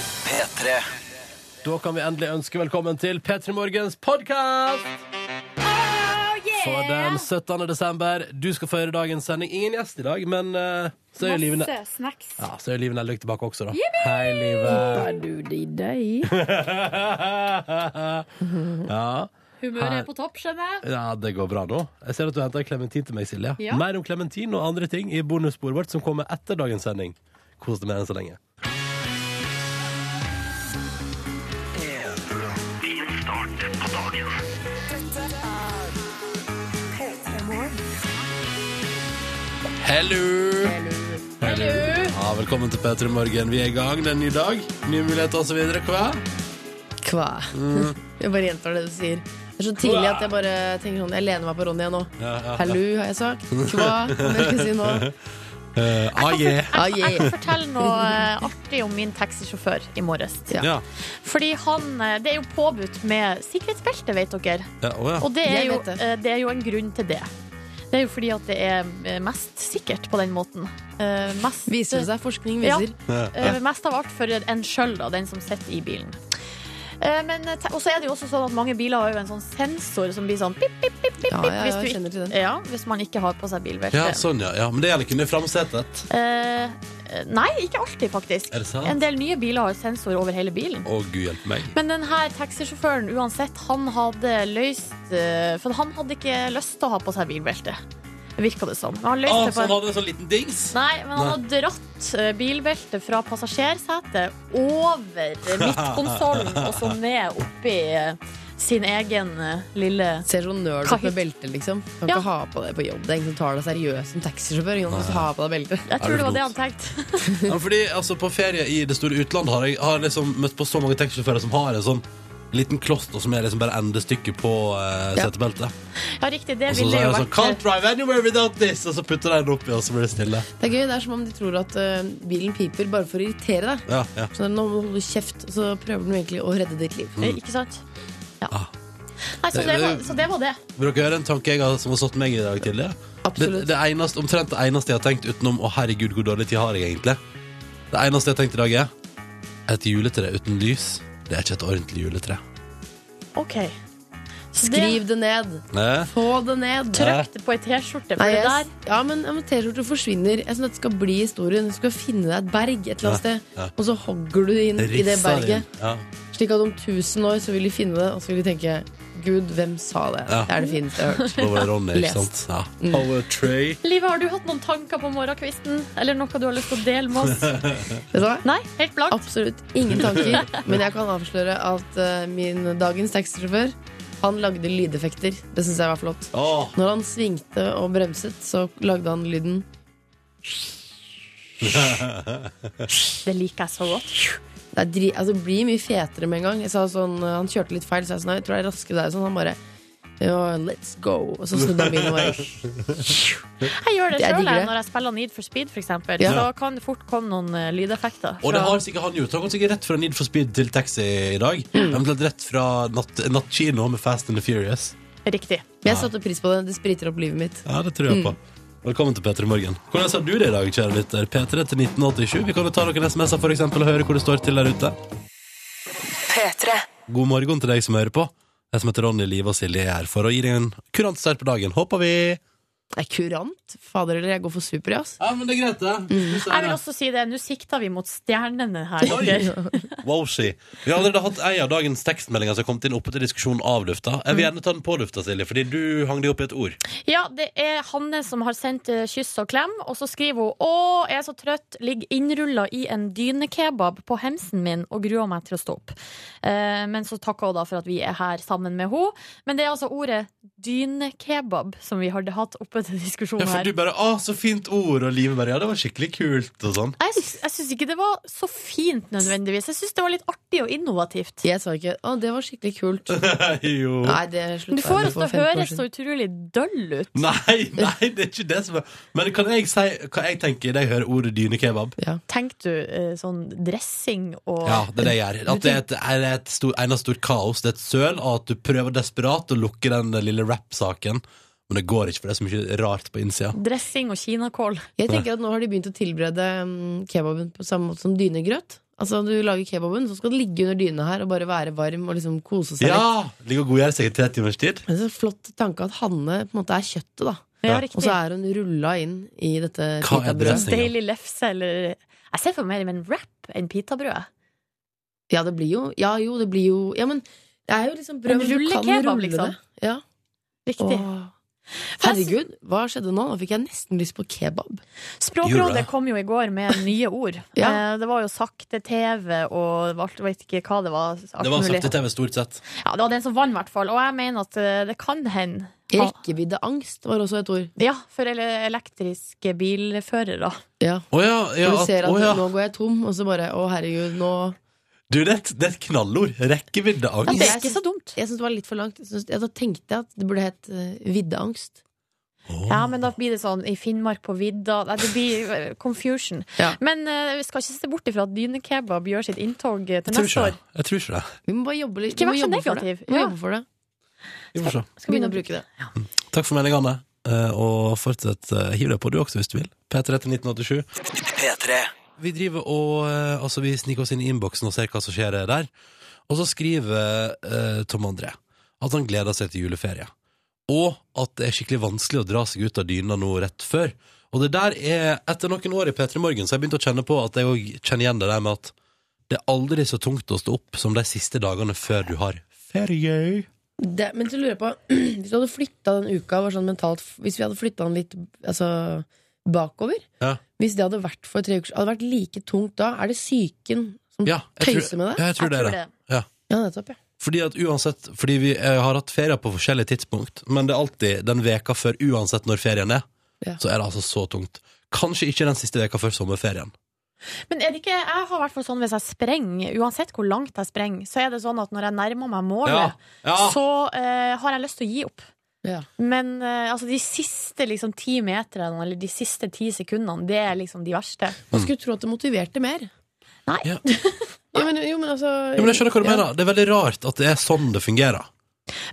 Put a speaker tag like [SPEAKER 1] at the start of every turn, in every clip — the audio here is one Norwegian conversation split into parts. [SPEAKER 1] P3.
[SPEAKER 2] Da kan vi endelig ønske velkommen til P3 Morgens podkast for den 17. desember. Du skal få høre dagens sending. Ingen gjest i dag, men eh, så er jo Liven
[SPEAKER 3] Masse snacks.
[SPEAKER 2] ja, så er jo Liven Elvik tilbake også, da. Hei, Liven. ja,
[SPEAKER 3] Humøret er på topp, skjønner jeg.
[SPEAKER 2] ja, det går bra nå. Jeg ser at du henter klementin til meg, Silje.
[SPEAKER 3] Ja.
[SPEAKER 2] Mer om klementin og andre ting i bonussporet vårt som kommer etter dagens sending. Kos deg med den så lenge. Hello! Ja, velkommen til P3 Morgen. Vi er i gang. Det er en ny dag, nye muligheter osv. Hva?
[SPEAKER 4] Kva.
[SPEAKER 2] Mm.
[SPEAKER 4] Jeg bare gjentar det du sier. Det er så tidlig at jeg bare tenker sånn Jeg lener meg på Ronny jeg nå.
[SPEAKER 2] Ja, ja, ja.
[SPEAKER 4] Hallo, har jeg sagt. Kva, kan dere ikke si nå.
[SPEAKER 2] Eh, ah, yeah.
[SPEAKER 4] Ah,
[SPEAKER 3] Jeg
[SPEAKER 4] yeah.
[SPEAKER 3] kan fortelle noe eh, artig om min taxisjåfør i morges.
[SPEAKER 4] Ja.
[SPEAKER 2] Ja.
[SPEAKER 3] Fordi han, eh, Det er jo påbudt med sikkerhetsbelte, vet dere.
[SPEAKER 2] Ja, å, ja.
[SPEAKER 3] Og det er,
[SPEAKER 4] Jeg
[SPEAKER 3] jo,
[SPEAKER 4] vet det.
[SPEAKER 3] eh, det er jo en grunn til det. Det er jo fordi at det er eh, mest sikkert på den måten. Eh, Mest,
[SPEAKER 4] Viser det seg. Forskning viser.
[SPEAKER 3] Eh, Mest av alt for en sjøl, da, den som sitter i bilen. Eh, Men, eh, te- og så er det jo også sånn at mange biler har jo en sånn sensor som blir sånn pip, pip, pip, pip,
[SPEAKER 4] Ja,
[SPEAKER 3] pip,
[SPEAKER 4] ja,
[SPEAKER 3] hvis,
[SPEAKER 4] jeg
[SPEAKER 3] du
[SPEAKER 4] kjenner til
[SPEAKER 3] ikke,
[SPEAKER 4] den.
[SPEAKER 3] ja, hvis man ikke har på seg bilbelte.
[SPEAKER 2] ja, sånn, ja. ja. Men det gjelder kun i framsetet.
[SPEAKER 3] Eh, nei, ikke alltid, faktisk.
[SPEAKER 2] Er det sant?
[SPEAKER 3] En del nye biler har sensor over hele bilen.
[SPEAKER 2] Å, gud hjelpe meg.
[SPEAKER 3] Men denne taxisjåføren, uansett, han hadde løst eh, For han hadde ikke lyst til å ha på seg bilbelte. Virka det som. Men han løste
[SPEAKER 2] Å,
[SPEAKER 3] det på
[SPEAKER 2] så
[SPEAKER 3] en
[SPEAKER 2] han hadde en sånn liten dings?
[SPEAKER 3] Nei, men han
[SPEAKER 2] Nei.
[SPEAKER 3] har dratt eh, bilbeltet fra passasjersetet over midtkonsollen og så ned oppi eh, sin egen eh, lille
[SPEAKER 4] Ser så nerd
[SPEAKER 3] Hva
[SPEAKER 4] ut med belte, liksom. Kan
[SPEAKER 3] Ja.
[SPEAKER 4] ikke ha på det på jobb. Det er ingen som tar deg seriøst som taxisjåfør. Ingen som har på deg belte.
[SPEAKER 3] Jeg
[SPEAKER 2] Er du
[SPEAKER 3] tror det var det
[SPEAKER 2] klok?
[SPEAKER 3] han tenkte.
[SPEAKER 2] Ja, fordi altså, På ferie i det store utlandet har jeg har jeg liksom møtt på så mange taxisjåfører som har en sånn liten kloster som er liksom bare endestykket på eh,
[SPEAKER 4] Ja.
[SPEAKER 2] setebeltet.
[SPEAKER 3] Ja, riktig. Det
[SPEAKER 2] Og så
[SPEAKER 3] ville
[SPEAKER 2] sier
[SPEAKER 3] jo
[SPEAKER 2] jeg sånn Can't
[SPEAKER 3] vært eh,
[SPEAKER 2] drive anywhere without this! Og så putter de den oppi, og så blir det stille.
[SPEAKER 4] Det er gøy, det er som om de tror at ø, bilen piper bare for å irritere deg.
[SPEAKER 2] Ja, ja.
[SPEAKER 4] Så nå må du holde kjeft, og så prøver den egentlig å redde ditt liv.
[SPEAKER 2] Mm.
[SPEAKER 3] eh, Ikke sant? Ja.
[SPEAKER 2] Ah.
[SPEAKER 3] Nei, så
[SPEAKER 2] Det-
[SPEAKER 3] det var
[SPEAKER 2] det-
[SPEAKER 3] så det. Var det.
[SPEAKER 2] Vil dere høre en tanke jeg har, som har satt meg i dag tidlig? Det,
[SPEAKER 4] Absolutt.
[SPEAKER 2] det eneste, omtrent det eneste jeg har tenkt utenom 'Å, herregud, hvor dårlig tid har jeg egentlig'? Det eneste jeg har tenkt i dag, er et juletre uten lys. Det er ikke et ordentlig juletre.
[SPEAKER 3] OK. Så det-
[SPEAKER 4] Skriv det ned.
[SPEAKER 2] Nei.
[SPEAKER 4] Få det ned.
[SPEAKER 3] Trykk det på ei T-skjorte. for
[SPEAKER 4] Nei,
[SPEAKER 3] det
[SPEAKER 4] jeg,
[SPEAKER 3] der
[SPEAKER 4] ja, men, ja, men T-skjorter forsvinner. Jeg synes at Det skal bli historien. Du skal finne deg et berg et eller annet
[SPEAKER 2] Ja,
[SPEAKER 4] sted,
[SPEAKER 2] ja.
[SPEAKER 4] og så hogger du inn i det
[SPEAKER 2] Risser inn.
[SPEAKER 4] berget. Slik at om 1000 år så vil de finne det, og så vil de tenke Gud, hvem sa det?
[SPEAKER 2] Ja.
[SPEAKER 4] Det er det fineste jeg har hørt.
[SPEAKER 2] Ja. Over Ronny, ikke
[SPEAKER 4] Lest.
[SPEAKER 2] sant? Ja. Power tray.
[SPEAKER 3] Live, har du hatt noen tanker på morgenkvisten? Eller noe du har lyst til å dele med oss?
[SPEAKER 4] Vet du hva?
[SPEAKER 3] Nei, helt blankt.
[SPEAKER 4] Absolutt ingen tanker, men jeg kan avsløre at eh, min dagens taxisjåfør han lagde lydeffekter. Det syns jeg var flott.
[SPEAKER 2] Åh,
[SPEAKER 4] Når han svingte og bremset, så lagde han lyden
[SPEAKER 3] Det liker jeg så godt.
[SPEAKER 4] Det er dri, altså, det blir mye fetere med en gang. Jeg sa sånn, eh, han kjørte litt feil, så jeg sa sånn, jeg tror jeg rasker deg. Sånn, han bare ja, Let's go. Og så snudde han bilen og bare
[SPEAKER 3] Jeg gjør
[SPEAKER 4] Jeg
[SPEAKER 3] det sjøl
[SPEAKER 4] digger det.
[SPEAKER 3] når jeg spiller Need for Speed, f.eks.
[SPEAKER 4] Ja.
[SPEAKER 3] Så kan det fort komme noen eh, lydeffekter.
[SPEAKER 2] Og det
[SPEAKER 3] fra-
[SPEAKER 2] har sikkert han gjort. Han kom sikkert rett fra Need for Speed til taxi i dag. Eventuelt rett fra natt- nattkino med Fast and the Furious.
[SPEAKER 3] Riktig.
[SPEAKER 4] Men jeg satte pris på det. Det spriter opp livet mitt.
[SPEAKER 2] Ja, det tror jeg på. Velkommen til P3 Morgen. Hvordan har du det i dag, kjære lytter? P3 til 1987. Vi kan jo ta noen SMS-er for eksempel, og høre hvor det står til der ute. God morgen til deg som hører på. Jeg som heter Ronny Liv og Silje er her for å gi deg en kurant start på dagen. Håper vi
[SPEAKER 4] Det er kurant. Fader eller jeg går for super, jeg, altså.
[SPEAKER 2] Ja, men det Mm. er greit, det. Vi ser
[SPEAKER 3] Jeg vil
[SPEAKER 2] det.
[SPEAKER 3] også si det, nå sikter vi mot stjernene her. dere.
[SPEAKER 2] Wow, she. Vi har allerede hatt ei av dagens tekstmeldinger som har kommet inn oppe til diskusjon av lufta. Jeg vil gjerne ta den på lufta, Silje, fordi du hang deg opp i et ord.
[SPEAKER 3] Ja, det er Hanne som har sendt eh, kyss og klem, og så skriver hun Å, jeg er så trøtt, ligger innrulla i en dynekebab på hemsen min og gruer meg til å stå opp. Eh, men så takker hun da for at vi er her sammen med henne. Men det er altså ordet dynekebab som vi har hatt oppe til diskusjon
[SPEAKER 2] Ja, for
[SPEAKER 3] her.
[SPEAKER 2] du bare 'Å, så fint ord', og Live bare 'Ja, det var skikkelig kult', og sånn.
[SPEAKER 3] Jeg, sy- jeg syns ikke det var så fint nødvendigvis. Jeg syns det var litt artig og innovativt.
[SPEAKER 4] Jeg sa ikke 'Å, det var skikkelig kult'.
[SPEAKER 2] jo.
[SPEAKER 4] Nei, det slutta
[SPEAKER 3] Du får
[SPEAKER 4] jeg
[SPEAKER 3] oss til å
[SPEAKER 4] for 15 år
[SPEAKER 3] høres så
[SPEAKER 4] siden.
[SPEAKER 3] utrolig døll ut.
[SPEAKER 2] Nei, nei, det er ikke det som er Men kan jeg si hva jeg tenker idet jeg hører ordet dynekebab?
[SPEAKER 4] Ja.
[SPEAKER 3] Tenker du eh, sånn dressing og
[SPEAKER 2] Ja, det er det jeg gjør. At det er et, er et stor, eneste stort kaos. Det er et søl, og at du prøver desperat å lukke den lille rap-saken. Men det går ikke, for det er så mye rart på innsida.
[SPEAKER 3] Dressing og kinakål.
[SPEAKER 4] Jeg tenker at nå har de begynt å tilberede mm, kebaben på samme måte som dynegrøt. Altså, du lager kebaben, så skal den ligge under dyna her og bare være varm og liksom kose seg litt.
[SPEAKER 1] Ja! Ligger og godgjør seg i tre timers tid.
[SPEAKER 4] Men så flott tanke at Hanne på en måte er kjøttet, da.
[SPEAKER 3] Ja,
[SPEAKER 1] Ja.
[SPEAKER 4] Og
[SPEAKER 3] riktig.
[SPEAKER 4] så er hun rulla inn i dette
[SPEAKER 1] Hva er
[SPEAKER 4] pitabrødet.
[SPEAKER 1] dressing?
[SPEAKER 3] Deilig lefse eller Jeg ser for meg mer en wrap enn pitabrød.
[SPEAKER 4] Ja, det blir jo Ja, jo, det blir jo Ja, men det er jo liksom
[SPEAKER 3] En
[SPEAKER 4] brød men du kan
[SPEAKER 3] rullekebab,
[SPEAKER 4] rulle
[SPEAKER 3] liksom.
[SPEAKER 4] det. Ja.
[SPEAKER 3] Riktig.
[SPEAKER 4] Åh. Herregud, hva skjedde nå? Nå fikk jeg nesten lyst på kebab.
[SPEAKER 3] Språkrådet
[SPEAKER 1] Jura.
[SPEAKER 3] kom jo i går med nye ord.
[SPEAKER 4] Ja.
[SPEAKER 3] Eh, Det var jo sakte-TV og alt- jeg vet ikke hva det var. alt
[SPEAKER 2] Det var
[SPEAKER 3] mulig.
[SPEAKER 2] sakte-TV, stort sett.
[SPEAKER 3] Ja, det var den som vant, i hvert fall. Og jeg mener at eh, det kan hende. Ha-
[SPEAKER 4] Rekkeviddeangst var også et ord.
[SPEAKER 3] Ja, for ele- elektriske bilførere.
[SPEAKER 4] Ja.
[SPEAKER 2] Å ja, ja,
[SPEAKER 4] For du ser
[SPEAKER 2] at,
[SPEAKER 4] at
[SPEAKER 2] å ja.
[SPEAKER 4] nå går jeg tom, og så bare Å, herregud, nå
[SPEAKER 1] Du, det er et, det er et knallord.
[SPEAKER 3] Ja,
[SPEAKER 1] Rekkeviddeangst.
[SPEAKER 3] det er ikke så dumt.
[SPEAKER 4] Jeg syns det var litt for langt. Jeg synes, ja, da tenkte jeg at det burde hett eh, viddeangst.
[SPEAKER 1] Åh.
[SPEAKER 3] Ja, men da blir det sånn i Finnmark på vidda. Nei, det blir eh, confusion.
[SPEAKER 4] Ja.
[SPEAKER 3] Men eh, vi skal ikke se bort ifra at dynekebab gjør sitt inntog eh,
[SPEAKER 2] Jeg
[SPEAKER 3] til
[SPEAKER 2] tror
[SPEAKER 3] neste
[SPEAKER 2] ikke
[SPEAKER 3] år.
[SPEAKER 2] det. Jeg tror ikke det.
[SPEAKER 4] Vi må bare jobbe litt.
[SPEAKER 3] Ikke
[SPEAKER 4] vi må
[SPEAKER 3] vær så
[SPEAKER 4] jobbe for det.
[SPEAKER 3] negativ.
[SPEAKER 4] Vi må
[SPEAKER 3] Ja.
[SPEAKER 4] jobbe for det.
[SPEAKER 2] Vi får se.
[SPEAKER 3] Skal
[SPEAKER 4] Begynne å bruke det.
[SPEAKER 2] Takk for meningene, eh, og fortsett eh, hiv deg på du også hvis du vil. P3 til 1987. Vi driver og eh, altså vi sniker oss inn i innboksen og ser hva som skjer der. Og så skriver eh, Tom André at han gleder seg til juleferie. Og at det er skikkelig vanskelig å dra seg ut av dyna nå rett før. Og det der er etter noen år i P3 Morgen, så har jeg begynt å kjenne på at jeg òg kjenner igjen det der med at det er aldri så tungt å stå opp som de siste dagene før du har ferie.
[SPEAKER 4] det. Men så lurer jeg på Hvis du hadde flytta den uka var sånn mentalt, Hvis vi hadde flytta den litt altså, bakover
[SPEAKER 2] Ja.
[SPEAKER 4] Hvis det hadde vært for tre uker Hadde det vært like tungt da? Er det psyken som
[SPEAKER 2] Ja, jeg tror,
[SPEAKER 4] tøyser med det?
[SPEAKER 2] ja, jeg tror det er det. Ja.
[SPEAKER 4] Ja, nettopp, ja.
[SPEAKER 2] Fordi at uansett Fordi vi eh, har hatt ferier på forskjellige tidspunkt Men det er alltid den veka før Uansett når ferien er
[SPEAKER 4] Ja.
[SPEAKER 2] Så er det altså så tungt Kanskje ikke den siste veka før sommerferien
[SPEAKER 3] Men er det ikke, jeg har i hvert fall sånn hvis jeg sprenger, uansett hvor langt jeg sprenger, så er det sånn at når jeg nærmer meg målet, så eh, har jeg lyst til å gi opp.
[SPEAKER 4] Ja.
[SPEAKER 3] Men eh, altså, de siste liksom, ti meterne, eller de siste ti sekundene, det er liksom de verste.
[SPEAKER 2] Mm.
[SPEAKER 4] Man skulle tro at det motiverte mer.
[SPEAKER 3] Nei.
[SPEAKER 2] Ja.
[SPEAKER 4] Ja, men, jo, men altså
[SPEAKER 2] ja, men jeg skjønner hva du mener Det er veldig rart at det er sånn det fungerer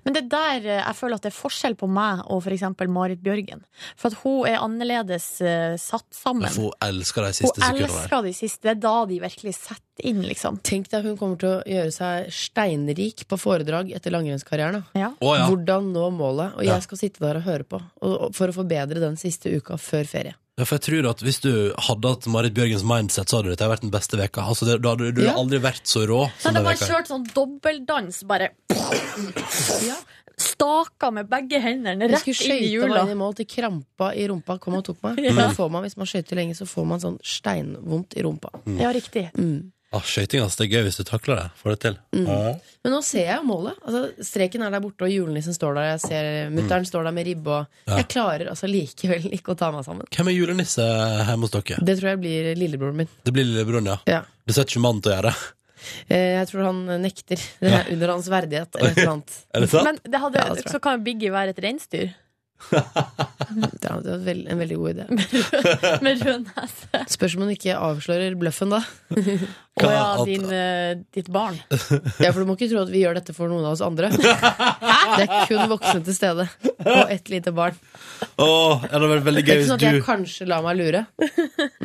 [SPEAKER 3] Men det er der eh, jeg føler at det er forskjell på meg og for eksempel Marit Bjørgen. For at hun er annerledes eh, satt sammen.
[SPEAKER 2] Jeg får elske de
[SPEAKER 3] Hun
[SPEAKER 2] siste sekundene der
[SPEAKER 3] elsker de siste. Det er da de virkelig setter inn, liksom.
[SPEAKER 4] Tenk deg hun kommer til å gjøre seg steinrik på foredrag etter langrennskarrieren. da.
[SPEAKER 3] Ja.
[SPEAKER 2] Å ja,
[SPEAKER 4] Hvordan nå målet? Og jeg
[SPEAKER 2] Ja.
[SPEAKER 4] skal sitte der og høre på og, og, for å forbedre den siste uka før ferie.
[SPEAKER 2] Ja, for jeg tror at hvis du hadde hatt Marit Bjørgens mindset Så hadde dette vært den beste veka altså, det, Da hadde du
[SPEAKER 4] Ja.
[SPEAKER 2] aldri vært så rå som
[SPEAKER 3] Så
[SPEAKER 2] den
[SPEAKER 3] hadde jeg bare
[SPEAKER 2] veka her.
[SPEAKER 3] kjørt sånn dobbeldans, bare staka med begge hendene
[SPEAKER 4] Jeg
[SPEAKER 3] rett
[SPEAKER 4] skulle
[SPEAKER 3] inn i
[SPEAKER 4] skøyte
[SPEAKER 3] hjula.
[SPEAKER 4] meg inn i mål til krampa i rumpa kom og tok meg.
[SPEAKER 3] Ja.
[SPEAKER 4] Da Får man, hvis man skøyter lenge, så får man sånn steinvondt i rumpa.
[SPEAKER 3] Ja, riktig.
[SPEAKER 4] Mm.
[SPEAKER 2] ah, Skøyting, altså, det er gøy hvis du takler det Får det til
[SPEAKER 3] Mm.
[SPEAKER 2] Ja.
[SPEAKER 4] Men nå ser jeg jo målet. Altså, streken er der borte, og julenissen står der. Jeg ser mutter'n står der med ribbe, og jeg klarer altså likevel ikke å ta meg sammen.
[SPEAKER 2] Hvem er julenisse hjemme hos dere?
[SPEAKER 4] Det tror jeg blir lillebroren min.
[SPEAKER 2] Det blir lillebroren, ja
[SPEAKER 4] Ja.
[SPEAKER 2] Du setter ikke mann til å gjøre det
[SPEAKER 4] Eh, Jeg tror han nekter. Det er under hans verdighet eller et eller annet.
[SPEAKER 2] Er det sant?
[SPEAKER 3] Men det hadde,
[SPEAKER 4] Ja, det tror jeg.
[SPEAKER 3] så kan jo Biggie være et reinsdyr
[SPEAKER 4] Det er- det er vel- en veldig god idé.
[SPEAKER 3] med rød nese.
[SPEAKER 4] Spørs om hun ikke avslører bløffen, da.
[SPEAKER 3] Å
[SPEAKER 2] Hva,
[SPEAKER 3] ja,
[SPEAKER 2] at-
[SPEAKER 3] din, eh, ditt barn.
[SPEAKER 4] Ja, For du må ikke tro at vi gjør dette for noen av oss andre. Det er kun voksne til stede. Og ett lite barn.
[SPEAKER 2] Åh, ja, det hadde vært veldig
[SPEAKER 4] Det
[SPEAKER 2] gøy
[SPEAKER 4] er ikke
[SPEAKER 2] hvis
[SPEAKER 4] sånn at jeg
[SPEAKER 2] du
[SPEAKER 4] kanskje lar meg lure.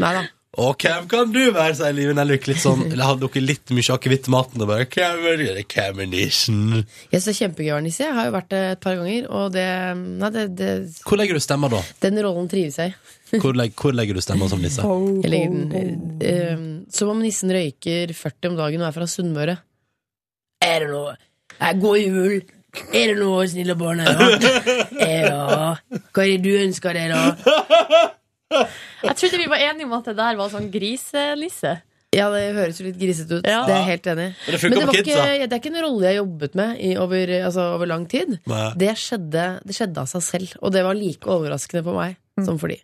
[SPEAKER 4] Nei da.
[SPEAKER 2] Å, hvem kan du være, sier Liven Elvik litt sånn Eller hadde dere litt mye akevitt i maten og bare Hvem er det? Hvem er nissen?
[SPEAKER 4] Jeg synes det er kjempegøy å være nisse. Jeg har jo vært det et par ganger, og det, nei, det, det
[SPEAKER 2] Hvor legger du stemmer da?
[SPEAKER 4] Den rollen trives jeg i.
[SPEAKER 2] Hvor, leg, hvor legger du stemmer som nisse?
[SPEAKER 4] Jeg legger den eh, eh, Som om nissen røyker 40 om dagen og er fra Sunnmøre. Er det noe Eh, God jul! Er det noe snille barn her, da? Ja. Hva er det du ønsker deg, da?
[SPEAKER 3] Jeg trodde vi var enige om at det der var sånn grisenisse.
[SPEAKER 4] Ja, det høres jo litt grisete ut.
[SPEAKER 3] Ja.
[SPEAKER 4] Det er jeg helt enig i.
[SPEAKER 2] Men det
[SPEAKER 4] Men
[SPEAKER 2] funker
[SPEAKER 4] det,
[SPEAKER 2] på
[SPEAKER 4] var
[SPEAKER 2] kidsa.
[SPEAKER 4] ikke, det er ikke en rolle jeg jobbet med i, over, altså, over lang tid.
[SPEAKER 2] Nei.
[SPEAKER 4] Det skjedde, det skjedde av seg selv, og det var like overraskende på meg som for de.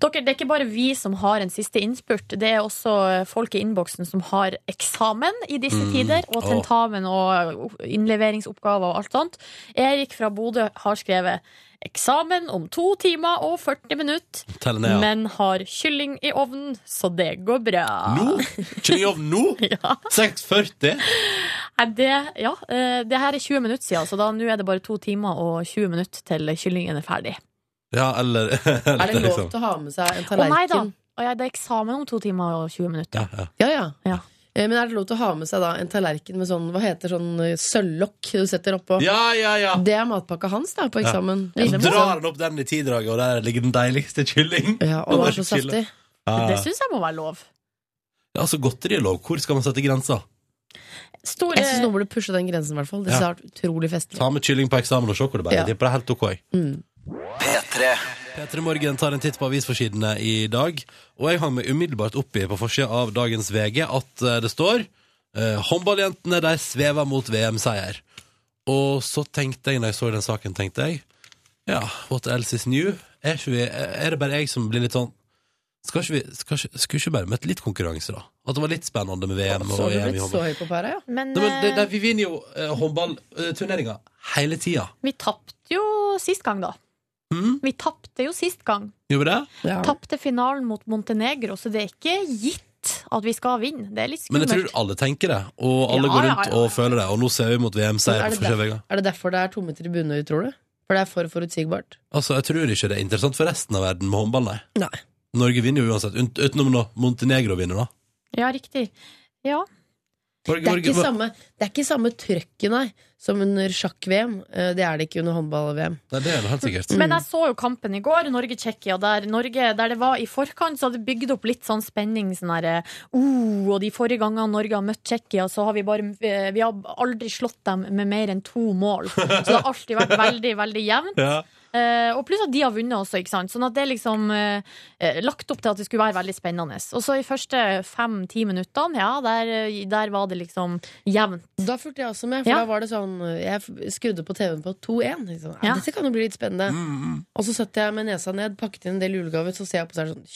[SPEAKER 3] Dere, det er ikke bare vi som har en siste innspurt, det er også eh, folk i innboksen som har eksamen i disse tider, og
[SPEAKER 2] Mm. Åh.
[SPEAKER 3] tentamen og o- innleveringsoppgaver og alt sånt. Erik fra Bodø har skrevet eksamen om to timer og 40 minutter,
[SPEAKER 2] Tell ned, ja
[SPEAKER 3] men har kylling i ovnen, så det går bra.
[SPEAKER 2] Nå? Kjønjov nå?
[SPEAKER 3] Ja.
[SPEAKER 2] 6.40?
[SPEAKER 3] Er det, ja, eh, det her er 20 minutter siden, så da nå er det bare to timer og 20 minutter til kyllingen er ferdig.
[SPEAKER 2] Ja, eller
[SPEAKER 4] Er det lov
[SPEAKER 2] liksom.
[SPEAKER 4] til å ha med seg en
[SPEAKER 3] Å nei da!
[SPEAKER 4] tallerken?
[SPEAKER 3] Å ja, det er eksamen om to timer og 20 minutter.
[SPEAKER 2] Ja, ja
[SPEAKER 4] Ja, ja.
[SPEAKER 3] Ja.
[SPEAKER 4] Eh, Men er det lov til å ha med seg da en tallerken med sånn, hva heter sånn eh, sølvlokk du setter oppå?
[SPEAKER 2] Ja, ja, ja.
[SPEAKER 4] Det er matpakka hans da, på eksamen.
[SPEAKER 2] Så
[SPEAKER 3] Ja. Lille
[SPEAKER 2] drar han opp den i tidraget, og der ligger den deiligste kylling.
[SPEAKER 4] Ja, og det er så
[SPEAKER 2] Chille.
[SPEAKER 4] saftig.
[SPEAKER 2] Ja, ja.
[SPEAKER 3] Det syns jeg må være lov.
[SPEAKER 2] Altså, godteri er lov. Hvor skal man sette grensa?
[SPEAKER 3] Store,
[SPEAKER 4] Jeg syns noen burde pushe den grensen, i hvert fall. Det
[SPEAKER 2] Ja.
[SPEAKER 4] synes jeg har vært utrolig festlig.
[SPEAKER 2] Ta med kylling på eksamen og sjokolade.
[SPEAKER 4] Ja.
[SPEAKER 2] Ja. Det er helt ok.
[SPEAKER 4] Mm.
[SPEAKER 2] P3 Morgen tar en titt på avisforsidene i dag, og jeg hang meg umiddelbart oppi på forsida av dagens VG at eh, det står eh, 'Håndballjentene de svever mot VM-seier'. Og så tenkte jeg, når jeg så den saken, tenkte jeg Ja, what else is new? Er, ikke vi, er det bare jeg som blir litt sånn skal ikke vi, skal ikke, Skulle ikke bare møtt litt konkurranse, da? At det var litt spennende med VM og
[SPEAKER 4] Så du
[SPEAKER 2] EM i
[SPEAKER 4] blitt så
[SPEAKER 2] håndball.
[SPEAKER 4] høy på pæra, ja?
[SPEAKER 3] men
[SPEAKER 2] Nei, men det,
[SPEAKER 3] eh,
[SPEAKER 2] det, vi vinner jo eh, håndballturneringa hele tida.
[SPEAKER 3] eh, vi tapte jo sist gang, da.
[SPEAKER 2] Mm?
[SPEAKER 3] Vi tapte jo sist gang.
[SPEAKER 2] Gjør vi det?
[SPEAKER 4] ja.
[SPEAKER 3] Tapte finalen mot Montenegro, så det er ikke gitt at vi skal vinne. Det er litt
[SPEAKER 2] Men jeg
[SPEAKER 3] skummelt.
[SPEAKER 2] tror alle tenker det, og alle
[SPEAKER 3] Ja,
[SPEAKER 2] går
[SPEAKER 3] ja,
[SPEAKER 2] rundt
[SPEAKER 3] ja.
[SPEAKER 2] og føler det. Og nå ser vi mot VM-seier
[SPEAKER 4] Men
[SPEAKER 2] på
[SPEAKER 4] er det
[SPEAKER 2] forskjellige veier.
[SPEAKER 4] Er det derfor det er tomme tribuner, tror du? For det er for forutsigbart?
[SPEAKER 2] Altså, jeg tror ikke det er interessant for resten av verden med håndball, nei.
[SPEAKER 4] Nei.
[SPEAKER 2] Norge vinner jo uansett, unt- utenom nå Montenegro vinner, da.
[SPEAKER 3] Ja, riktig. Ja.
[SPEAKER 2] Norge,
[SPEAKER 4] Det er
[SPEAKER 2] Norge-
[SPEAKER 4] ikke samme, det er ikke samme trøkket, nei, som under sjakk-VM. Eh, Det er det ikke under håndball-VM.
[SPEAKER 2] Nei, det er det helt sikkert.
[SPEAKER 3] Mm. Men jeg så jo kampen i går, Norge-Tsjekkia, der Norge, der det var i forkant, så hadde det bygd opp litt sånn spenning. Sånn derre oh, Og de forrige gangene Norge har møtt Tsjekkia, så har vi bare eh, Vi har aldri slått dem med mer enn to mål. Så det har alltid vært veldig, veldig jevnt.
[SPEAKER 2] Ja.
[SPEAKER 3] Eh, og pluss at de har vunnet også, ikke sant. Sånn at det er liksom eh, eh, lagt opp til at det skulle være veldig spennende. Og så i første fem-ti minuttene, ja, der, eh, der var det liksom jevnt.
[SPEAKER 4] Da fulgte jeg også med, for
[SPEAKER 3] Ja.
[SPEAKER 4] da var det sånn eh, Jeg f- skrudde på TV-en på 2-1. Liksom. Ja.
[SPEAKER 3] Ja.
[SPEAKER 4] Dette kan jo bli litt spennende. Og så satt jeg med nesa ned, pakket inn en del julegaver, så ser jeg på seg sånn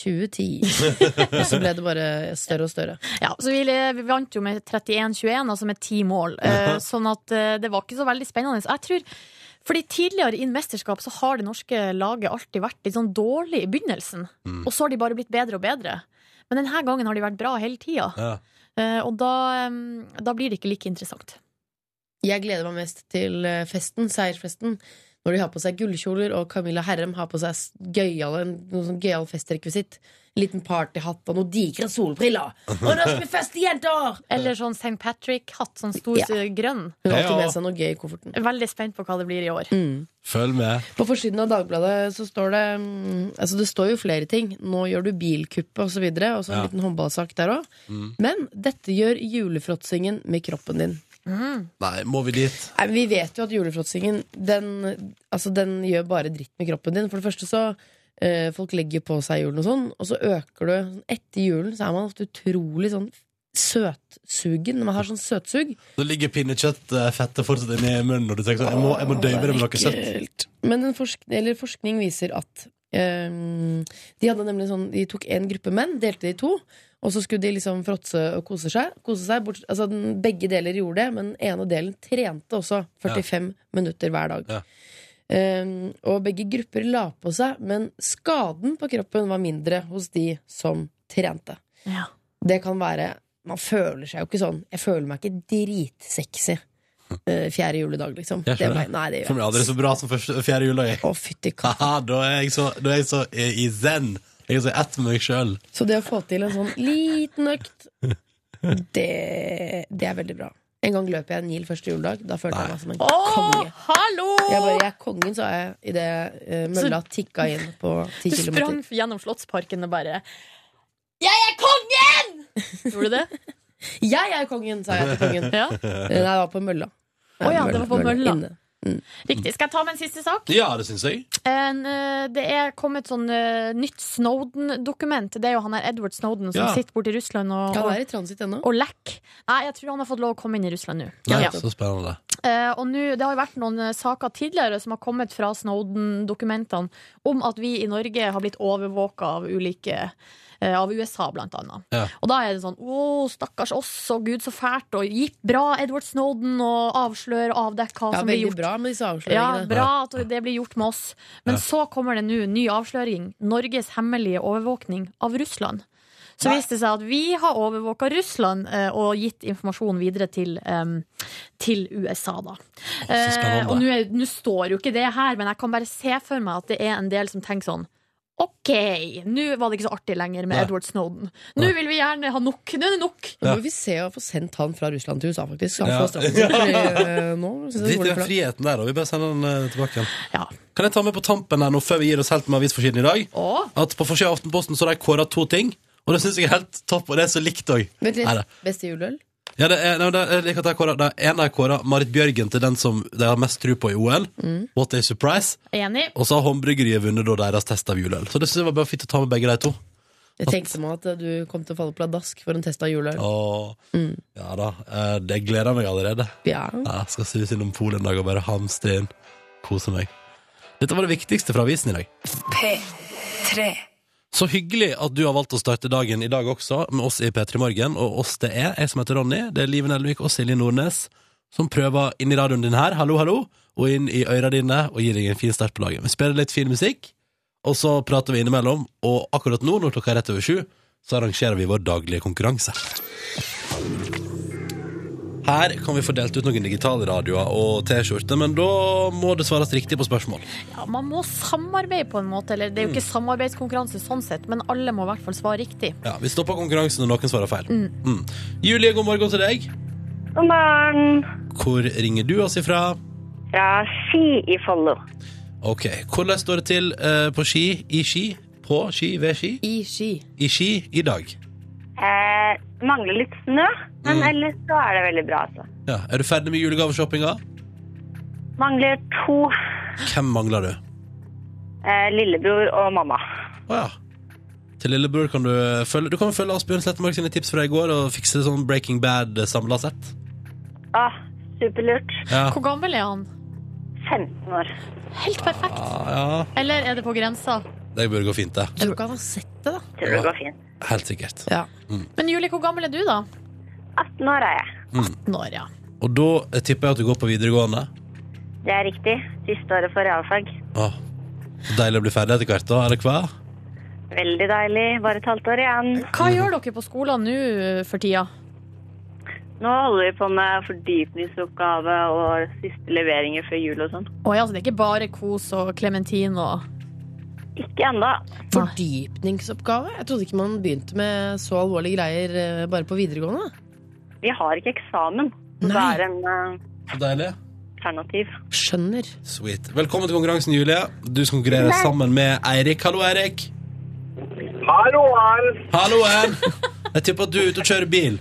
[SPEAKER 4] 2010. og så ble det bare større og større.
[SPEAKER 3] Ja, så vi, vi vant jo med 31-21, altså med ti mål. Eh, sånn at eh, det var ikke så veldig spennende. Jeg tror fordi tidligere i mesterskap så har det norske laget alltid vært litt sånn dårlig i begynnelsen. Og så har de bare blitt bedre og bedre. Men denne gangen har de vært bra hele tida.
[SPEAKER 2] Ja.
[SPEAKER 3] Eh, og da, eh, da blir det ikke like interessant.
[SPEAKER 4] Jeg gleder meg mest til eh, festen, seiersfesten. Når de har på seg gullkjoler, og Camilla Herrem har på seg s- gøyale noe sånn gøyal festrekvisitt. En liten partyhatt og noen digre solbriller. Og nå skal vi feste, jenter!
[SPEAKER 3] Eller sånn St. Patrick-hatt, sånn stor
[SPEAKER 4] Ja.
[SPEAKER 3] eh, grønn.
[SPEAKER 4] Hun har
[SPEAKER 2] Ja.
[SPEAKER 4] alltid med seg noe gøy i kofferten.
[SPEAKER 3] Veldig spent på hva det blir i år.
[SPEAKER 4] Mm.
[SPEAKER 2] Følg med.
[SPEAKER 4] På forsiden av Dagbladet så står det mm, Altså det står jo flere ting. Nå gjør du bilkuppet og så videre, og så en
[SPEAKER 2] Ja. Mm.
[SPEAKER 4] liten håndballsak der òg. Men dette gjør julefråtsingen med kroppen din.
[SPEAKER 2] Nei, må vi dit?
[SPEAKER 4] Nei, men Vi vet jo at julefråtsingen den, altså den gjør bare dritt med kroppen din. For det første så eh, Folk legger på seg i julen og sånn, og så øker du sånn, Etter julen så er man ofte utrolig sånn søtsugen. Man har sånn søtsug.
[SPEAKER 2] Så ligger pinnekjøttfettet fortsatt inni munnen, og du tenker sånn Jeg må, jeg må døyve det med noe søtt.
[SPEAKER 4] Ekkelt. Men en forsk eller forskning viser at ehm, de hadde nemlig sånn De tok en gruppe menn, delte de i to, og så skulle de liksom fråtse og kose seg. Kose seg bort, altså den, begge deler gjorde det, men den ene delen trente også 45 minutter hver dag.
[SPEAKER 2] Ja.
[SPEAKER 4] Ehm, og begge grupper la på seg, men skaden på kroppen var mindre hos de som trente.
[SPEAKER 3] Ja.
[SPEAKER 4] Det kan være Man føler seg jo ikke sånn. Jeg føler meg ikke dritsexy eh, fjerde juledag, liksom.
[SPEAKER 2] Hm. Jeg skjønner.
[SPEAKER 4] Det var- nei, det gjør
[SPEAKER 2] For meg er aldri så bra som første, fjerde juledag.
[SPEAKER 4] å, fytti katt.
[SPEAKER 2] Haha, da er jeg så, da er jeg så i i zen. Jeg er så i ett med meg sjøl.
[SPEAKER 4] Så det å få til en sånn liten økt, det, det er veldig bra. En gang løp jeg en mil første juledag. Da følte jeg meg som en
[SPEAKER 3] Å,
[SPEAKER 4] konge.
[SPEAKER 3] hallo!
[SPEAKER 4] Jeg bare, jeg er kongen, sa jeg idet uh, mølla tikka inn på ti
[SPEAKER 3] Du sprang
[SPEAKER 4] kilometer.
[SPEAKER 3] gjennom Slottsparken og bare Jeg er kongen! Gjorde du det?
[SPEAKER 4] Jeg er kongen, sa jeg til kongen.
[SPEAKER 3] Ja.
[SPEAKER 4] Eh, Nei, det var på mølla.
[SPEAKER 3] Å ja, det var på mølla.
[SPEAKER 4] inne.
[SPEAKER 3] Riktig. Skal jeg ta med en siste sak?
[SPEAKER 2] Ja, det syns jeg.
[SPEAKER 3] En, eh, det er kommet sånn eh, nytt Snowden-dokument. Det er jo han der Edward Snowden som
[SPEAKER 2] Ja.
[SPEAKER 3] sitter borte i Russland og,
[SPEAKER 4] Kan
[SPEAKER 3] og,
[SPEAKER 4] være i transit ennå.
[SPEAKER 3] og lekker. Nei, jeg tror han har fått lov å komme inn i Russland nå.
[SPEAKER 2] Nei,
[SPEAKER 3] Ja.
[SPEAKER 2] Så spennende.
[SPEAKER 3] Eh, og nå, Det har jo vært noen eh, saker tidligere som har kommet fra Snowden-dokumentene om at vi i Norge har blitt overvåka av ulike eh, av USA, blant annet.
[SPEAKER 2] Ja.
[SPEAKER 3] Og da er det sånn Å, stakkars oss, og gud, så fælt, og gitt bra Edward Snowden, og avslør og avdekk hva
[SPEAKER 4] Ja,
[SPEAKER 3] som blir
[SPEAKER 4] veldig
[SPEAKER 3] gjort.
[SPEAKER 4] bra med disse
[SPEAKER 3] Ja,
[SPEAKER 4] avsløringene.
[SPEAKER 3] bra at det blir gjort med oss. Men så kommer det nå ny avsløring. Norges hemmelige overvåkning av Russland. Så viste det seg at vi har overvåka Russland eh, og gitt informasjon videre til, em, til USA, da.
[SPEAKER 2] spennende.
[SPEAKER 3] Eh, og nå er- nå står jo ikke det her, men jeg kan bare se for meg at det er en del som tenker sånn OK, nå var det ikke så artig lenger med
[SPEAKER 2] Nei.
[SPEAKER 3] Edward Snowden. Nå vil vi gjerne ha nok. Nå er det nok.
[SPEAKER 4] Nå må vi se å få sendt han fra Russland til USA, faktisk. Skal han
[SPEAKER 2] Ja.
[SPEAKER 4] få straffesaker eh, nå? Synes
[SPEAKER 2] Dritt i
[SPEAKER 4] jeg det er dårlig
[SPEAKER 2] den
[SPEAKER 4] for deg.
[SPEAKER 2] friheten der, da. Vi bare sender den eh, tilbake igjen.
[SPEAKER 3] Ja.
[SPEAKER 2] Kan jeg ta med på tampen her nå, før vi gir oss helt med avisforsiden i dag,
[SPEAKER 3] Å,
[SPEAKER 2] at på forsida av Aftenposten så har de kåra to ting, og det syns jeg er helt topp, og det er så likt òg. Nei,
[SPEAKER 4] Vent
[SPEAKER 2] det-
[SPEAKER 4] litt. Beste juleøl?
[SPEAKER 2] Ja, det er, nei, men det er, jeg liker at de har kåret- det er en av kåra Marit Bjørgen til den som de har mest tro på i OL.
[SPEAKER 4] Mm.
[SPEAKER 2] What a surprise.
[SPEAKER 3] enig.
[SPEAKER 2] Og så har Håndbryggeriet vunnet da deres test av juleøl. Så det synes jeg var bare fint å ta med begge de to.
[SPEAKER 4] Jeg tenkte meg at du kom til å falle pladask for en test av juleøl.
[SPEAKER 2] Og, Ja da, eh, det gleder jeg meg allerede.
[SPEAKER 4] Ja.
[SPEAKER 2] Ja, Jeg skal suse innom Polen en dag og bare hamstre inn. Kose meg. Dette var det viktigste fra avisen i dag.
[SPEAKER 5] P3.
[SPEAKER 2] Så hyggelig at du har valgt å starte dagen i dag også, med oss i P3 Morgen. Og oss det er, jeg som heter Ronny, det er Liven Elvik og Silje Nordnes, som prøver inn i radioen din her, hallo, hallo, og inn i øra dine, og gir deg en fin start på dagen. Vi spiller litt fin musikk, og så prater vi innimellom, og akkurat nå, når klokka er rett over sju, så arrangerer vi vår daglige konkurranse. Her kan vi få delt ut noen digitale radioer og T-skjorter, men da må det svares riktig på spørsmål.
[SPEAKER 3] Ja, man må samarbeide på en måte. Eller det er jo
[SPEAKER 2] Mm.
[SPEAKER 3] ikke samarbeidskonkurranse sånn sett, men alle må i hvert fall svare riktig.
[SPEAKER 2] Ja, Vi stopper konkurransen når noen svarer feil. Mm. Julie, god morgen til deg.
[SPEAKER 6] God morgen.
[SPEAKER 2] Hvor ringer du oss ifra?
[SPEAKER 6] Fra Ski i Follo.
[SPEAKER 2] Ok, Hvordan står det til eh, på ski, i ski, på ski, ved ski,
[SPEAKER 4] I ski.
[SPEAKER 2] i ski i dag?
[SPEAKER 6] Eh, mangler litt snø, men
[SPEAKER 2] Mm.
[SPEAKER 6] ellers så er det veldig bra. Altså.
[SPEAKER 2] Ja, Er du ferdig med julegaveshoppinga?
[SPEAKER 6] Mangler to.
[SPEAKER 2] Hvem mangler du?
[SPEAKER 6] Eh, lillebror og mamma.
[SPEAKER 2] Å ja. Til lillebror kan du eh, følge Du kan følge Asbjørn Slettemark sine tips fra i går og fikse sånn Breaking Bad samla sett.
[SPEAKER 6] Ah, superlurt.
[SPEAKER 2] Ja.
[SPEAKER 3] Hvor gammel er han?
[SPEAKER 6] 15 år.
[SPEAKER 3] Helt perfekt.
[SPEAKER 2] Ah, ja.
[SPEAKER 3] Eller er det på grensa?
[SPEAKER 2] Det burde gå fint, det.
[SPEAKER 4] Jeg tror ikke han har sett det, da.
[SPEAKER 6] Tror det går fint.
[SPEAKER 2] Helt sikkert.
[SPEAKER 4] Ja.
[SPEAKER 3] Men Julie, hvor gammel er du, da?
[SPEAKER 6] 18 år er jeg.
[SPEAKER 3] Når, ja.
[SPEAKER 2] Og da eh, tipper jeg at du går på videregående.
[SPEAKER 6] Det er riktig. Siste året for realfag.
[SPEAKER 2] Åh. Så deilig å bli ferdig etter hvert, da. Eller hva?
[SPEAKER 6] Veldig deilig. Bare et halvt år igjen.
[SPEAKER 3] Hva gjør dere på skolen nå for tida?
[SPEAKER 6] Nå holder vi på med fordypningsoppgave og siste leveringer før jul og sånn.
[SPEAKER 3] Å ja, så det er ikke bare kos og klementin og
[SPEAKER 6] Ikke ennå.
[SPEAKER 4] Fordypningsoppgave? Jeg trodde ikke man begynte med så alvorlige greier eh, bare på videregående.
[SPEAKER 6] Vi har ikke eksamen. Så det
[SPEAKER 4] Nei.
[SPEAKER 6] er en eh,
[SPEAKER 2] Så deilig.
[SPEAKER 6] alternativ.
[SPEAKER 4] Skjønner.
[SPEAKER 2] Sweet. Velkommen til konkurransen, Julie. Du skal konkurrere sammen med Eirik. Hallo, Eirik.
[SPEAKER 7] Hallo, her
[SPEAKER 2] Hallo, Ann. Jeg tipper at du er ute og kjører bil.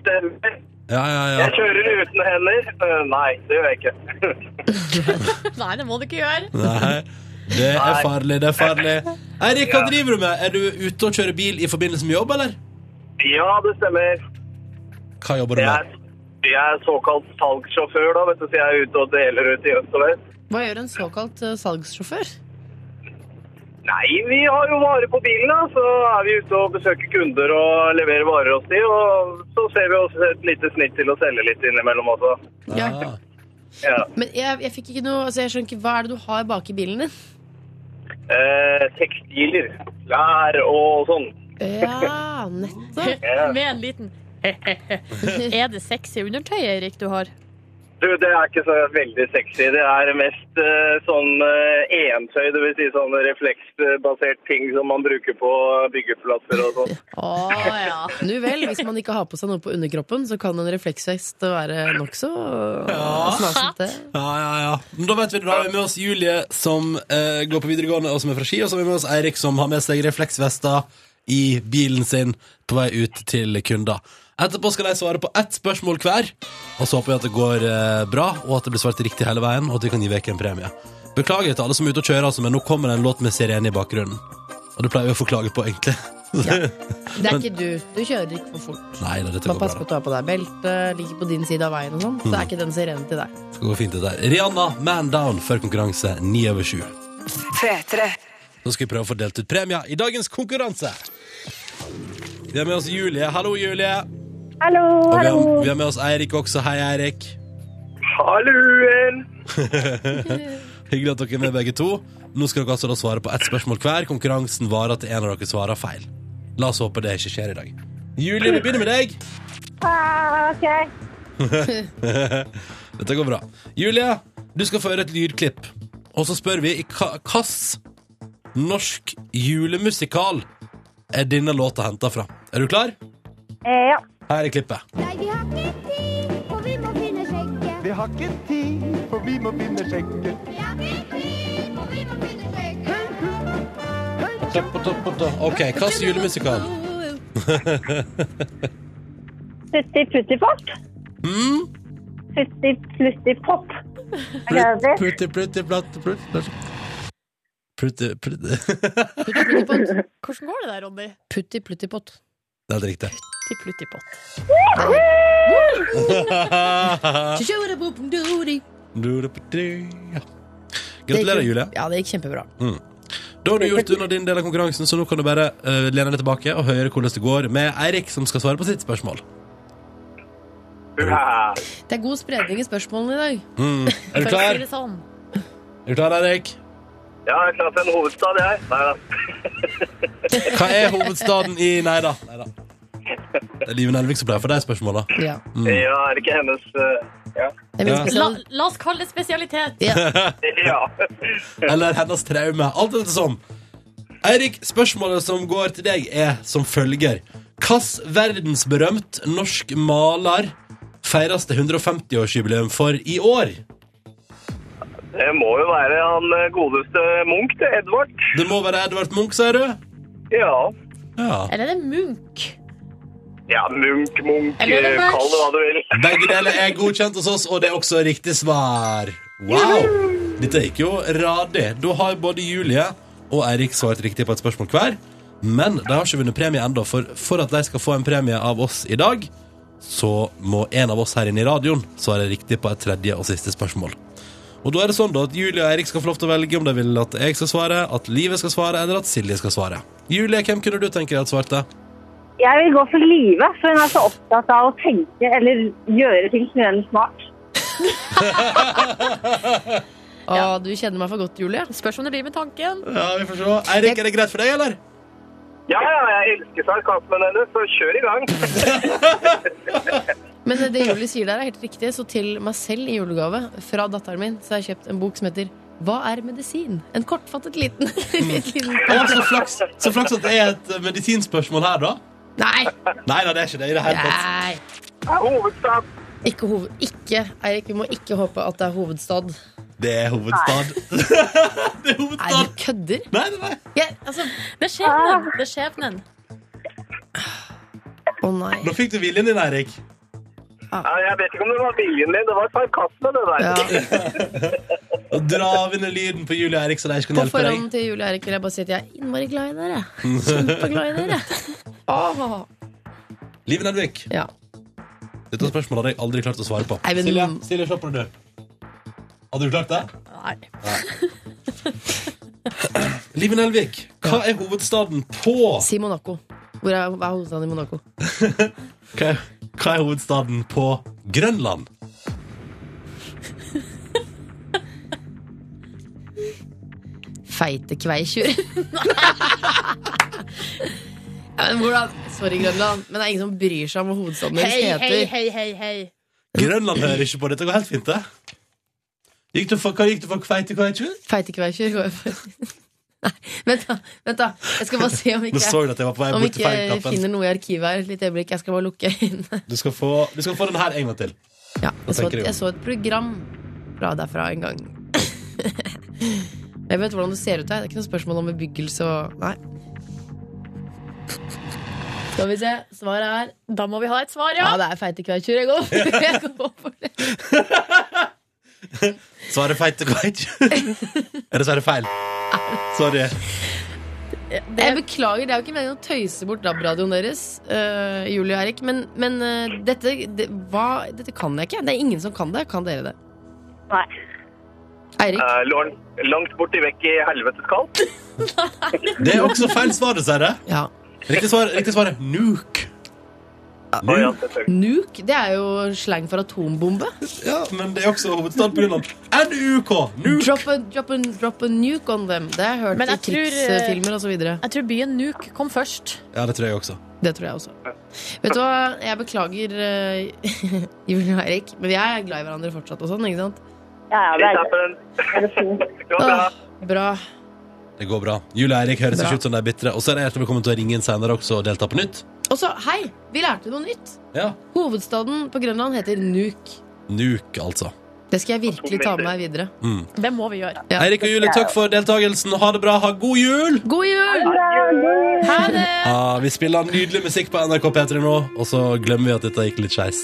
[SPEAKER 7] stemmer.
[SPEAKER 2] Ja, ja, ja.
[SPEAKER 7] Jeg kjører uten hender. Eh, Nei, det gjør jeg ikke.
[SPEAKER 3] Nei, det må du ikke gjøre.
[SPEAKER 2] Nei, det er
[SPEAKER 7] Nei.
[SPEAKER 2] farlig, det er farlig. Eirik, hva
[SPEAKER 7] Ja.
[SPEAKER 2] driver du med? Er du ute og kjører bil i forbindelse med jobb, eller?
[SPEAKER 7] Ja, det stemmer.
[SPEAKER 2] Hva jobber du
[SPEAKER 7] Jeg
[SPEAKER 2] med?
[SPEAKER 7] er, jeg er såkalt salgssjåfør, da, vet du, så jeg er ute og deler ut i øst og vest.
[SPEAKER 4] Hva gjør en såkalt eh, salgssjåfør?
[SPEAKER 7] Nei, vi har jo varer på bilen, da, så er vi ute og besøker kunder og leverer varer hos de, og så ser vi også et lite snitt til å selge litt innimellom også.
[SPEAKER 2] Ah.
[SPEAKER 7] Ja.
[SPEAKER 4] Men jeg, jeg fikk ikke noe altså jeg skjønner ikke, Hva er det du har bak i bilen din?
[SPEAKER 7] Eh, tekstiler, klær og sånn.
[SPEAKER 4] Ja, nettopp.
[SPEAKER 3] Med en liten Er det sexy undertøy, Eirik, du har?
[SPEAKER 7] Du, det er ikke så veldig sexy. Det er mest eh, sånn uh, entøy, det vil si sånn refleksbasert ting som man bruker på byggeplasser og sånn.
[SPEAKER 3] Å ja.
[SPEAKER 4] Nu vel, hvis man ikke har på seg noe på underkroppen, så kan en refleksvest være nokså
[SPEAKER 2] Ja.
[SPEAKER 4] snasete.
[SPEAKER 2] Ja, ja, ja. Men da vet vi det. Da har vi med oss Julie, som eh, går på videregående og som er fra Ski, og så har vi med oss Eirik, som har med seg refleksvester i bilen sin på vei ut til kunder. Etterpå skal de svare på ett spørsmål hver, og så håper vi at det går eh, bra, og at det blir svart riktig hele veien, og at vi kan gi vekk en premie. Beklager til alle som er ute og kjører, altså, men nå kommer det en låt med sirene i bakgrunnen. Og det pleier vi å få klage på, egentlig.
[SPEAKER 4] Det er ikke du. Du kjører ikke for fort.
[SPEAKER 2] Nei da, dette går bra.
[SPEAKER 4] Bare
[SPEAKER 2] Mm.
[SPEAKER 4] pass
[SPEAKER 2] da.
[SPEAKER 4] på at du har på deg belte, ligger på din side av veien og sånn. Så er ikke den sirenen til deg.
[SPEAKER 2] Det går fint, dette her. Rihanna, Man Down, før konkurranse ni over sju.
[SPEAKER 5] P3.
[SPEAKER 2] Så skal vi prøve å få delt ut premier i dagens konkurranse. Vi har med oss Julie. Hallo, Julie.
[SPEAKER 6] Hallo,
[SPEAKER 2] Og vi
[SPEAKER 6] hallo.
[SPEAKER 2] har, vi har med oss Eirik også. Hei, Eirik.
[SPEAKER 7] Halluen!
[SPEAKER 2] Hyggelig at dere er med, begge to. Nå skal dere altså da svare på ett spørsmål hver. Konkurransen varer til en av dere svarer feil. La oss håpe det ikke skjer i dag. Julie, vi begynner med deg.
[SPEAKER 6] Ah, ok.
[SPEAKER 2] Dette går bra. Julie, du skal få høre et lydklipp. Og så spør vi i hva- hvilken norsk julemusikal er denne låta henta fra. Er du klar?
[SPEAKER 6] Eh, ja.
[SPEAKER 2] Her er klippet.
[SPEAKER 8] Nei, vi har ikke tid, for vi må finne skjegget.
[SPEAKER 9] Vi har ikke tid, for vi må finne sjekken.
[SPEAKER 8] Vi har ikke tid, for vi må finne skjegget.
[SPEAKER 2] OK, hva slags julemusikal?
[SPEAKER 6] Putti putti pop.
[SPEAKER 2] Mm?
[SPEAKER 6] Putti plutti pop. Er det det?
[SPEAKER 2] Prutti, prutti, platt, prutti, platt. Prutti, prutti
[SPEAKER 4] Putti plutti pott.
[SPEAKER 3] Hvordan går det der, Ronny?
[SPEAKER 4] Putti plutti pott.
[SPEAKER 2] Det er helt riktig.
[SPEAKER 3] Til pluttipott.
[SPEAKER 2] Ja. Gratulerer, Julie.
[SPEAKER 4] Ja, det gikk kjempebra.
[SPEAKER 2] Da har du gjort unna din del av konkurransen, så nå kan du bare eh, lene deg tilbake og høre hvordan det går med Eirik, som skal svare på sitt spørsmål.
[SPEAKER 7] Hurra!
[SPEAKER 4] Det er god spredning i spørsmålene i dag.
[SPEAKER 2] Mm. Er du
[SPEAKER 3] For å si
[SPEAKER 2] klar?
[SPEAKER 3] det sånn.
[SPEAKER 2] Er du klar, Eirik?
[SPEAKER 7] Ja, jeg er klar for en hovedstad, jeg. Nei da.
[SPEAKER 2] Hva er hovedstaden i Nei da. Nei da. Det er Liven Elvik som pleier for de spørsmåla.
[SPEAKER 4] Ja.
[SPEAKER 2] Mm.
[SPEAKER 7] Ja, er det ikke hennes eh, Ja.
[SPEAKER 4] Det er min
[SPEAKER 2] Ja.
[SPEAKER 3] La,
[SPEAKER 4] spesial-
[SPEAKER 3] la oss kalle det spesialitet.
[SPEAKER 7] ja.
[SPEAKER 2] Eller hennes traume. Alt etter som. Eirik, spørsmålet som går til deg, er som følger. Hvilken verdensberømt norsk maler feires det 150-årsjubileum for i år?
[SPEAKER 7] Det må jo være han eh, godeste Munch, det. Edvard.
[SPEAKER 2] Det må være Edvard Munch, sier du?
[SPEAKER 7] Ja.
[SPEAKER 2] Ja.
[SPEAKER 3] Eller er det Munch?
[SPEAKER 7] Ja, Munch, Munch,
[SPEAKER 3] Eller er det
[SPEAKER 7] eh,
[SPEAKER 3] Munch?
[SPEAKER 7] kall det hva du vil.
[SPEAKER 2] Begge deler er godkjent hos oss, og det er også riktig svar. Wow! Dette gikk jo radig. Da har både Julie og Eirik svart riktig på et spørsmål hver. Men de har ikke vunnet premie ennå, for for at de skal få en premie av oss i dag, så må en av oss her inne i radioen svare riktig på et tredje og siste spørsmål. Og da er det sånn da at Julie og Eirik skal få lov til å velge om de vil at jeg skal svare, at Livet skal svare, eller at Silje skal svare. Julie, hvem kunne du tenke deg at svarte?
[SPEAKER 6] Jeg vil gå for Live, for hun er så opptatt av å tenke eller gjøre ting som gjør henne smart.
[SPEAKER 4] Å, du kjenner meg for godt, Julie.
[SPEAKER 3] Spørs om det blir med tanken.
[SPEAKER 2] Ja, vi får se. Eirik, er det greit for deg, eller?
[SPEAKER 7] Ja, ja, jeg elsker sarkasmen hennes, så kjør i gang.
[SPEAKER 4] Men det Julie sier der, er helt riktig. Så til meg selv i julegave fra datteren min så har jeg kjøpt en bok som heter Hva er medisin? En kortfattet liten, liten
[SPEAKER 2] Å, så flaks, så flaks at det er et eh, medisinspørsmål her, da.
[SPEAKER 4] Nei!
[SPEAKER 2] Nei da, det er ikke det. i det hele tatt.
[SPEAKER 4] Nei.
[SPEAKER 7] Ja, Hovedstad.
[SPEAKER 4] Ikke hoved... Ikke, Eirik. Vi må ikke håpe at det er hovedstad.
[SPEAKER 2] Det er hovedstad. det er
[SPEAKER 4] Nei, du
[SPEAKER 2] hovedstad.
[SPEAKER 4] kødder!
[SPEAKER 2] Nei, nei, nei.
[SPEAKER 4] Jeg, altså
[SPEAKER 3] Det er skjebnen. Det er skjebnen.
[SPEAKER 4] Å nei.
[SPEAKER 2] Nå fikk du viljen din, Eirik.
[SPEAKER 7] Ja, jeg vet ikke om det var viljen din, det var sarkasme, det der.
[SPEAKER 4] Ja.
[SPEAKER 2] Å dra av under lyden på Julie og Eirik, så de ikke kan
[SPEAKER 4] På
[SPEAKER 2] hjelpe deg.
[SPEAKER 4] forhånd til Julie og Eirik vil jeg bare si at jeg er innmari glad i dere. Kjempeglad i dere. Åh.
[SPEAKER 2] Liv Nelvik,
[SPEAKER 4] Ja.
[SPEAKER 2] dette spørsmålet hadde jeg aldri klart å svare på.
[SPEAKER 4] Nei, men-
[SPEAKER 2] Silje, Silje, se på det, du. Hadde du klart det?
[SPEAKER 3] Nei.
[SPEAKER 2] Liv Nelvik, hva er hovedstaden på
[SPEAKER 4] Si Monaco. Hvor er, hva er hovedstaden i Monaco?
[SPEAKER 2] Hva hva er hovedstaden på Grønland?
[SPEAKER 4] Feite kveikjur. ja, men hvordan? Sorry, Grønland, men det er ingen som bryr seg om hva hovedstaden deres
[SPEAKER 3] Hei,
[SPEAKER 4] heter.
[SPEAKER 3] hei, hei, hei, hei.
[SPEAKER 2] Grønland hører ikke på. Dette går helt fint, det. Gikk du for, hva gikk du for kveite, hva ikke?
[SPEAKER 4] Feite kveikjur går jeg for. Nei, vent da, vent da. Jeg skal bare se om
[SPEAKER 2] Nå
[SPEAKER 4] ikke
[SPEAKER 2] så jeg at jeg var på vei
[SPEAKER 4] om
[SPEAKER 2] bort til
[SPEAKER 4] ikke jeg
[SPEAKER 2] feilknappen.
[SPEAKER 4] finner noe i arkivet her. Litt øyeblikk, jeg skal bare lukke øynene.
[SPEAKER 2] Du skal, få, du skal få den her en gang til.
[SPEAKER 4] Ja, jeg, så
[SPEAKER 2] tenker
[SPEAKER 4] et,
[SPEAKER 2] jeg.
[SPEAKER 4] jeg så et program fra derfra en gang. jeg vet hvordan det ser ut her. Det er ikke noe spørsmål om bebyggelse og Nei. Skal vi se. Svaret er
[SPEAKER 3] Da må vi ha et svar, ja.
[SPEAKER 4] Ja, det er feite kveitjur. Jeg går for det. Jeg går for det.
[SPEAKER 2] Svaret feil til Kveit. Eller så er det feil. Sorry.
[SPEAKER 4] Jeg beklager, det er jo ikke meningen å tøyse bort DAB-radioen deres, øh, Julie og Erik, men, men øh, dette, det, hva, dette kan jeg ikke. Det er ingen som kan det. Kan dere det?
[SPEAKER 6] Nei.
[SPEAKER 4] Eirik?
[SPEAKER 7] Eh, Lauren, langt borti vekk i helvetes kaldt.
[SPEAKER 2] Det er også feil svar, dessverre.
[SPEAKER 4] Ja.
[SPEAKER 2] Riktig svar, riktig svar er nuke.
[SPEAKER 7] Å, ja,
[SPEAKER 2] Nuke.
[SPEAKER 7] selvfølgelig.
[SPEAKER 4] Nuke, det er jo slang for atombombe.
[SPEAKER 2] Ja, men det er også hovedstad på Grønland. NUK! Nuke.
[SPEAKER 4] Drop a, drop, a, drop a nuke on them. Det har jeg hørt
[SPEAKER 3] Men
[SPEAKER 4] i
[SPEAKER 3] jeg tror, eh,
[SPEAKER 4] krigsfilmer osv.
[SPEAKER 3] Jeg tror byen Nuke kom først.
[SPEAKER 2] Ja, det tror jeg også.
[SPEAKER 3] eh,
[SPEAKER 4] Det tror jeg også. Vet du hva, jeg beklager eh, Julie og Erik, men vi er glad i hverandre fortsatt og sånn, ikke sant?
[SPEAKER 6] Ja, ja, det
[SPEAKER 7] Litt
[SPEAKER 6] er
[SPEAKER 7] her for en-
[SPEAKER 6] det. er fint.
[SPEAKER 7] Det var bra.
[SPEAKER 4] Åh, bra.
[SPEAKER 2] Det går bra. Julie og Eirik høres
[SPEAKER 4] Bra.
[SPEAKER 2] ikke ut som de er bitre. Og så er det hjertelig velkommen til å ringe inn senere også og delta på nytt.
[SPEAKER 4] Og så, hei, vi lærte noe nytt.
[SPEAKER 2] Ja.
[SPEAKER 4] Hovedstaden på Grønland heter Nuuk.
[SPEAKER 2] Nuke, altså.
[SPEAKER 4] Det skal jeg virkelig ta med meg videre.
[SPEAKER 3] Det må vi gjøre.
[SPEAKER 4] Ja.
[SPEAKER 2] Eirik og Julie, takk for deltakelsen. Ha det bra. Ha god jul!
[SPEAKER 4] God jul!
[SPEAKER 3] Ha det!
[SPEAKER 2] Ja, vi spiller nydelig musikk på NRK P3 nå, og så glemmer vi at dette gikk litt skeis.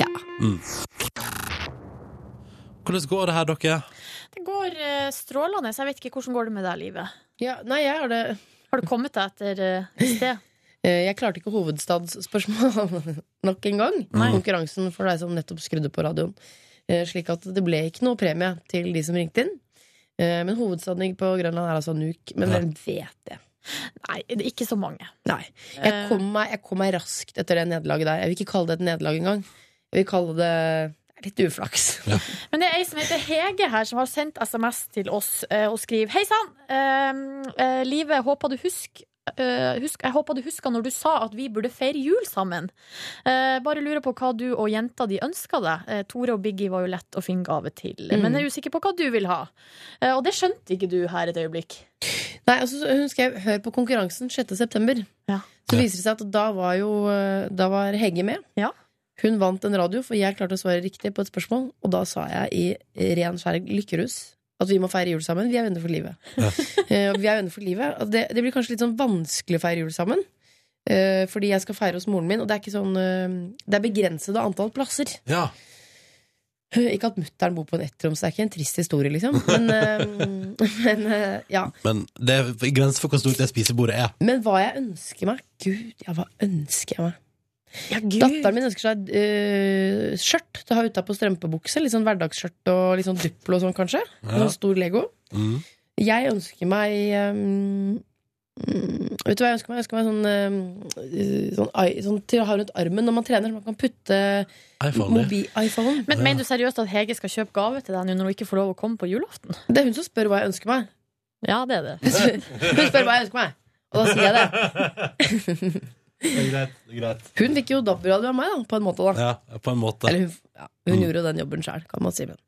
[SPEAKER 4] Ja.
[SPEAKER 2] Mm. Hvordan går det her, dere?
[SPEAKER 3] Det går eh, strålende. Jeg vet ikke hvordan går det med deg, livet.
[SPEAKER 4] Ja, nei, jeg har det
[SPEAKER 3] Har du kommet deg etter eh, et sted?
[SPEAKER 4] Eh, Jeg klarte ikke hovedstadsspørsmål nok en gang. Konkurransen for deg som nettopp skrudde på radioen. Eh, Slik at det ble ikke noe premie til de som ringte inn. Eh, Men hovedstaden på Grønland er altså Nuuk. Men
[SPEAKER 2] Ja.
[SPEAKER 4] hvem vet det?
[SPEAKER 3] Nei, det er ikke så mange.
[SPEAKER 4] Nei. Jeg kom, meg, jeg kom meg raskt etter det nederlaget der. Jeg vil ikke kalle det et nederlag engang. Jeg vil kalle det litt uflaks.
[SPEAKER 3] Men det er ei som heter Hege her, som har sendt SMS til oss eh, og skriver Hei sann! Eh, eh, Live, jeg håper du husker eh, husk, jeg håper du husker når du sa at vi burde feire jul sammen. Eh, bare lurer på hva du og jenta di ønska deg. Eh, Tore og Biggie var jo lett å finne gave til, men jeg er usikker på hva du vil ha. Eh, og det skjønte ikke du her et øyeblikk.
[SPEAKER 4] Nei, altså, så hun skrev 'Hør på konkurransen 6. september'.
[SPEAKER 3] Ja.
[SPEAKER 4] Så viser det seg at da var jo eh, Da var Hegge med.
[SPEAKER 3] Ja.
[SPEAKER 4] Hun vant en radio, for jeg klarte å svare riktig på et spørsmål. Og da sa jeg i ren skjær lykkerus at vi må feire jul sammen. Vi er venner for livet. Eh, og vi er venner for livet. Og det, det blir kanskje litt sånn vanskelig å feire jul sammen. eh, fordi jeg skal feire hos moren min, og det er ikke sånn eh, Det er begrensede antall plasser.
[SPEAKER 2] Ja.
[SPEAKER 4] Ikke at mutter'n bor på en ettroms, det er ikke en trist historie, liksom. Men, eh, men eh, ja.
[SPEAKER 2] Men det er grenser for hvor stort det spisebordet er.
[SPEAKER 4] Men hva jeg ønsker meg Gud, ja, hva ønsker jeg meg?
[SPEAKER 3] Ja, gud.
[SPEAKER 4] Datteren min ønsker seg eh, skjørt til å ha utapå strømpebukse. Litt sånn hverdagsskjørt og litt sånn Duplo og sånn, kanskje.
[SPEAKER 2] Ja.
[SPEAKER 4] Sånn stor Lego.
[SPEAKER 2] Mm.
[SPEAKER 4] Jeg ønsker meg ehm, mm, Vet du hva jeg ønsker meg? Jeg ønsker meg sånn, ehm, sånn, i- sånn til å ha rundt armen når man trener, så man kan putte
[SPEAKER 2] iPhone. det.
[SPEAKER 4] mobil-iPhone.
[SPEAKER 3] Men mener du seriøst at Hege skal kjøpe gave til deg nå når hun ikke får lov å komme på julaften?
[SPEAKER 4] Det er hun som spør hva jeg ønsker meg.
[SPEAKER 3] Ja, det er det.
[SPEAKER 4] Hun spør, hun spør hva jeg ønsker meg, og da sier jeg det.
[SPEAKER 2] Det er greit. Det er greit.
[SPEAKER 4] Hun fikk jo DAB-radio av meg, da, på en måte. da
[SPEAKER 2] Ja, Mm. på en måte.
[SPEAKER 4] Eller hun, ja, hun gjorde jo den jobben sjøl, kan man si. Men.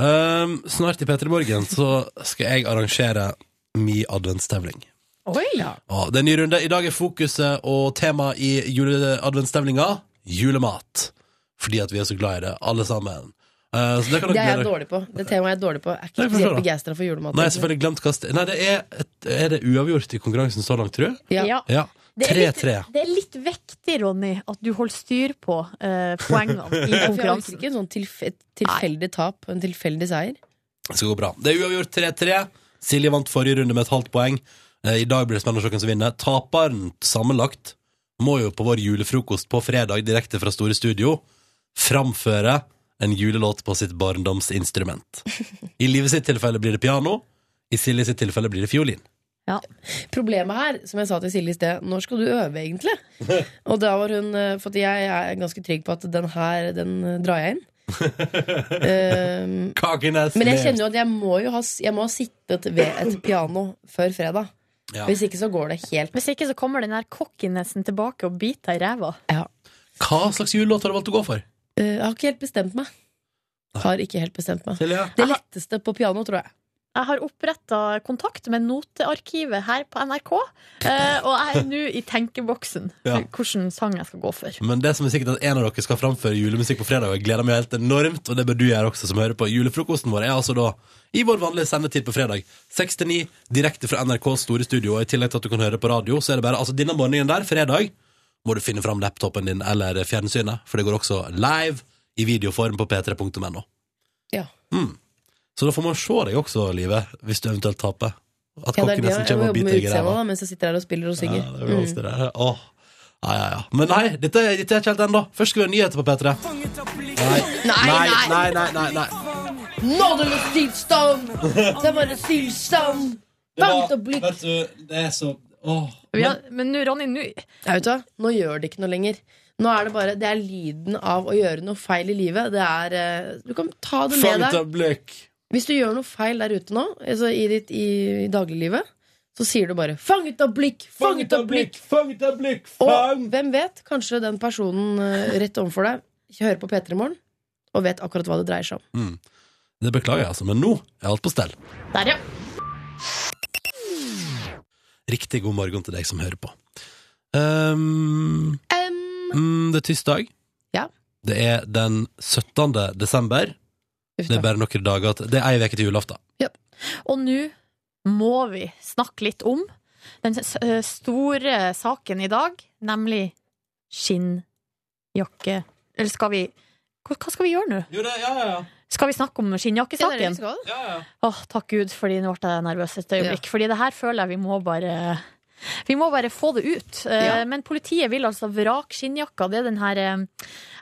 [SPEAKER 2] Um, snart i P3 Morgen så skal jeg arrangere mi adventstevling.
[SPEAKER 3] Oi!
[SPEAKER 2] Ja, det er en ny runde. I dag er fokuset og tema i juleadventstemninga julemat. Fordi at vi er så glad i det, alle sammen. Eh, så det kan dere
[SPEAKER 4] Det er jeg
[SPEAKER 2] glede dere-
[SPEAKER 4] dårlig på. Det temaet jeg er dårlig på. Jeg er ikke
[SPEAKER 2] Nei, jeg forstår
[SPEAKER 4] spesielt
[SPEAKER 2] det.
[SPEAKER 4] begeistra for julemat.
[SPEAKER 2] Nei, selvfølgelig glemt hva st- Nei, det er, et, er det uavgjort i konkurransen så langt, tror du?
[SPEAKER 4] Ja.
[SPEAKER 3] Ja.
[SPEAKER 2] Ja.
[SPEAKER 3] Det er, litt,
[SPEAKER 2] 3-3.
[SPEAKER 3] det er litt viktig, Ronny, at du holder styr på eh, poengene i
[SPEAKER 4] Ja, for jeg orker
[SPEAKER 3] konkurransen.
[SPEAKER 4] ikke en sånn tilf et tilfeldig tap og en tilfeldig seier.
[SPEAKER 2] Det skal gå bra. Det er uavgjort 3-3. Silje vant forrige runde med et halvt poeng. Eh, I dag blir det spennende å se hvem som vinner. Taperen sammenlagt må jo på vår julefrokost på fredag direkte fra Store Studio framføre en julelåt på sitt barndomsinstrument. I livet sitt tilfelle blir det piano. I Silje sitt tilfelle blir det fiolin.
[SPEAKER 4] Problemet her, som jeg sa til Silje i sted, når skal du øve, egentlig? Og da var hun eh, For at jeg er ganske trygg på at den her, den eh, drar jeg inn. Ehm,
[SPEAKER 2] Kakenes
[SPEAKER 4] men jeg kjenner jo at jeg må jo ha, s- jeg må ha sittet ved et piano før fredag.
[SPEAKER 2] Ja.
[SPEAKER 4] Hvis ikke så går det helt
[SPEAKER 3] Hvis ikke så kommer den der kokkinesen tilbake og biter deg i ræva.
[SPEAKER 2] Hva slags julelåt har du valgt å gå for?
[SPEAKER 4] Eh, Jeg har ikke helt bestemt meg. Har ikke helt bestemt meg.
[SPEAKER 2] Silje?
[SPEAKER 4] Det letteste på piano, tror jeg.
[SPEAKER 3] Jeg har oppretta kontakt med notearkivet her på NRK, eh, og jeg er nå i tenkeboksen
[SPEAKER 2] Ja.
[SPEAKER 3] hvilken sang jeg skal gå for.
[SPEAKER 2] Men det som er sikkert er at en av dere skal framføre julemusikk på fredag, og jeg gleder meg helt enormt, og det bør du gjøre også, som hører på. Julefrokosten vår er altså da i vår vanlige sendetid på fredag. 6 til 9, direkte fra NRKs store studio, og i tillegg til at du kan høre på radio, så er det bare altså denne morgenen der, fredag, må du finne fram laptopen din eller fjernsynet, for det går også live i videoform på p3.no.
[SPEAKER 4] Ja.
[SPEAKER 2] Så da får man se deg også, Live, hvis du eventuelt taper. At
[SPEAKER 4] Ja, det er
[SPEAKER 2] kokkenesen
[SPEAKER 4] det. Jeg må
[SPEAKER 2] kommer og
[SPEAKER 4] jobbe
[SPEAKER 2] biter
[SPEAKER 4] med
[SPEAKER 2] deg i ræva.
[SPEAKER 4] utseendet da, Mm. mens jeg sitter her og spiller og synger.
[SPEAKER 2] Ja, det er jo alltid det. Åh. Ja, ja, ja. Men nei, dette, dette er ikke helt ennå. Først skal vi ha nyheter på P3. Nei,
[SPEAKER 4] Mm.
[SPEAKER 2] nei, nei, nei, nei, nei.
[SPEAKER 4] Nådeløs tilstand! Det er bare tilstand! Bangt og blikk!
[SPEAKER 2] vet du, det er så Åh.
[SPEAKER 3] Vi har, men nå, Ronny, nå
[SPEAKER 4] Ja, vet du hva? Nå gjør det ikke noe lenger. Nå er det bare, det er lyden av å gjøre noe feil i livet. Det er, eh, du kan ta det med
[SPEAKER 2] Fangt
[SPEAKER 4] deg.
[SPEAKER 2] av blikk.
[SPEAKER 4] Hvis du gjør noe feil der ute nå, altså i ditt i, i dagliglivet, så sier du bare 'fanget av blikk', 'fanget av blikk'.
[SPEAKER 2] fanget av blikk,
[SPEAKER 4] Og
[SPEAKER 2] fang!
[SPEAKER 4] hvem vet, kanskje den personen eh, rett overfor deg hører på P3 i morgen og vet akkurat hva det dreier seg om.
[SPEAKER 2] Det beklager jeg, altså, men nå er alt på stell.
[SPEAKER 3] Der, ja.
[SPEAKER 2] Riktig god morgen til deg som hører på. Um,
[SPEAKER 4] Um,
[SPEAKER 2] mm, det er tirsdag.
[SPEAKER 4] Ja.
[SPEAKER 2] Det er den 17. desember.
[SPEAKER 4] uff
[SPEAKER 2] Det
[SPEAKER 4] da.
[SPEAKER 2] er bare noen dager til Det er ei uke til julaften.
[SPEAKER 3] Og nå må vi snakke litt om den s- eh, store saken i dag, nemlig skinnjakke. Eller skal vi Hva hva skal vi gjøre nå?
[SPEAKER 2] Jo, det, ja, ja,
[SPEAKER 3] Skal vi snakke om
[SPEAKER 4] Ja, det er det vi
[SPEAKER 3] skinnjakkesaken?
[SPEAKER 4] skal.
[SPEAKER 3] Åh, takk Gud, fordi nå ble jeg nervøs et øyeblikk. Fordi det her føler jeg vi må bare vi må bare få det ut. Eh,
[SPEAKER 4] Ja.
[SPEAKER 3] Men politiet vil altså vrake skinnjakka. Det er den her eh,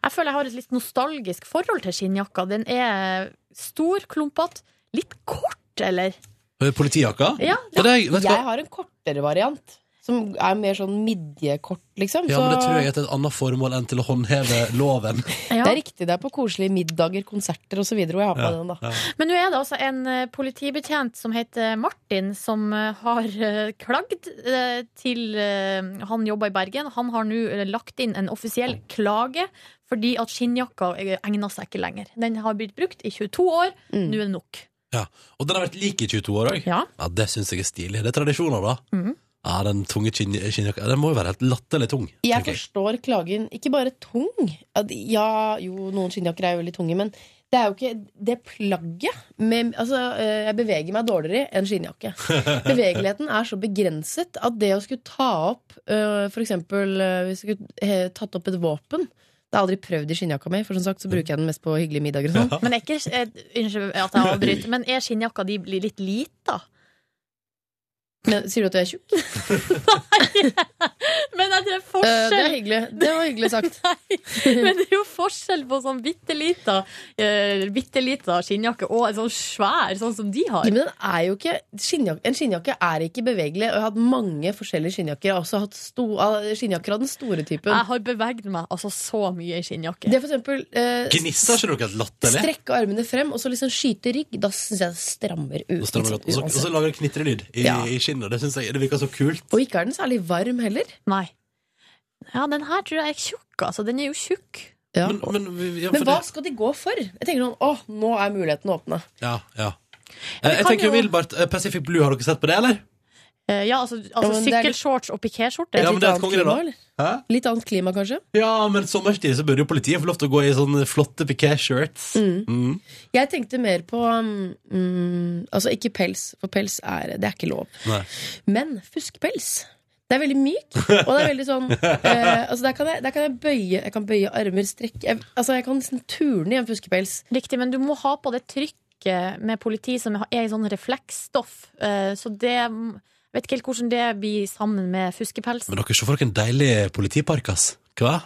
[SPEAKER 3] Jeg føler jeg har et litt nostalgisk forhold til skinnjakka. Den er stor, klumpete, litt kort, eller?
[SPEAKER 2] Politijakka?
[SPEAKER 3] Ja,
[SPEAKER 2] Og det, vet du hva?
[SPEAKER 4] Jeg har en kortere variant, som er mer sånn midjekort, liksom.
[SPEAKER 2] Ja, men det
[SPEAKER 4] så-
[SPEAKER 2] tror jeg er til et annet formål enn til å håndheve loven.
[SPEAKER 3] Ja.
[SPEAKER 4] Det er riktig, det er på koselige middager, konserter osv. hvor jeg har på meg den. da
[SPEAKER 3] Men nå er det altså en eh, politibetjent som heter Martin, som eh, har eh, klagd eh, til eh, Han jobber i Bergen. Han har nå eh, lagt inn en offisiell klage fordi at skinnjakka eh, egner seg ikke lenger. Den har blitt brukt i 22 år.
[SPEAKER 4] Mm.
[SPEAKER 3] Nå er det nok.
[SPEAKER 2] Ja. Og den har vært lik i 22 år òg.
[SPEAKER 3] Ja.
[SPEAKER 2] Ja, det syns jeg er stilig. Det er tradisjoner, da.
[SPEAKER 3] Mhm.
[SPEAKER 2] Ja, Den tunge skinn- skinnjakka Den må jo være helt latterlig tung.
[SPEAKER 4] Jeg
[SPEAKER 2] tenker jeg.
[SPEAKER 4] forstår klagen. Ikke bare tung. At- Ja, jo, noen skinnjakker er jo veldig tunge, men det er jo ikke det plagget med, altså, eh, Jeg beveger meg dårligere enn skinnjakke. Bevegeligheten er så begrenset at det å skulle ta opp eh, For eksempel eh, hvis jeg skulle eh, tatt opp et våpen Det har jeg aldri prøvd i skinnjakka mi, for som sagt så bruker jeg den mest på hyggelige middager. og sånn
[SPEAKER 3] Men er ikke eh, Unnskyld at jeg avbryter, men er skinnjakka di blir litt lita?
[SPEAKER 4] Men Sier du at du er tjukk?
[SPEAKER 3] Men er
[SPEAKER 4] Eh, det
[SPEAKER 3] det
[SPEAKER 4] er
[SPEAKER 3] forskjell?
[SPEAKER 4] hyggelig. Det var hyggelig sagt.
[SPEAKER 3] Nei, men det er jo forskjell på sånn bitte lita, eh, bitte lita skinnjakke og en sånn svær, sånn som de har.
[SPEAKER 4] Ja, men den er jo ikke, skinnjakke, en skinnjakke er ikke bevegelig. Og jeg har hatt mange forskjellige skinnjakker. Jeg har også hatt sto, ah, skinnjakker av den store typen.
[SPEAKER 3] Jeg har beveget meg altså så mye i skinnjakke.
[SPEAKER 4] Det er for eksempel eh,
[SPEAKER 2] Gnisser ikke noe helt latterlig?
[SPEAKER 4] strekke armene frem og så liksom skyte rygg. Da syns jeg det strammer ut.
[SPEAKER 2] Og så, og så, og så lager det knitrelyd i,
[SPEAKER 4] Ja.
[SPEAKER 2] i skinnet. Det synes jeg det virker så kult.
[SPEAKER 4] Og ikke er den særlig varm heller.
[SPEAKER 3] Nei. Ja, den her tror jeg er tjukk, altså. Den er jo tjukk.
[SPEAKER 4] Ja.
[SPEAKER 2] Men,
[SPEAKER 4] Men,
[SPEAKER 2] men, vi- ja, for
[SPEAKER 4] hva
[SPEAKER 2] det-
[SPEAKER 4] skal de gå for? Jeg tenker sånn, åh, Nå er muligheten å åpne.
[SPEAKER 2] Ja, ja. Eh, Jeg
[SPEAKER 3] kan
[SPEAKER 2] tenker
[SPEAKER 3] jo-
[SPEAKER 2] umiddelbart eh, Pacific Blue, har dere sett på det, eller?
[SPEAKER 3] Eh, ja, altså,
[SPEAKER 4] Ja,
[SPEAKER 3] altså
[SPEAKER 4] men det er litt-
[SPEAKER 3] sykkelshorts og pikéskjorte.
[SPEAKER 2] Ja, men
[SPEAKER 4] Litt
[SPEAKER 2] det er et
[SPEAKER 4] annet
[SPEAKER 2] kongelige,
[SPEAKER 4] klima,
[SPEAKER 2] da.
[SPEAKER 4] eller?
[SPEAKER 2] Hæ?
[SPEAKER 4] Litt annet klima, kanskje?
[SPEAKER 2] Ja, men sommerstid så burde jo politiet få lov til å gå i sånne flotte piké-shirts. Mm.
[SPEAKER 4] Jeg tenkte mer på um, mm, Altså ikke pels, for pels er Det er ikke lov.
[SPEAKER 2] Nei.
[SPEAKER 4] Men fuskpels. Det er veldig myk, og det er veldig sånn eh, altså der, kan jeg, der kan jeg bøye Jeg kan bøye armer, strekke jeg, Altså jeg kan nesten turne i en fuskepels.
[SPEAKER 3] Riktig, men du må ha på det trykket med politi som er i sånn refleksstoff. Eh, så det jeg Vet ikke helt hvordan det blir sammen med fuskepelsen.
[SPEAKER 2] Men dere ser for dere en deilig politipark, ass. Hva?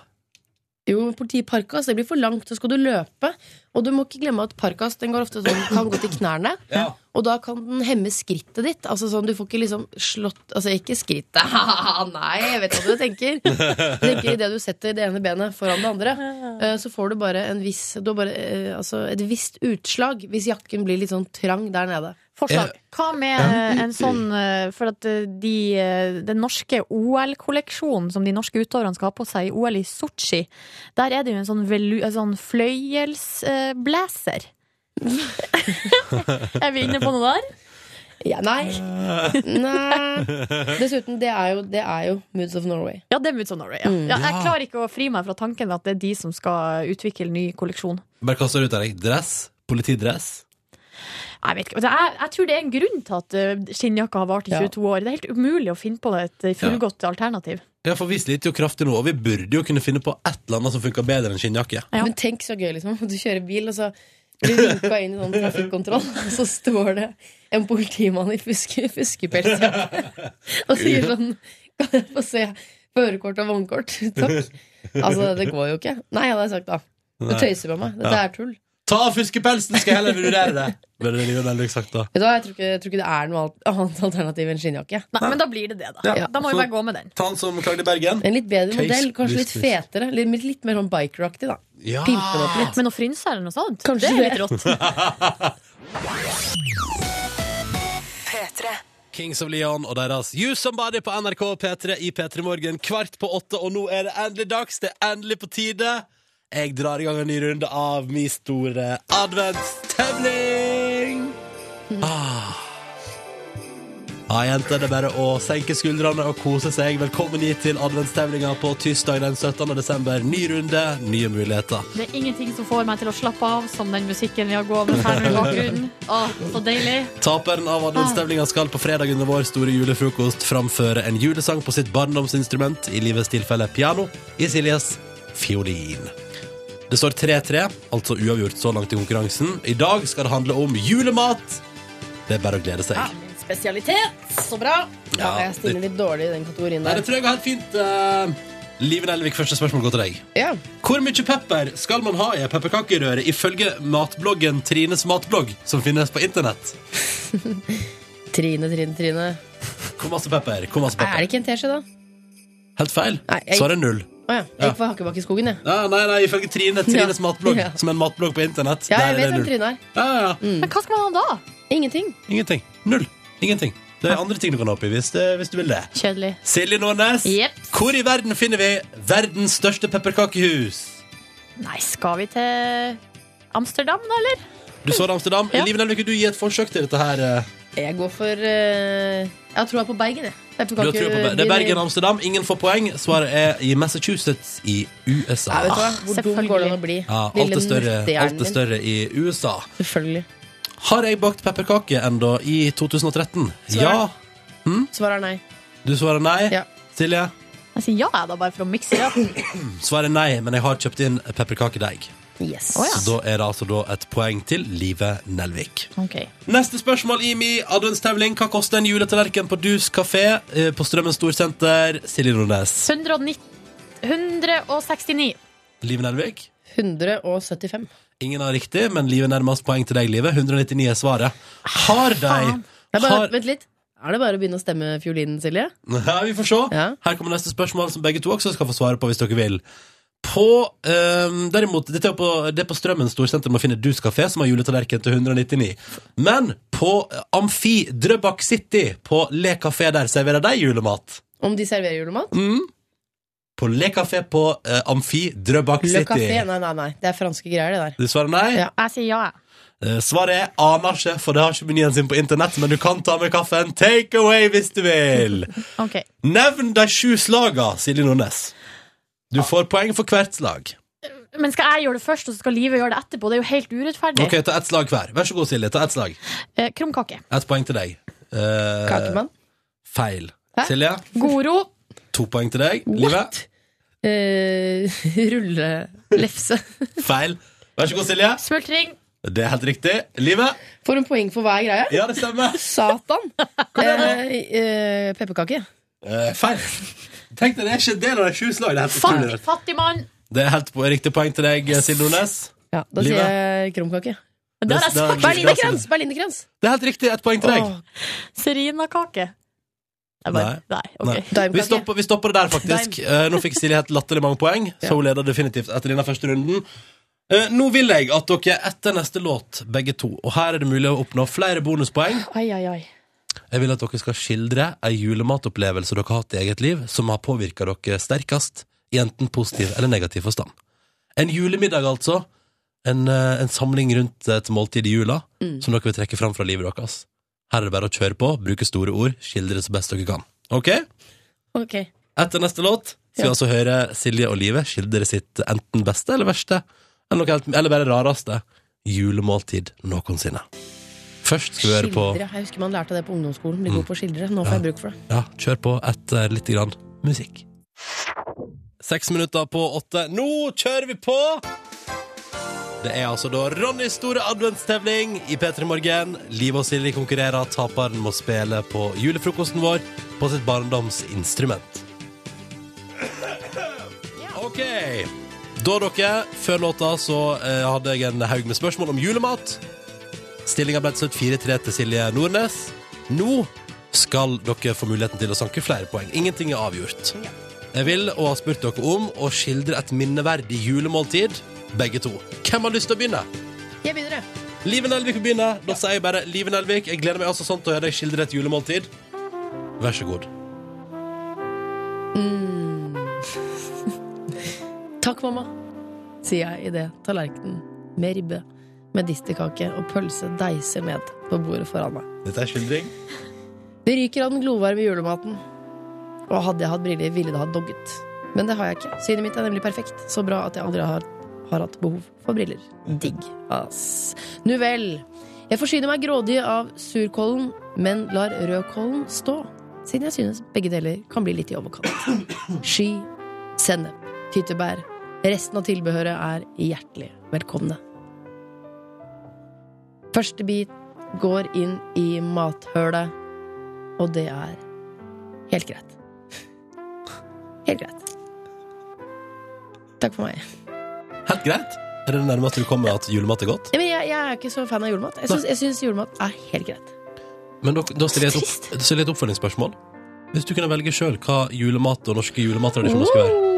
[SPEAKER 4] Jo, politiet parkas, det blir for langt, så skal du løpe. Og du må ikke glemme at parkas den går ofte sånn, kan gå til knærne.
[SPEAKER 2] Ja.
[SPEAKER 4] Og da kan den hemme skrittet ditt. Altså sånn, Du får ikke liksom slått Altså ikke skrittet, nei, jeg vet hva du tenker. Du tenker Idet du setter det ene benet foran det andre, eh, så får du bare en viss du har bare, eh, altså, et visst utslag hvis jakken blir litt sånn trang der nede.
[SPEAKER 2] Ja.
[SPEAKER 3] Forslag. Hva med eh, en sånn eh, For at eh, de, eh, den norske OL-kolleksjonen som de norske utøverne skal ha på seg i OL i Sotsji, der er det jo en sånn, velu, en sånn fløyelsblazer. er vi inne på noe der?
[SPEAKER 4] Ja, nei. nei. Dessuten, det er jo, det er jo Moods of Norway.
[SPEAKER 3] Ja, det er Moods of Norway. Ja. Ja, jeg
[SPEAKER 2] Mm. Ja.
[SPEAKER 3] klarer ikke å fri meg fra tanken at det er de som skal utvikle ny kolleksjon.
[SPEAKER 2] Bare kast dere ut av deg. Dress? Politidress?
[SPEAKER 3] Jeg, vet ikke. Det er, jeg tror det er en grunn til at eh, skinnjakka har vart i
[SPEAKER 4] Ja.
[SPEAKER 3] 22 år. Det er helt umulig å finne på et eh, fullgodt alternativ.
[SPEAKER 2] Ja, for vi sliter jo kraftig nå, og vi burde jo kunne finne på et eller annet som funker bedre enn skinnjakke.
[SPEAKER 3] Ja.
[SPEAKER 4] Men tenk så gøy, liksom. Du kjører bil, og så blir du vinka inn i sånn trafikkontroll, og så står det en politimann i fuske, fuskepelsjakke og sier sånn Kan jeg få se førerkort og vognkort? Takk. Altså, det går jo ikke. Nei, hadde jeg sagt da. Du
[SPEAKER 2] Nei.
[SPEAKER 4] tøyser med meg. Dette
[SPEAKER 2] Ja.
[SPEAKER 4] er tull.
[SPEAKER 2] Ta av fuskepelsen, skal jeg heller vurdere det! Men det er jo veldig sagt, da.
[SPEAKER 4] Vet du hva, jeg tror ikke, jeg tror ikke det er noe alt- annet alternativ enn skinnjakke.
[SPEAKER 3] Nei, men da blir det det, da.
[SPEAKER 2] Ja.
[SPEAKER 3] Da må
[SPEAKER 2] Så-
[SPEAKER 3] vi bare gå med den.
[SPEAKER 2] Ta han som klagde i Bergen.
[SPEAKER 4] En litt bedre
[SPEAKER 2] Case
[SPEAKER 4] modell, kanskje litt
[SPEAKER 2] business.
[SPEAKER 4] fetere. Litt, litt mer sånn bikeraktig, da.
[SPEAKER 2] Ja.
[SPEAKER 4] Pimpe det opp litt.
[SPEAKER 3] Men å frynse eller noe sånt,
[SPEAKER 4] Kanskje
[SPEAKER 3] det er
[SPEAKER 4] det.
[SPEAKER 3] litt rått.
[SPEAKER 5] P3.
[SPEAKER 2] Kings of Leon og deres You Somebody på NRK P3 i P3 Morgen kvart på åtte, og nå er det endelig dags. Det er endelig på tide. Jeg drar i gang en ny runde av min store adventstevning. Ah. Ja, jenter, det er bare å senke skuldrene og kose seg. Velkommen hit til adventstemninga på tirsdag den 17. desember. Ny runde, nye muligheter.
[SPEAKER 3] Det er ingenting som får meg til å slappe av som den musikken vi har gående her nå i bakgrunnen. Åh, så deilig.
[SPEAKER 2] Taperen av adventstemninga skal på fredag under vår store julefrokost framføre en julesang på sitt barndomsinstrument, i livets tilfelle piano, i Siljes fiolin. Det står 3-3, altså uavgjort så langt i konkurransen. I dag skal det handle om julemat. Det er bare å glede seg.
[SPEAKER 3] Ja, min spesialitet. Så bra.
[SPEAKER 4] Ja, jeg stiller litt dårlig i den kategorien
[SPEAKER 2] Nei,
[SPEAKER 4] der.
[SPEAKER 2] det tror jeg går helt fint. eh, Liven Elvik, første spørsmål går til deg.
[SPEAKER 4] Ja.
[SPEAKER 2] Hvor mye pepper skal man ha i en pepperkakerøre ifølge matbloggen Trines matblogg, som finnes på internett?
[SPEAKER 4] Trine, Trine, Trine.
[SPEAKER 2] Hvor masse pepper? Hvor masse
[SPEAKER 4] Er
[SPEAKER 2] pepper?
[SPEAKER 4] det ikke en teskje, da?
[SPEAKER 2] Helt feil.
[SPEAKER 4] Nei, jeg-
[SPEAKER 2] Svaret er null.
[SPEAKER 4] Å ja. Jeg gikk for Hakkebakkeskogen, jeg.
[SPEAKER 2] Nei, nei, nei, ifølge Trine, Trines
[SPEAKER 4] Ja.
[SPEAKER 2] matblogg,
[SPEAKER 4] Ja.
[SPEAKER 2] som er en matblogg på internett.
[SPEAKER 4] Ja,
[SPEAKER 2] der
[SPEAKER 4] jeg vet
[SPEAKER 2] er det
[SPEAKER 4] hvem
[SPEAKER 2] null.
[SPEAKER 4] Trine Mm. er.
[SPEAKER 2] Ja, ja, ja.
[SPEAKER 3] Men hva skal man ha da?
[SPEAKER 4] Ingenting.
[SPEAKER 2] Ingenting. Null. Ingenting. Det er andre ting du kan ha oppi hvis, det, hvis du vil det.
[SPEAKER 3] Kjedelig.
[SPEAKER 2] Silje Nordnes,
[SPEAKER 3] Jepp.
[SPEAKER 2] hvor i verden finner vi verdens største pepperkakehus?
[SPEAKER 3] Nei, skal vi til Amsterdam, da, eller?
[SPEAKER 2] Du svarer Amsterdam.
[SPEAKER 3] Ja.
[SPEAKER 2] Liven Elvik, vil du gi et forsøk til dette her? eh?
[SPEAKER 4] Jeg går for eh, Jeg har troa på Bergen, jeg.
[SPEAKER 2] Du har trua på Ber- det er Bergen altså. og Amsterdam. Ingen får poeng. Svaret er i Massachusetts i USA.
[SPEAKER 4] Ja, vet du hva? Hvor dum
[SPEAKER 3] Ah, selvfølgelig.
[SPEAKER 4] går det an å bli?
[SPEAKER 2] Ja, alt,
[SPEAKER 4] Lille
[SPEAKER 2] er større,
[SPEAKER 4] nøttehjernen
[SPEAKER 2] alt er større i USA.
[SPEAKER 4] min. Selvfølgelig.
[SPEAKER 2] Har jeg bakt pepperkake ennå i 2013? Ja.
[SPEAKER 4] Svaret er nei.
[SPEAKER 2] Du svarer nei.
[SPEAKER 4] Ja.
[SPEAKER 2] Silje?
[SPEAKER 3] Jeg sier ja, jeg, da, bare for å mikse det opp.
[SPEAKER 2] Svaret er nei, men jeg har kjøpt inn pepperkakedeig.
[SPEAKER 4] Yes.
[SPEAKER 3] Å, ja.
[SPEAKER 2] Så da er det altså da et poeng til Live Nelvik.
[SPEAKER 3] Ok.
[SPEAKER 2] Neste spørsmål i min adventstevling. Hva koster en juletallerken på Dus kafé eh, på Strømmen Storsenter? Silje Nordnes.
[SPEAKER 3] 190 169.
[SPEAKER 2] Live Nelvik?
[SPEAKER 4] 175.
[SPEAKER 2] Ingen har riktig, men livet nærmest poeng til deg, livet. 199 er svaret. Har de
[SPEAKER 4] Det er bare,
[SPEAKER 2] har...
[SPEAKER 4] Vent litt. Er det bare å begynne å stemme fiolinen, Silje?
[SPEAKER 2] Ja, vi får se.
[SPEAKER 4] Ja.
[SPEAKER 2] Her kommer neste spørsmål, som begge to også skal få svare på hvis dere vil. På, ehm, derimot, dette er på, det er på Strømmen Storsenter man finner Dus kafé, som har juletallerken til 199. Men på eh, Amfi Drøbak City, på Le Café der, serverer de julemat.
[SPEAKER 4] Om de serverer julemat?
[SPEAKER 2] Mm, På Le Café på eh, Amfi Drøbak
[SPEAKER 4] Le Café?
[SPEAKER 2] City.
[SPEAKER 4] Nei, nei, nei. Det er franske greier, det der.
[SPEAKER 2] Du svarer nei?
[SPEAKER 4] Ja.
[SPEAKER 3] Jeg sier ja, jeg.
[SPEAKER 2] Eh, Svaret er aner ikke, for det har ikke menyen sin på internett, men du kan ta med kaffen take away hvis du vil.
[SPEAKER 3] Ok.
[SPEAKER 2] Nevn de sju slaga, Silje Nordnes. Du får poeng for hvert slag.
[SPEAKER 3] Men skal jeg gjøre det først, og så skal livet gjøre det etterpå? Det er jo helt urettferdig.
[SPEAKER 2] Ok, Ta ett slag hver. Vær så god, Silje. Ta ett slag.
[SPEAKER 3] Eh, krumkake.
[SPEAKER 2] Ett poeng til deg. Eh,
[SPEAKER 4] Kakemann?
[SPEAKER 2] feil.
[SPEAKER 4] Hæ?
[SPEAKER 2] Silje,
[SPEAKER 3] Goro.
[SPEAKER 2] to poeng til deg. Live,
[SPEAKER 4] Eh, rullelefse.
[SPEAKER 2] feil. Vær så god, Silje.
[SPEAKER 3] Smultring.
[SPEAKER 2] Det er helt riktig. Live.
[SPEAKER 4] Får hun poeng for hver greie?
[SPEAKER 2] Ja, det stemmer.
[SPEAKER 4] Satan! Eh, eh, Pepperkake.
[SPEAKER 2] Eh, feil. Tenk deg, det er ikke en del av de sju slag. Det er helt
[SPEAKER 3] Fattig,
[SPEAKER 2] utrolig.
[SPEAKER 3] fattig mann.
[SPEAKER 2] Det er helt po- riktig poeng til deg, Silje Nordnes.
[SPEAKER 4] Ja, da
[SPEAKER 2] Livet.
[SPEAKER 4] sier jeg krumkake.
[SPEAKER 3] Men det har
[SPEAKER 2] Det-
[SPEAKER 3] jeg
[SPEAKER 2] det er-
[SPEAKER 3] sagt.
[SPEAKER 4] Berlinerkrans! Berlinerkrans.
[SPEAKER 2] Det er helt riktig. Ett poeng til deg.
[SPEAKER 4] Åh,
[SPEAKER 3] Serinakake. Jeg bare- Nei. ok.
[SPEAKER 2] Vi
[SPEAKER 4] Daimkake.
[SPEAKER 2] stopper, vi stopper det der, faktisk. Eh, nå fikk Silje helt latterlig mange poeng, så hun leder definitivt etter denne første runden. Eh, nå vil jeg at dere etter neste låt, begge to, og her er det mulig å oppnå flere bonuspoeng
[SPEAKER 3] Ai, ai, ai.
[SPEAKER 2] Jeg vil at dere skal skildre ei julematopplevelse dere har hatt i eget liv, som har påvirka dere sterkest, i enten positiv eller negativ forstand. En julemiddag, altså. En, eh, en samling rundt et måltid i jula, som dere vil trekke fram fra livet deres. Her er det bare å kjøre på, bruke store ord, skildre det så best dere kan. Ok?
[SPEAKER 4] Ok.
[SPEAKER 2] Etter neste låt skal vi altså høre Silje og Live skildre sitt enten beste eller verste, eller, noe helt, eller bare rareste, julemåltid noensinne. Først skal vi høre på Mm.
[SPEAKER 4] Skildre. Jeg husker man lærte det på ungdomsskolen. Bli god på å skildre. Nå får jeg bruk for det.
[SPEAKER 2] Ja, kjør på etter litt grann musikk. Seks minutter på åtte. Nå kjører vi på! Det er altså da Ronnys store adventstevling i P3 Morgen. Liv og Silje konkurrerer. Taperen må spille på julefrokosten vår på sitt barndomsinstrument. OK. Da, dere, før låta så eh, hadde jeg en haug med spørsmål om julemat. Stillinga ble til slutt 4-3 til Silje Nordnes. Nå skal dere få muligheten til å sanke flere poeng. Ingenting er avgjort. Jeg vil og har spurt dere om å skildre et minneverdig julemåltid, begge to. Hvem har lyst til å begynne?
[SPEAKER 4] Jeg begynner, jeg.
[SPEAKER 2] Liven Elvik vil begynne. Da sier jeg bare Liven Elvik. Jeg gleder meg altså sånn til å høre deg skildre et julemåltid. Vær så god.
[SPEAKER 4] Takk, mamma, sier jeg idet tallerkenen med ribbe, medisterkake og pølse deiser ned på bordet foran meg.
[SPEAKER 2] Dette er skildring.
[SPEAKER 4] Det ryker av den glovarme julematen. Og hadde jeg hatt briller, ville det ha dogget. Men det har jeg ikke. Synet mitt er nemlig perfekt. Så bra at jeg aldri har, har hatt behov for briller. Digg, ass. Nu vel. Jeg forsyner meg grådig av surkålen, men lar rødkålen stå. Siden jeg synes begge deler kan bli litt i overkant. Sky, sennep, tyttebær. Resten av tilbehøret er hjertelig velkomne. Første bit går inn i mathølet, og det er helt greit. Helt greit. Takk for meg.
[SPEAKER 2] Helt greit? Er det det nærmeste du kommer at julemat er godt?
[SPEAKER 4] Nei, men jeg, jeg er ikke så fan av julemat. Jeg syns, jeg syns julemat er helt greit.
[SPEAKER 2] Men da, da stiller jeg et, opp, stiller jeg et oppfølgingsspørsmål. Hvis du kunne velge sjøl hva julemat og norske julemattradisjoner skulle være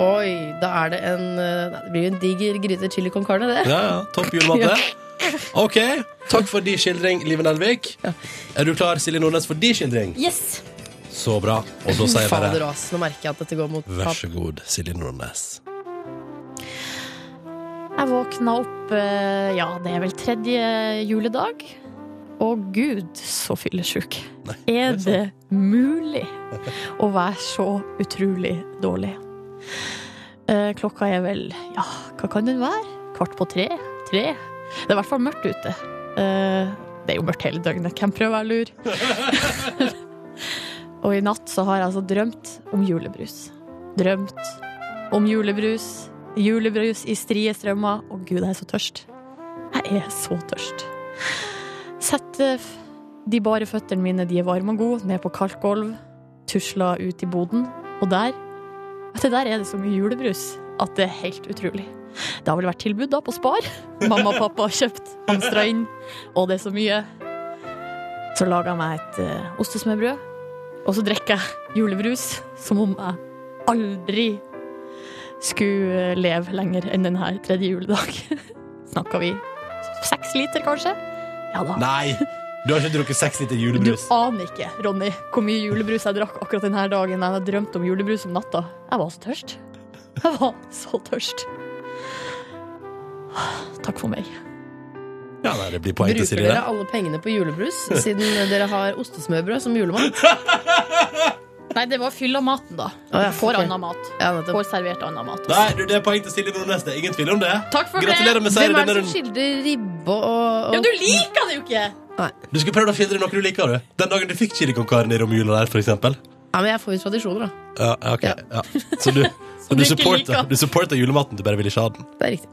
[SPEAKER 4] Oh, oi, da er det en eh, nei, Det blir jo en diger gryte chili con carne, det.
[SPEAKER 2] Ja, ja, topp julemat det. Ok, takk for din skildring, Live Nelvik. Er du klar, Silje Nordnes, for din skildring?
[SPEAKER 3] Yes!
[SPEAKER 2] Så bra. Og da sier jeg
[SPEAKER 4] Fader,
[SPEAKER 2] bare
[SPEAKER 4] ass. Nå merker jeg at dette går mot
[SPEAKER 2] vær
[SPEAKER 4] tap.
[SPEAKER 2] så god, Silje Nordnes.
[SPEAKER 3] Jeg våkna opp, eh, ja, det er vel tredje juledag. Å gud, så fyllesyk. Er det mulig å være så utrolig dårlig? Eh, Klokka er vel, ja, hva kan den være? Kvart på tre? Tre? Det er i hvert fall mørkt ute. Eh, Det er jo mørkt hele døgnet, hvem prøver å være lur? Og i natt så har jeg altså drømt om julebrus. Drømt om julebrus. Julebrus i strie strømmer. Å gud, jeg er så tørst. Jeg er så tørst. Sette eh, f- de bare føttene mine, de er varme og gode, ned på kaldt gulv. Tusla ut i boden. Og der Vet du, der er det så mye julebrus at det er helt utrolig. Det har vel vært tilbud da på Spar. Mamma og pappa har kjøpt, hamstra inn, og det er så mye. Så lager jeg meg et eh, ostesmørbrød, og så drikker jeg julebrus som om jeg aldri skulle eh, leve lenger enn denne tredje juledag. Snakka vi seks liter, kanskje? Ja da.
[SPEAKER 2] Nei, du har ikke drukket seks liter
[SPEAKER 3] Du
[SPEAKER 2] julebrus.
[SPEAKER 3] aner ikke, Ronny, hvor mye julebrus jeg drakk akkurat denne dagen. Jeg drømte om julebrus om natta. Jeg var så tørst. Jeg var så tørst. Takk for meg.
[SPEAKER 2] Ja, nei, det blir poeng til
[SPEAKER 4] Bruker
[SPEAKER 2] Silje.
[SPEAKER 4] dere
[SPEAKER 2] det.
[SPEAKER 4] alle pengene på julebrus, siden dere har ostesmørbrød som julemat?
[SPEAKER 3] Nei, det var fyll av maten, da.
[SPEAKER 4] Å, ja,
[SPEAKER 3] Får
[SPEAKER 4] ok.
[SPEAKER 3] annen mat.
[SPEAKER 4] Ja, nettopp.
[SPEAKER 3] Får servert annen mat.
[SPEAKER 2] Nei, du, det er poeng til Silje Nordnes. Det er ingen tvil om det.
[SPEAKER 3] Takk for
[SPEAKER 2] Gratulerer
[SPEAKER 3] det!
[SPEAKER 2] med seieren i
[SPEAKER 4] Hvem er det
[SPEAKER 2] denne
[SPEAKER 4] som
[SPEAKER 2] runden.
[SPEAKER 4] skildrer ribbe og,
[SPEAKER 3] Ja,
[SPEAKER 4] og
[SPEAKER 3] du liker det jo ikke!
[SPEAKER 2] Du skulle prøvd å finne deg noe du liker, du. Den dagen du fikk chili con carne i romjula der, for eksempel.
[SPEAKER 4] Ja, men jeg får jo tradisjoner, da.
[SPEAKER 2] Ja, ok. Ja. Så du, så
[SPEAKER 3] du
[SPEAKER 2] du,
[SPEAKER 3] ikke
[SPEAKER 2] supporter,
[SPEAKER 3] liker.
[SPEAKER 2] du supporter julematen, du bare vil ikke ha den.
[SPEAKER 4] Det er riktig.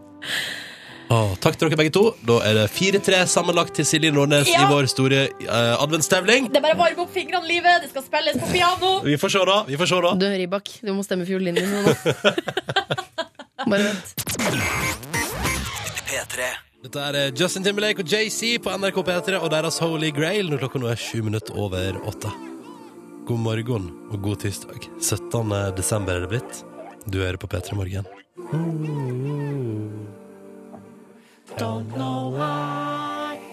[SPEAKER 2] Åh, takk til dere begge to. Da er det 4-3 sammenlagt til Silje Nordnes i
[SPEAKER 3] Ja.
[SPEAKER 2] vår store eh, adventstevling.
[SPEAKER 3] Det er bare å varme opp fingrene, livet. Det skal spilles på piano.
[SPEAKER 2] Vi får se, da. Vi får se da.
[SPEAKER 4] Du, Ribak, du må stemme for fiolinen din nå. Bare vent.
[SPEAKER 2] Dette er eh, Justin Timberlake og JC på NRK P3 og deres Holy Grail når klokka nå er sju minutter over åtte. God morgen og god tirsdag. 17. desember er det blitt. Du hører på P3 Morgen.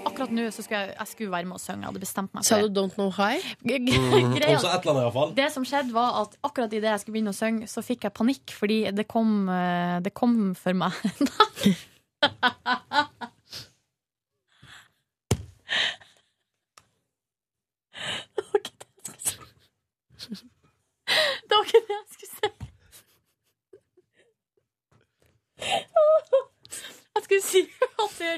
[SPEAKER 3] Akkurat nå så skulle jeg, jeg skulle være med og synge. Jeg hadde bestemt meg
[SPEAKER 4] Sa
[SPEAKER 3] for
[SPEAKER 4] du Don't Know High?
[SPEAKER 3] det.
[SPEAKER 2] Og
[SPEAKER 3] Greia
[SPEAKER 2] så et eller annet, iallfall.
[SPEAKER 3] Det som skjedde var at akkurat idet jeg skulle begynne å synge, så fikk jeg panikk, fordi det kom, eh, det kom for meg Nei. Det var ikke det jeg skulle si. Det var ikke det jeg skulle si. Jeg skulle si at det,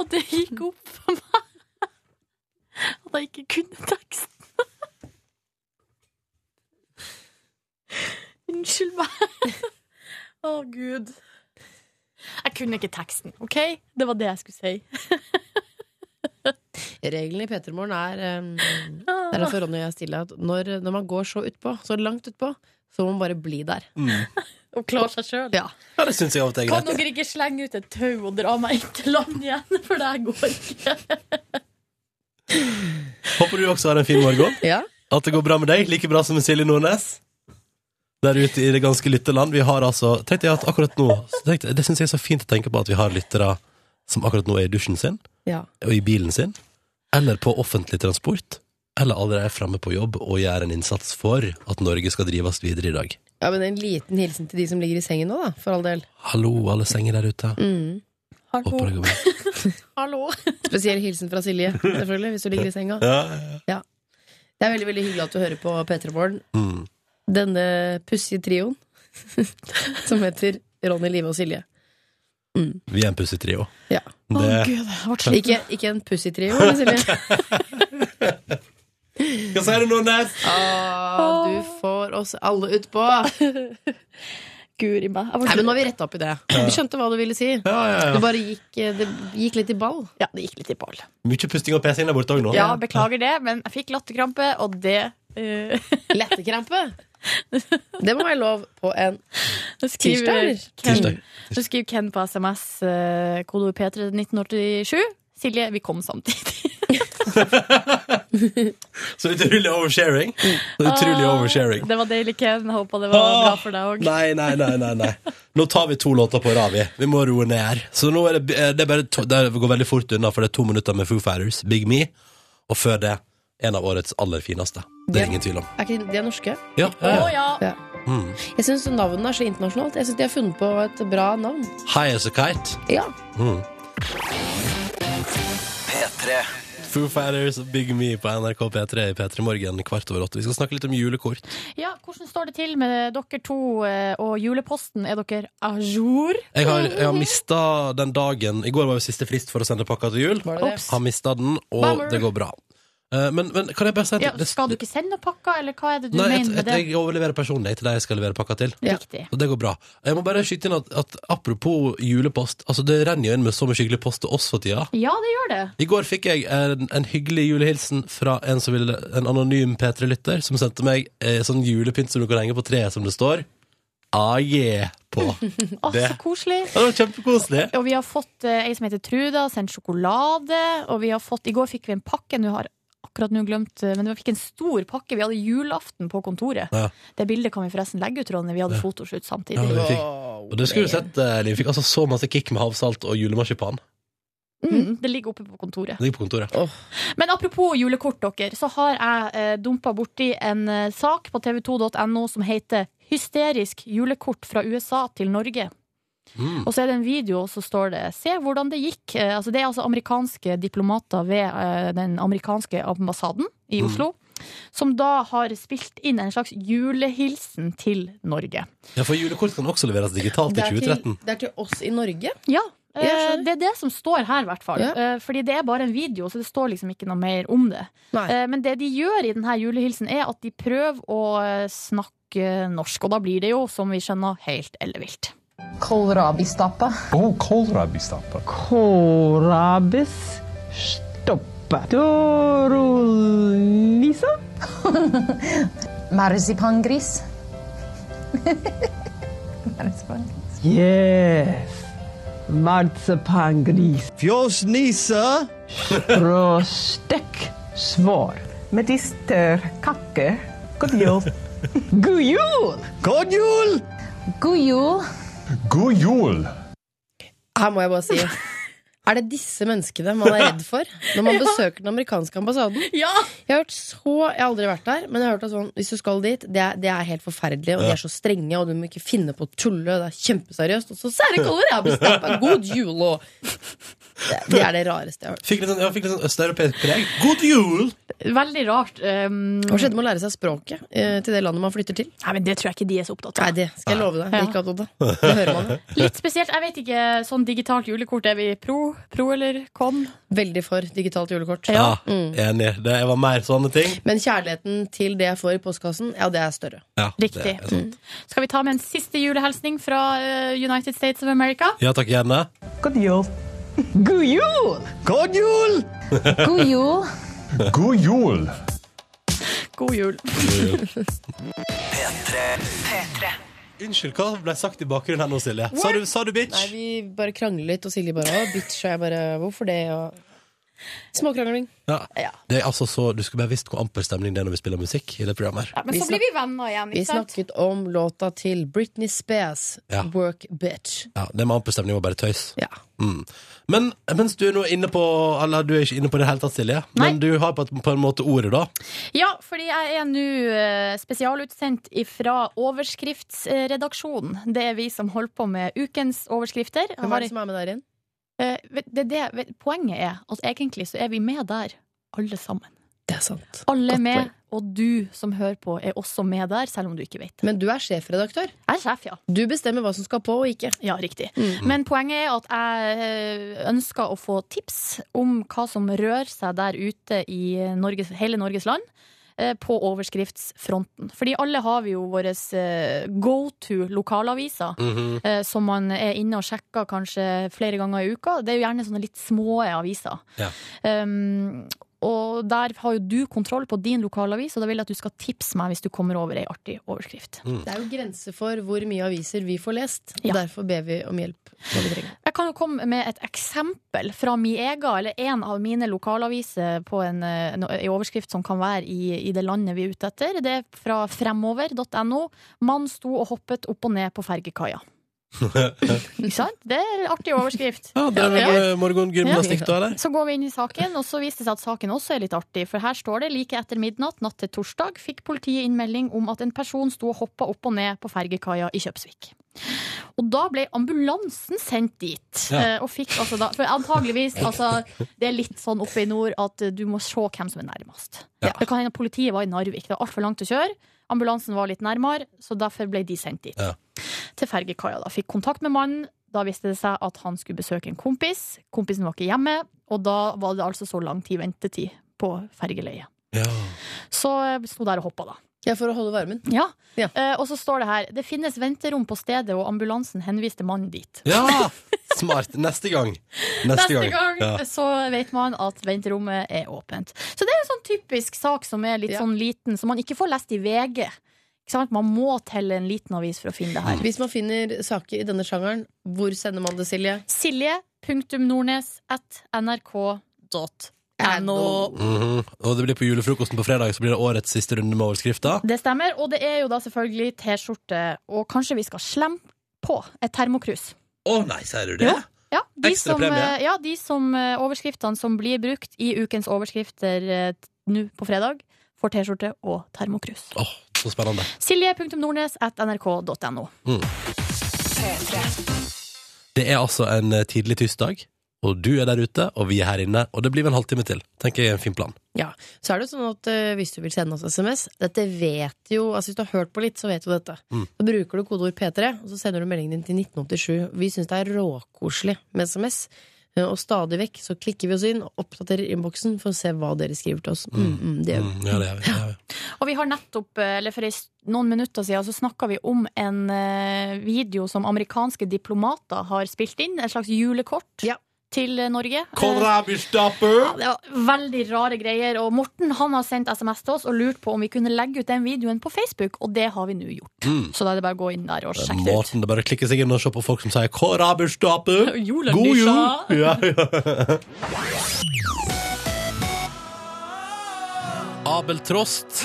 [SPEAKER 3] at det gikk opp for meg at jeg ikke kunne teksten. Unnskyld meg. Å, gud. Jeg kunne ikke teksten, OK? Det var det jeg skulle si.
[SPEAKER 4] Reglene i P3 Morgen er um, Det er
[SPEAKER 3] altså-
[SPEAKER 4] derfor Ronny og jeg stiller at når, når man går så utpå, så langt utpå, så må man bare bli der.
[SPEAKER 3] Å klare seg sjøl. Ja.
[SPEAKER 2] Ja, det syns jeg av og til er
[SPEAKER 3] Kan
[SPEAKER 2] greit.
[SPEAKER 3] dere ikke slenge ut et tau og dra meg inn til land igjen? For det her går ikke.
[SPEAKER 2] Håper du også har en fin morgen.
[SPEAKER 4] Ja?
[SPEAKER 2] At det går bra med deg, like bra som med Silje Nordnes. Der ute i det ganske lytterland. Vi har altså tenkte jeg at akkurat nå så tenkte, jeg- Det syns jeg er så fint å tenke på at vi har lyttere som akkurat nå er i dusjen sin,
[SPEAKER 4] Ja.
[SPEAKER 2] og i bilen sin, eller på offentlig transport, eller allerede er framme på jobb og gjør en innsats for at Norge skal drives videre i dag.
[SPEAKER 4] ja, men en liten hilsen til de som ligger i sengen nå, da, for all del.
[SPEAKER 2] Hallo, alle senger der ute.
[SPEAKER 4] Mm.
[SPEAKER 2] Håper det går bra.
[SPEAKER 3] Hallo.
[SPEAKER 4] Spesiell hilsen fra Silje, selvfølgelig, hvis du ligger i senga.
[SPEAKER 2] Ja, ja, ja.
[SPEAKER 4] Det er veldig veldig hyggelig at du hører på P3 Morgen.
[SPEAKER 2] Mm.
[SPEAKER 4] Denne pussige trioen som heter Ronny, Live og Silje.
[SPEAKER 2] Vi er en pussig trio.
[SPEAKER 4] Ja.
[SPEAKER 3] Å,
[SPEAKER 2] Det,
[SPEAKER 3] gud, jeg ble sliten.
[SPEAKER 4] Ikke, ikke en pussig trio, men Silje.
[SPEAKER 2] hva sier du nå, Nes?
[SPEAKER 4] Ah, du får oss alle utpå.
[SPEAKER 3] Guri meg. Jeg ble
[SPEAKER 4] Nei, men nå
[SPEAKER 3] sliten.
[SPEAKER 4] har vi retta opp i det. Du skjønte hva du ville si.
[SPEAKER 2] Ja, ja,
[SPEAKER 4] Det
[SPEAKER 2] ja.
[SPEAKER 4] bare gikk, eh, det gikk litt i ball.
[SPEAKER 3] Ja, det gikk litt i ball.
[SPEAKER 2] Mye pusting og pesing der borte òg nå.
[SPEAKER 3] Ja, beklager det, men jeg fikk latterkrampe, og det eh,
[SPEAKER 4] Lettekrampe. Det må være lov på en
[SPEAKER 3] det skriver
[SPEAKER 4] Tirsdag,
[SPEAKER 3] Ken,
[SPEAKER 2] Tirsdag.
[SPEAKER 3] så skriver Ken på SMS uh, kodeord P3 1987. Silje, vi kom samtidig.
[SPEAKER 2] Så utrolig oversharing. Så utrolig oversharing. Ah,
[SPEAKER 3] Mm. Ah, Det var deilig, Ken. Jeg håper det var bra for deg òg.
[SPEAKER 2] Nei, nei, nei, nei, nei. Nå tar vi to låter på rad, vi. Vi må roe ned her. Så nå er det, eh, det, er bare to, det går veldig fort unna, for det er to minutter med Foo Fighters, Big Me, og før det en av årets aller fineste. Det er ingen tvil om.
[SPEAKER 4] Er ikke de- de er norske?
[SPEAKER 2] Ja,
[SPEAKER 3] Å
[SPEAKER 2] ja.
[SPEAKER 3] ja.
[SPEAKER 4] Ja.
[SPEAKER 2] Mm.
[SPEAKER 4] Jeg syns navnet er så internasjonalt. Jeg synes De har funnet på et bra navn.
[SPEAKER 2] High as a kite.
[SPEAKER 4] Ja.
[SPEAKER 2] Mm.
[SPEAKER 5] P3.
[SPEAKER 2] Foo Fighters og Big Me på NRK P3 i P3 Morgen kvart over åtte. Vi skal snakke litt om julekort.
[SPEAKER 3] ja, hvordan står det til med dere to eh, og juleposten? Er dere à jour?
[SPEAKER 2] Jeg har, jeg har mista den dagen I går var jo siste frist for å sende pakka til jul.
[SPEAKER 4] Var det det?
[SPEAKER 3] Ops.
[SPEAKER 2] Har mista den, og
[SPEAKER 4] Bummer.
[SPEAKER 2] det går bra. Eh, Men, men kan jeg bare si at
[SPEAKER 3] Ja,
[SPEAKER 2] det-
[SPEAKER 3] skal du ikke sende noen pakker, eller hva er det du
[SPEAKER 2] Nei,
[SPEAKER 3] mener
[SPEAKER 2] jeg,
[SPEAKER 3] med det?
[SPEAKER 2] jeg overleverer personlig til deg jeg skal levere pakka til.
[SPEAKER 3] Riktig.
[SPEAKER 2] Og det går bra. Jeg må bare skyte inn at, at apropos julepost, altså det renner jo inn med så mye hyggelig post til oss for tida.
[SPEAKER 3] Ja, det gjør det.
[SPEAKER 2] I går fikk jeg en, en hyggelig julehilsen fra en, som ville, en anonym P3-lytter som sendte meg eh, sånn julepynt som du kan henge på treet, som det står AJ på. Ja,
[SPEAKER 3] Å,
[SPEAKER 2] Det-
[SPEAKER 3] så koselig.
[SPEAKER 2] Det var kjempekoselig.
[SPEAKER 3] Og vi har fått eh, ei som heter Truda, sendt sjokolade. Og vi har fått, i går fikk vi en pakke. Nå har jeg akkurat nå glemt eh, Men vi fikk en stor pakke. Vi hadde julaften på kontoret.
[SPEAKER 2] Ja.
[SPEAKER 3] Det bildet kan vi forresten legge ut, Ronny. Vi hadde fotoshoot samtidig.
[SPEAKER 2] Ja, vi fikk,
[SPEAKER 4] Wow,
[SPEAKER 2] og det skulle du sett, eh, Liv. Vi Fikk altså så masse kick med havsalt og julemarsipan.
[SPEAKER 3] Mm, det ligger oppe på kontoret.
[SPEAKER 2] Det ligger på kontoret.
[SPEAKER 3] Men apropos julekort, dere, så har jeg eh, dumpa borti en eh, sak på tv2.no som heter 'Hysterisk julekort fra USA til Norge'.
[SPEAKER 2] Mm.
[SPEAKER 3] Og så er det en video, og så står det 'Se hvordan det gikk'. Eh, altså, det er altså amerikanske diplomater ved eh, den amerikanske ambassaden i Oslo. Som da har spilt inn en slags julehilsen til Norge.
[SPEAKER 2] Ja, for julekort kan også leveres digitalt
[SPEAKER 4] Det
[SPEAKER 2] i
[SPEAKER 4] er, til,
[SPEAKER 2] 2013.
[SPEAKER 4] det er til oss i Norge.
[SPEAKER 3] Ja,
[SPEAKER 4] jeg
[SPEAKER 3] eh,
[SPEAKER 4] skjønner.
[SPEAKER 3] det er det som står her, i hvert fall.
[SPEAKER 4] Ja.
[SPEAKER 3] Eh, Fordi det er bare en video, så det står liksom ikke noe mer om det.
[SPEAKER 4] Nei.
[SPEAKER 3] Eh, Men det de gjør i denne julehilsen, er at de prøver å eh, snakke norsk. Og da blir det jo, som vi skjønner, helt ellevilt.
[SPEAKER 10] Kålrabistappe.
[SPEAKER 11] Oh, kålrabistappe.
[SPEAKER 10] Kålrabistappe. Dorolisa. Marsipangris. Marsipangris. Yes. Marsipangris.
[SPEAKER 9] Fjosnisse!
[SPEAKER 10] Bröstek. Svar. Medisterkacke. God jul. God jul!
[SPEAKER 9] God jul!
[SPEAKER 10] God jul!
[SPEAKER 11] God jul!
[SPEAKER 4] Her må jeg bare si Er det disse menneskene man er redd for når man besøker den amerikanske ambassaden?
[SPEAKER 3] Ja!
[SPEAKER 4] Jeg har hørt så, jeg har aldri vært der, men jeg har hørt at sånn, hvis du skal dit, det er, det er helt forferdelig, og de er så strenge, og du må ikke finne på å tulle, og det er kjempeseriøst, og så sære kaller jeg bestappa, god jul, og det, det er det rareste jeg har hørt.
[SPEAKER 2] Fikk litt sånn, ja, fikk litt sånn østeuropeisk preg. God jul!
[SPEAKER 3] Veldig rart. Um,
[SPEAKER 4] Hva skjedde med å lære seg språket eh, til det landet man flytter til?
[SPEAKER 3] Nei, men Det tror jeg ikke de er så opptatt
[SPEAKER 4] Nei,
[SPEAKER 3] av.
[SPEAKER 4] det skal jeg love deg, det er ikke opptatt av. Det hører man jo.
[SPEAKER 3] Litt spesielt. Jeg vet ikke, sånn digitalt julekort, er vi pro, pro eller con?
[SPEAKER 4] Veldig for digitalt julekort. Mm.
[SPEAKER 2] Ja, enig. Det var mer sånne ting.
[SPEAKER 4] Men kjærligheten til det jeg får i postkassen, ja, det er større.
[SPEAKER 2] Ja, det
[SPEAKER 3] Riktig. Mm.
[SPEAKER 2] er
[SPEAKER 4] Mm.
[SPEAKER 2] sant.
[SPEAKER 3] Skal vi ta med en siste julehilsning fra eh, United States of America?
[SPEAKER 2] Ja takk, gjerne.
[SPEAKER 10] God jul! God jul!
[SPEAKER 9] God jul!
[SPEAKER 10] God jul!
[SPEAKER 11] God jul!
[SPEAKER 3] God jul.
[SPEAKER 2] Unnskyld, hva ble sagt i bakgrunnen her nå, Silje? Sa du, sa du
[SPEAKER 4] Nei,
[SPEAKER 2] bitch?
[SPEAKER 4] vi bare krangler litt, og Silje bare, å, bitch, og jeg bare, hvorfor det, og... Småkrangling.
[SPEAKER 2] Ja. Det er altså så, Du skulle bare visst hvor amper stemning det er når vi spiller musikk i det programmet her.
[SPEAKER 3] Ja, men
[SPEAKER 4] Vi
[SPEAKER 3] så blir vi venner igjen,
[SPEAKER 4] Vi
[SPEAKER 3] ikke sant?
[SPEAKER 4] snakket om låta til Britney Spears,
[SPEAKER 2] Ja.
[SPEAKER 4] Work Bitch.
[SPEAKER 2] Ja, Det med amper stemning var bare tøys.
[SPEAKER 4] Ja.
[SPEAKER 2] Mm. Men mens du er nå inne på Eller du er ikke inne på det hele tatt, Silje, men du har på, et- på en måte ordet, da.
[SPEAKER 3] Ja, fordi jeg er nå eh, spesialutsendt fra overskriftsredaksjonen. Det er vi som holder på med ukens overskrifter. Jeg
[SPEAKER 4] Hvem
[SPEAKER 3] har-
[SPEAKER 4] er det som er med der igjen?
[SPEAKER 3] eh, vet- det, er det, vet- poenget er at egentlig så er vi med der, alle sammen.
[SPEAKER 4] Det er sant.
[SPEAKER 3] Alle
[SPEAKER 4] Godt
[SPEAKER 3] med
[SPEAKER 4] poeng.
[SPEAKER 3] Og du som hører på, er også med der, selv om du ikke vet det.
[SPEAKER 4] Men du er sjefredaktør.
[SPEAKER 3] Jeg er sjef, ja.
[SPEAKER 4] Du bestemmer hva som skal på og ikke.
[SPEAKER 3] Ja, riktig. Men poenget er at jeg eh, ønsker å få tips om hva som rører seg der ute i Norges, hele Norges land. eh, På overskriftsfronten. Fordi alle har vi jo våre go to lokalaviser.
[SPEAKER 2] Mm.
[SPEAKER 8] Mhm.
[SPEAKER 3] eh, Som man er inne og sjekker kanskje flere ganger i uka. Det er jo gjerne sånne litt små aviser.
[SPEAKER 2] Ja.
[SPEAKER 3] Um, og der har jo du kontroll på din lokalavis, og da vil jeg at du skal tipse meg hvis du kommer over ei artig overskrift.
[SPEAKER 4] Det er jo grenser for hvor mye aviser vi får lest, og derfor ber vi om hjelp.
[SPEAKER 3] Jeg kan jo komme med et eksempel fra min egen, eller en av mine lokalaviser, på en, eh, no- en overskrift som kan være i, i det landet vi er ute etter. Det er fra fremover.no. Mann sto og hoppet opp og ned på fergekaia. Ikke sant? Det er en artig overskrift.
[SPEAKER 2] Ja, det er vel eh, morgengymnastikk da, eller?
[SPEAKER 3] Så går vi inn i saken, og så viste det seg at saken også er litt artig. For her står det like etter midnatt natt til torsdag fikk politiet innmelding om at en person sto og hoppa opp og ned på fergekaia i Kjøpsvik. Og da ble ambulansen sendt dit.
[SPEAKER 8] Ja.
[SPEAKER 3] eh, Og fikk altså da For antageligvis, altså Det er litt sånn oppe i nord at eh, du må se hvem som er nærmest. Det kan hende at politiet var i Narvik. Det var altfor langt å kjøre. Ambulansen var litt nærmere, så derfor ble de sendt dit. Til fergekaia, da. Fikk kontakt med mannen. Da viste det seg at han skulle besøke en kompis. Kompisen var ikke hjemme, og da var det altså så lang tid ventetid på fergeleiet. Så eh, sto der og hoppa, da.
[SPEAKER 4] Ja, for å holde varmen.
[SPEAKER 3] Ja. Eh, og så står det her det finnes venterom på stedet, og ambulansen henviste mannen dit.
[SPEAKER 2] Ja! Smart. Neste gang.
[SPEAKER 3] Neste gang,
[SPEAKER 2] Ja.
[SPEAKER 3] så vet man at venterommet er åpent. Så det er en sånn typisk sak som er litt sånn liten, som man ikke får lest i VG. Ikke sant? Man må til en liten avis for å finne det her.
[SPEAKER 4] Hvis man finner saker i denne sjangeren, hvor sender man det, Silje?
[SPEAKER 3] Silje.nordnes.nrk.no.
[SPEAKER 2] Mhm. Og det blir på julefrokosten på fredag, så blir det årets siste runde med overskrifter.
[SPEAKER 3] Det stemmer, og det er jo da selvfølgelig T-skjorte, og kanskje vi skal slemme på et termokrus.
[SPEAKER 2] Å nei, sier du det?
[SPEAKER 3] Ja, de
[SPEAKER 2] Ekstra
[SPEAKER 3] som,
[SPEAKER 2] premie.
[SPEAKER 3] eh, ja, de som eh, overskriftene som blir brukt i ukens overskrifter eh, t- nå på fredag, får T-skjorte og termokrus.
[SPEAKER 2] Åh, så spennende.
[SPEAKER 3] Silje.nordnes.nrk.no.
[SPEAKER 2] Mm. Det er altså en eh, tidlig tirsdag, og du er der ute, og vi er her inne, og det blir vel en halvtime til. Tenker jeg er en fin plan.
[SPEAKER 4] Ja, så er det jo sånn at eh, Hvis du vil sende oss SMS Dette vet jo, altså Hvis du har hørt på litt, så vet du dette.
[SPEAKER 2] Mm.
[SPEAKER 4] Så bruker du kodeord P3, og så sender du meldingen din til 1987. Vi syns det er råkoselig med SMS. eh, Og stadig vekk så klikker vi oss inn og oppdaterer innboksen for å se hva dere skriver til oss. Mm, mm, det gjør vi.
[SPEAKER 2] Mm, ja, det er vi. det er vi.
[SPEAKER 3] Og vi har nettopp, eh, eller for en s- noen minutter siden, så snakka vi om en eh, video som amerikanske diplomater har spilt inn. Et slags julekort til eh, Norge. Eh, ja, det var veldig rare greier. Og Morten han har sendt SMS til oss og lurt på om vi kunne legge ut den videoen på Facebook, og det har vi nå gjort.
[SPEAKER 2] Mm.
[SPEAKER 3] Så da er det bare å gå inn der og sjekke det ut.
[SPEAKER 2] Måten det bare klikker seg inn og se på folk som sier 'Kåra bursdagen'!
[SPEAKER 3] Jolen
[SPEAKER 2] God
[SPEAKER 3] lyser.
[SPEAKER 2] jul! Ja, ja. Abel Trost.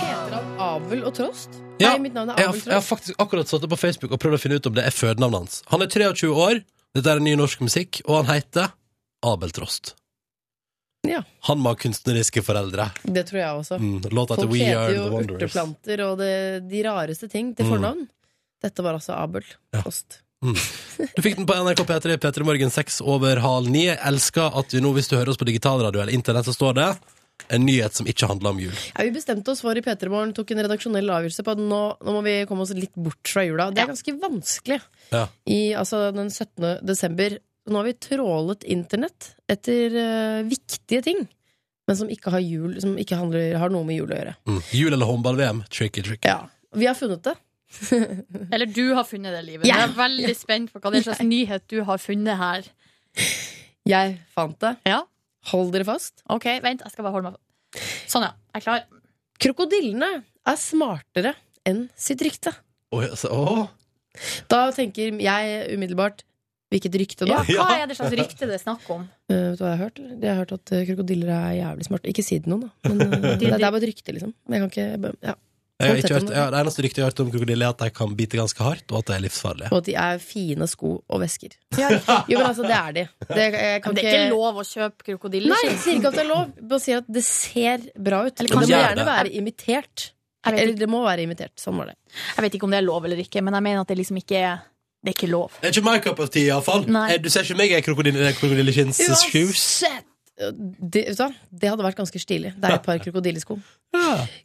[SPEAKER 4] Heter han Abel og Trost?
[SPEAKER 2] Mm. Ja,
[SPEAKER 4] Nei, mitt navn er
[SPEAKER 2] jeg, har,
[SPEAKER 4] Abel
[SPEAKER 2] jeg har
[SPEAKER 4] Trost.
[SPEAKER 2] faktisk akkurat satt det på Facebook og prøvd å finne ut om det er fødenavnet hans. Han er 23 år, dette er ny norsk musikk, og han heter Abel Trost.
[SPEAKER 4] Ja.
[SPEAKER 2] Han må ha kunstneriske foreldre.
[SPEAKER 4] Det tror jeg også.
[SPEAKER 2] Mm, låta til
[SPEAKER 4] Folk
[SPEAKER 2] We Are
[SPEAKER 4] heter
[SPEAKER 2] The
[SPEAKER 4] jo
[SPEAKER 2] Wanderers.
[SPEAKER 4] urteplanter og det, de rareste ting til
[SPEAKER 2] Mm.
[SPEAKER 4] fornavn. Dette var altså Abel Trost.
[SPEAKER 2] Mm. Du fikk den på NRK P3 P3 Morgen 6 over halv 9. Jeg elsker at vi nå, hvis du hører oss på digitalradio eller internett, så står det en nyhet som ikke handler om jul.
[SPEAKER 4] Ja, vi bestemte oss for i P3 Morgen, tok en redaksjonell avgjørelse på at nå, nå må vi komme oss litt bort fra jula. Det er ganske vanskelig.
[SPEAKER 2] Ja.
[SPEAKER 4] I, altså den 17. desember Nå har vi trålet internett etter eh, viktige ting, men som ikke har, jul, som ikke handler, har noe med jul å gjøre.
[SPEAKER 2] Mm. Jul eller håndball-VM? Tricky, tricky.
[SPEAKER 4] Vi har funnet det.
[SPEAKER 3] Eller du har funnet det, livet.
[SPEAKER 4] Ja.
[SPEAKER 3] Jeg er veldig spent på hva det er slags nyhet du har funnet her.
[SPEAKER 4] Jeg fant det.
[SPEAKER 3] Ja.
[SPEAKER 4] Hold dere fast.
[SPEAKER 3] Ok, vent, jeg skal bare holde meg Sånn, ja. Jeg er klar.
[SPEAKER 4] Krokodillene er smartere enn sitt rykte.
[SPEAKER 2] Oi, altså, åh.
[SPEAKER 4] Da tenker jeg umiddelbart Hvilket rykte, da?
[SPEAKER 3] Ja, hva er det slags rykte det er snakk om?
[SPEAKER 4] Eh, vet du hva jeg har hørt? eller? Jeg har hørt at eh, krokodiller er jævlig smarte. Ikke si det til noen, da. Men, eh, det, det er bare et rykte, liksom. Men jeg kan ikke jeg bare- ja.
[SPEAKER 2] Jeg har
[SPEAKER 4] Hold tett
[SPEAKER 2] ikke
[SPEAKER 4] om
[SPEAKER 2] hørt,
[SPEAKER 4] det.
[SPEAKER 2] ja, det eneste ryktet jeg har hørt om krokodiller, er at de kan bite ganske hardt, og at de er livsfarlige.
[SPEAKER 4] Og at de er fine sko og vesker. Jo, men altså, det er de. Det, jeg kan
[SPEAKER 3] Men det er ikke lov å kjøpe krokodiller.
[SPEAKER 4] Nei, jeg sier ikke at det er lov. Bare sier at det ser bra ut.
[SPEAKER 3] Eller
[SPEAKER 4] Men det må
[SPEAKER 3] kanskje-
[SPEAKER 4] gjerne være imitert.
[SPEAKER 3] vet
[SPEAKER 4] Eller det må være imitert. Sånn var det.
[SPEAKER 3] Jeg vet ikke om det er lov eller ikke, men jeg mener at det liksom ikke er Det er ikke lov.
[SPEAKER 2] Det er Eh, ikke my cup of tea, iallfall.
[SPEAKER 3] Nei.
[SPEAKER 2] eh, Du ser ikke meg i krokodille- krokodilleskinns shoes.
[SPEAKER 4] Uansett det, vet du hva? det hadde vært ganske stilig. Det er et par krokodillesko.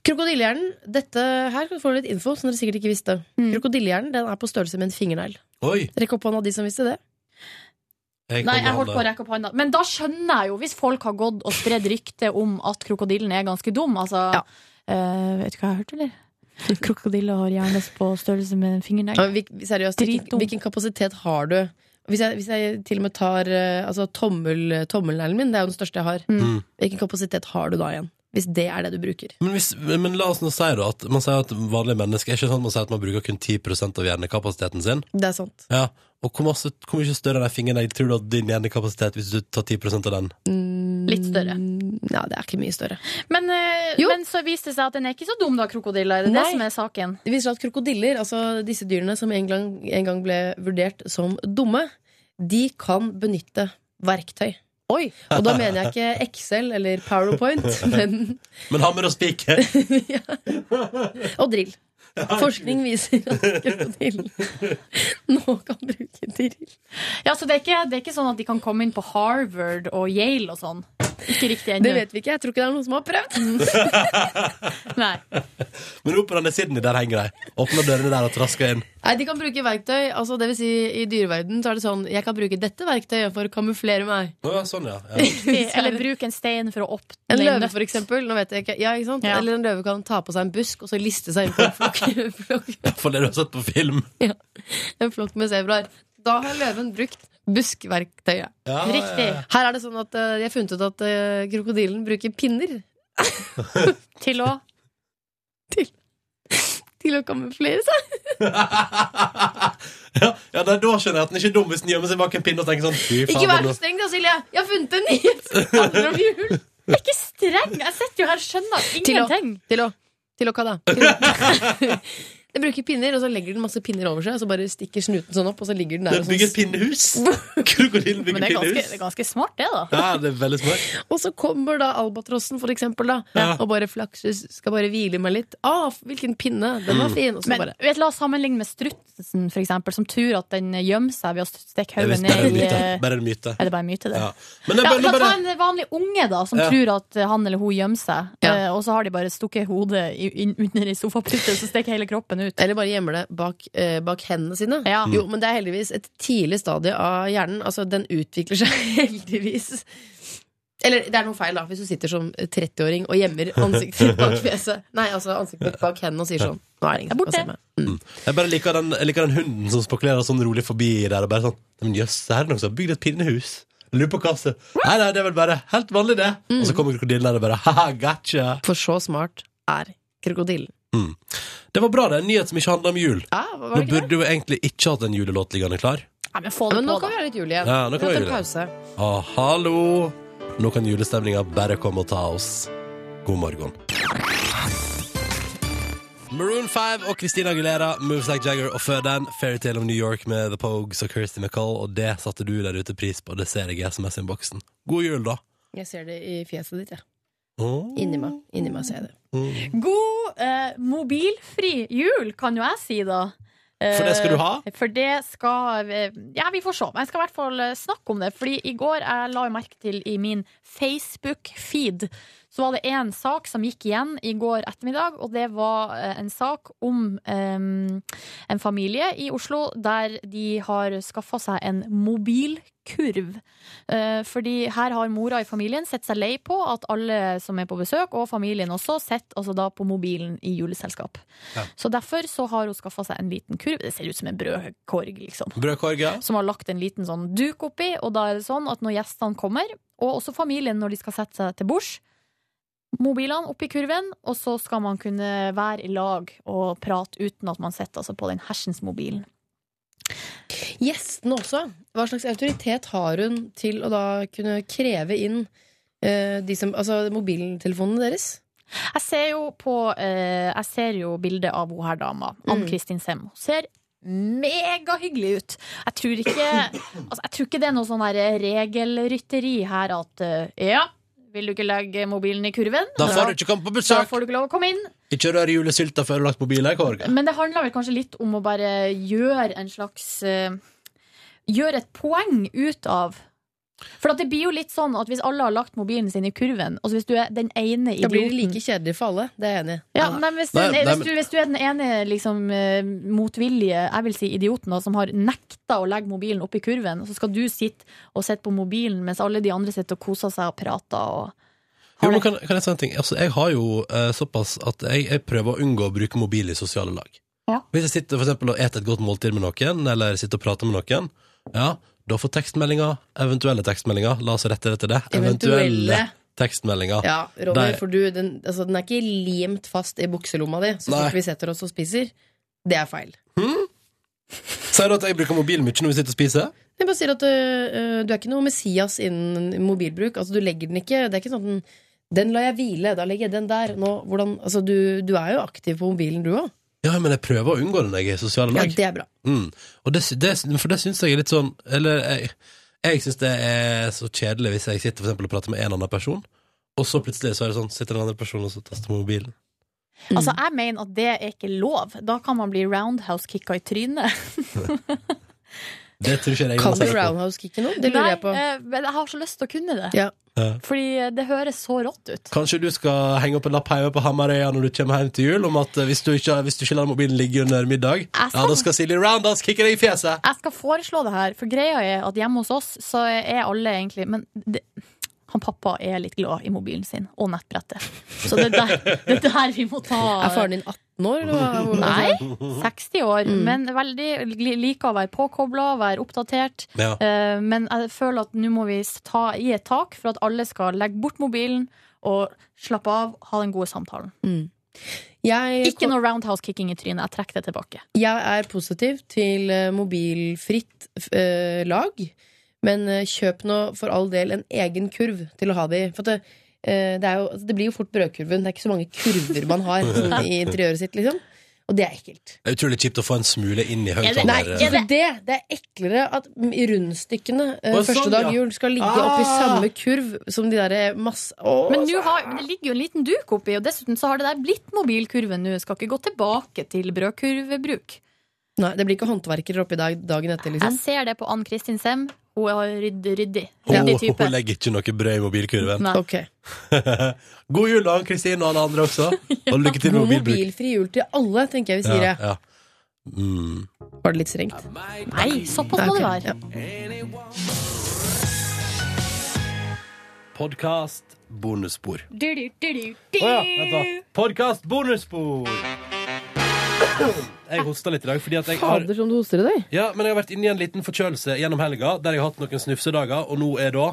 [SPEAKER 4] Krokodillehjernen, dette her får du litt info som dere sikkert ikke visste.
[SPEAKER 3] Mm.
[SPEAKER 4] Krokodillehjernen den er på størrelse med en fingernegl.
[SPEAKER 2] Oi!
[SPEAKER 4] Rekk opp hånda de som visste det.
[SPEAKER 3] Nei, jeg holdt på å rekke opp handa. Men da skjønner jeg jo, hvis folk har gått og spredd rykte om at krokodillen er ganske dum, altså eh, Vet du hva jeg har hørt, eller? Krokodiller har hjerne på størrelse med en
[SPEAKER 4] Ja,
[SPEAKER 3] fingernegl.
[SPEAKER 4] men hvil- seriøst, hvilken, hvilken kapasitet har du? Hvis jeg, hvis jeg til og med tar eh, altså, tommel, tommelneglen min, det er jo den største jeg har.
[SPEAKER 2] Mm.
[SPEAKER 4] Hvilken kapasitet har du da igjen? Hvis det er det du bruker.
[SPEAKER 2] Men, hvis, men la oss nå si da at man sier at vanlige mennesker er ikke sånn at man sier at man bruker kun 10 av hjernekapasiteten sin.
[SPEAKER 4] Det er sant.
[SPEAKER 2] Ja, Og hvor, masse, hvor mye større er den fingeren? Jeg tror du at din hjernekapasitet hvis du tar 10 av den?
[SPEAKER 3] Litt større.
[SPEAKER 4] Mm, Ja, det er ikke mye større.
[SPEAKER 3] Men, eh, men så viste det seg at den er ikke så dum, da, krokodilla. Er det
[SPEAKER 4] Nei.
[SPEAKER 3] det som er saken?
[SPEAKER 4] Det viser seg at krokodiller, altså disse dyrene som en gang, en gang ble vurdert som dumme, de kan benytte verktøy. Og da mener jeg ikke Excel eller PowerPoint, men
[SPEAKER 2] Men hammer og spiker!
[SPEAKER 4] og drill. Forskning viser at krokodillen nå kan bruke drill.
[SPEAKER 3] Ja, så det er, ikke, det er ikke sånn at de kan komme inn på Harvard og Yale og sånn? Ikke riktig ennå.
[SPEAKER 4] Det vet vi ikke. Jeg tror ikke det er noen som har prøvd.
[SPEAKER 3] Nei.
[SPEAKER 2] Men operaen i Sydney, der henger de. Åpner dørene der og trasker inn.
[SPEAKER 4] Nei, de kan bruke verktøy. Altså, det vil si, i dyreverden så er det sånn Jeg kan bruke dette verktøyet for å kamuflere meg.
[SPEAKER 2] Å ja, sånn, ja. ja.
[SPEAKER 3] Eller bruk en stein for å åpne
[SPEAKER 4] En
[SPEAKER 3] en
[SPEAKER 4] løve,
[SPEAKER 3] nøtt.
[SPEAKER 4] for eksempel. Nå vet jeg ikke. Ja, ikke sant?
[SPEAKER 3] Ja.
[SPEAKER 4] Eller en løve kan ta på seg en busk og så liste seg inn på en flokk, flokk,
[SPEAKER 2] For det du har sett på film.
[SPEAKER 4] en flokk med sebraer. Da har løven brukt buskverktøyet.
[SPEAKER 2] Ah, Ja, Riktig. ja, ja.
[SPEAKER 4] Her er det sånn at eh, jeg har funnet ut at eh, krokodillen bruker pinner
[SPEAKER 3] Til å
[SPEAKER 4] til å kamuflere seg.
[SPEAKER 2] Ja, nei, Da skjønner jeg at den ikke er dum hvis den gjemmer seg bak en pinne og tenker sånn Fy faen,
[SPEAKER 4] Ikke vær
[SPEAKER 2] men
[SPEAKER 4] så
[SPEAKER 2] nå-
[SPEAKER 4] streng, da, Silje! Jeg har funnet en nyhet som handler om jul!
[SPEAKER 3] Jeg er ikke streng! Jeg sitter jo her og skjønner
[SPEAKER 4] Til å,
[SPEAKER 3] ingenting.
[SPEAKER 4] til å, til å hva da? Til å. Den bruker pinner, og så legger den masse pinner over seg, og så bare stikker snuten sånn opp, og så ligger den der.
[SPEAKER 2] Den
[SPEAKER 4] og sånn-
[SPEAKER 2] bygger et pinnehus! Krokodillen bygger
[SPEAKER 3] Men det er ganske,
[SPEAKER 2] pinnehus.
[SPEAKER 3] det er ganske smart, det, da.
[SPEAKER 2] Ja, det er veldig smart.
[SPEAKER 4] Og så kommer da albatrossen, for eksempel, da,
[SPEAKER 2] Ja.
[SPEAKER 4] og bare flakses, skal bare hvile meg litt. Ah, hvilken pinne! Den
[SPEAKER 2] Mm.
[SPEAKER 4] var fin! Og så
[SPEAKER 3] Men
[SPEAKER 4] bare
[SPEAKER 3] vet, La oss sammenligne med strutsen, for eksempel, som tror at den gjemmer seg ved å stikke
[SPEAKER 2] Jeg
[SPEAKER 3] hodet
[SPEAKER 2] visste
[SPEAKER 3] ned
[SPEAKER 2] bare en
[SPEAKER 3] i
[SPEAKER 2] myte.
[SPEAKER 3] Er
[SPEAKER 2] Bare en myte.
[SPEAKER 3] det bare en myte, det?
[SPEAKER 2] Ja.
[SPEAKER 3] Ja.
[SPEAKER 2] Men det er bare,
[SPEAKER 3] la
[SPEAKER 2] nå
[SPEAKER 3] oss ta
[SPEAKER 2] bare
[SPEAKER 3] en vanlig unge da som
[SPEAKER 2] Ja.
[SPEAKER 3] tror at han eller hun gjemmer seg,
[SPEAKER 4] Ja.
[SPEAKER 3] eh, og så har de bare stukket hodet i- inn under i sofapute, så stikker hele kroppen ut.
[SPEAKER 4] Eller bare gjemmer det bak, eh, bak hendene sine.
[SPEAKER 3] Ja.
[SPEAKER 4] Jo, men det er heldigvis et tidlig stadie av hjernen. Altså, den utvikler seg heldigvis. Eller det er noe feil, da, hvis du sitter som 30-åring og gjemmer ansiktet ditt bak fjeset. Nei, altså ansiktet ditt bak hendene og sier sånn Nå er det ingen som
[SPEAKER 3] borte.
[SPEAKER 4] kan se meg.
[SPEAKER 2] Jeg bare liker den, jeg liker den hunden som spekulerer sånn rolig forbi der og bare sånn Men jøss, her er det noen som har bygd et pinnehus. Jeg Lurer på hva som Nei, nei, det er vel bare helt vanlig, det. Og så kommer krokodillen der og bare ha-ha, gotcha.
[SPEAKER 4] For så smart er krokodillen.
[SPEAKER 2] Det var bra, det. En nyhet som ikke handler om jul.
[SPEAKER 4] Ja, var
[SPEAKER 2] Nå
[SPEAKER 4] det ikke det?
[SPEAKER 2] burde jo egentlig ikke hatt en julelåt liggende klar.
[SPEAKER 3] Nei, men få
[SPEAKER 4] Ja,
[SPEAKER 3] det
[SPEAKER 4] men nå
[SPEAKER 3] på,
[SPEAKER 4] kan
[SPEAKER 3] da.
[SPEAKER 4] vi ha litt jul igjen.
[SPEAKER 2] Ja, nå kan vi
[SPEAKER 4] ta
[SPEAKER 2] ha jul
[SPEAKER 4] en pause.
[SPEAKER 2] Ah, hallo! Nå kan julestemninga bare komme og ta oss. God morgen. Maroon 5 og Christina Aguilera, Moves Like Jagger, og før den Fairytale of New York med The Pogues og Kirsty MacColl, og det satte du der ute pris på, det ser jeg i SMS-innboksen. God jul, da.
[SPEAKER 4] Jeg ser det i fjeset ditt, ja.
[SPEAKER 2] Åh.
[SPEAKER 4] Inni meg. Inni meg ser jeg det.
[SPEAKER 3] God eh, mobilfri jul, kan jo jeg si, da. Eh,
[SPEAKER 2] For det skal du ha?
[SPEAKER 3] For det skal vi- Ja, vi får se. Men jeg skal i hvert fall eh, snakke om det. Fordi i går jeg la jo merke til i min Facebook-feed så var det én sak som gikk igjen i går ettermiddag, og det var eh, en sak om em, en familie i Oslo der de har skaffa seg en mobilkurv. Eh, Fordi her har mora i familien sett seg lei på at alle som er på besøk, og familien også, sitter altså da på mobilen i juleselskap. Så derfor så har hun skaffa seg en liten kurv. Det ser ut som en brødkorg, liksom.
[SPEAKER 2] Brødkorg, ja.
[SPEAKER 3] Som har lagt en liten sånn duk oppi, og da er det sånn at når gjestene kommer, og også familien når de skal sette seg til bords, mobilene oppi kurven, og så skal man kunne være i lag og prate uten at man sitter altså, på den hersens mobilen.
[SPEAKER 4] Gjestene også. Hva slags autoritet har hun til å da kunne kreve inn eh, de som, altså mobiltelefonene deres?
[SPEAKER 3] Jeg ser jo på eh, Jeg ser jo bildet av hun her dama,
[SPEAKER 4] Mm.
[SPEAKER 3] Ann-Kristin Sem. Hun ser megahyggelig ut. Jeg tror ikke altså, Jeg tror ikke det er noe sånn der regelrytteri her at eh, Ja, vil du ikke legge mobilen i kurven?
[SPEAKER 2] Da får du ikke komme på
[SPEAKER 3] Da
[SPEAKER 2] besøk!
[SPEAKER 3] får du ikke lov å komme inn.
[SPEAKER 2] Ikke rør julesylta før du har lagt på bilen, Korg.
[SPEAKER 3] Men det handler vel kanskje litt om å bare gjøre en slags eh, Gjøre et poeng ut av For at det blir jo litt sånn at hvis alle har lagt mobilen sin i kurven, altså hvis du er den ene idioten
[SPEAKER 4] Da blir det like kjedelig for alle. Det er jeg enig i.
[SPEAKER 3] ja, nei, men hvis, du,
[SPEAKER 4] Nei, nei, men-
[SPEAKER 3] hvis, du, hvis du er den ene liksom, eh, motvillige Jeg vil si idioten da, som har nekta å legge mobilen oppi kurven, så skal du sitte og sitte på mobilen mens alle de andre sitter og koser seg og prater. Og...
[SPEAKER 2] Jo, men kan, kan jeg si en ting? Altså, jeg har jo eh, såpass at jeg, jeg prøver å unngå å bruke mobil i sosiale lag.
[SPEAKER 3] Ja.
[SPEAKER 2] Hvis jeg sitter for eksempel, og eter et godt måltid med noen, eller sitter og prater med noen, ja, da får tekstmeldinger, eventuelle tekstmeldinger, la oss rette det til det, eventuelle
[SPEAKER 4] Eventuelle.
[SPEAKER 2] tekstmeldinger.
[SPEAKER 4] Ja, Ronny,
[SPEAKER 2] Der-
[SPEAKER 4] for du, den, altså, den er ikke limt fast i bukselomma di, så
[SPEAKER 2] Nei.
[SPEAKER 4] fort vi setter oss og spiser. Det er feil.
[SPEAKER 2] Sier du at jeg bruker mobilen mye når vi sitter og spiser?
[SPEAKER 4] Jeg bare sier at øh, øh, du er ikke noe Messias innen mobilbruk. Altså, du legger den ikke. Det er ikke sånn at den, den lar jeg hvile, da legger jeg den der. Nå, hvordan, altså, du, du er jo aktiv på mobilen, du òg.
[SPEAKER 2] Ja, men jeg prøver å unngå det når jeg er i sosiale
[SPEAKER 4] Ja,
[SPEAKER 2] lag.
[SPEAKER 4] det er bra.
[SPEAKER 2] Mm. Og det, sy- det, for det syns jeg er litt sånn Eller jeg, jeg syns det er så kjedelig hvis jeg sitter for eksempel, og prater med en annen person, og så plutselig så er det sånn sitter en annen person og så taster på mobilen.
[SPEAKER 3] Altså, jeg mener at det er ikke lov. Da kan man bli roundhouse-kicka i trynet.
[SPEAKER 2] Det tror ikke jeg jeg
[SPEAKER 4] Kan
[SPEAKER 2] må
[SPEAKER 4] du
[SPEAKER 2] se på.
[SPEAKER 4] roundhouse kicke noe? Det lurer jeg på.
[SPEAKER 3] Nei, eh, men jeg har så lyst til å kunne det.
[SPEAKER 4] Ja.
[SPEAKER 2] Ja.
[SPEAKER 3] Fordi eh, det høres så rått ut.
[SPEAKER 2] Kanskje du skal henge opp en lapp hjemme på Hamarøya når du kommer hjem til jul, om at eh, hvis du ikke, hvis du ikke lar mobilen ligge under middag,
[SPEAKER 3] Ah,
[SPEAKER 2] ja,
[SPEAKER 3] sånn.
[SPEAKER 2] da skal Silje Roundhouse kicke deg i fjeset!
[SPEAKER 3] Jeg skal foreslå det her, for greia er at hjemme hos oss så er alle egentlig Men det, han pappa er litt glad i mobilen sin og nettbrettet. Så det er der, det er der vi må ta
[SPEAKER 4] Er faren din 18 år? Eller? hva-
[SPEAKER 3] Nei, 60 år, men veldig li- liker å være påkobla, være oppdatert.
[SPEAKER 4] Ja.
[SPEAKER 3] Eh, men jeg føler at nå må vi ta i et tak for at alle skal legge bort mobilen og slappe av, ha den gode samtalen. Ikke noe roundhouse-kicking i trynet. Jeg trekker det tilbake.
[SPEAKER 4] Jeg er positiv til eh, mobilfritt f- eh, lag, men eh, kjøp nå for all del en egen kurv til å ha det i. For at det, eh, det, er jo, altså, det blir jo fort brødkurven. Det er ikke så mange kurver man har sånn, i interiøret sitt, liksom. Og det er ekkelt.
[SPEAKER 2] Det er utrolig kjipt å få en smule inn i
[SPEAKER 4] nei,
[SPEAKER 2] høyttaler.
[SPEAKER 4] ikke det, det er eklere at m- rundstykkene eh,
[SPEAKER 2] Å, sånn,
[SPEAKER 4] første dag
[SPEAKER 2] ja.
[SPEAKER 4] jul skal ligge
[SPEAKER 2] Ah!
[SPEAKER 4] oppi samme kurv som de eh, derre masse Å,
[SPEAKER 3] Men,
[SPEAKER 2] altså.
[SPEAKER 3] nå har, men det ligger jo en liten duk oppi, og dessuten så har det der blitt mobilkurven nå. Skal ikke gå tilbake til brødkurvebruk.
[SPEAKER 4] Nei, det blir ikke håndverkere oppi dag, dagen etter, liksom.
[SPEAKER 3] Jeg ser det på Ann Kristin Sem. Hun er rydd- ryddig.
[SPEAKER 2] Hun,
[SPEAKER 3] Ryddig type.
[SPEAKER 2] hun legger ikke noe brød i mobilkurven.
[SPEAKER 3] Nei.
[SPEAKER 4] Ok.
[SPEAKER 2] God jul, da, Kristin og alle andre også. Og lykke til med
[SPEAKER 4] God
[SPEAKER 2] mobilbruk.
[SPEAKER 4] mobilfri jul til alle, tenker jeg vi sier.
[SPEAKER 2] Ja,
[SPEAKER 4] jeg.
[SPEAKER 2] ja. Mm.
[SPEAKER 4] Var det litt strengt?
[SPEAKER 3] Nei, såpass må det
[SPEAKER 4] Ok,
[SPEAKER 3] være.
[SPEAKER 2] Podkast bonusspor.
[SPEAKER 3] Du, du, du, du, du.
[SPEAKER 2] Podkast bonusspor! Jeg hosta litt i dag fordi at jeg har
[SPEAKER 4] Fader som du hoster i dag.
[SPEAKER 2] Ja, men jeg har vært inne i en liten forkjølelse gjennom helga, der jeg har hatt noen snufsedager, og nå er da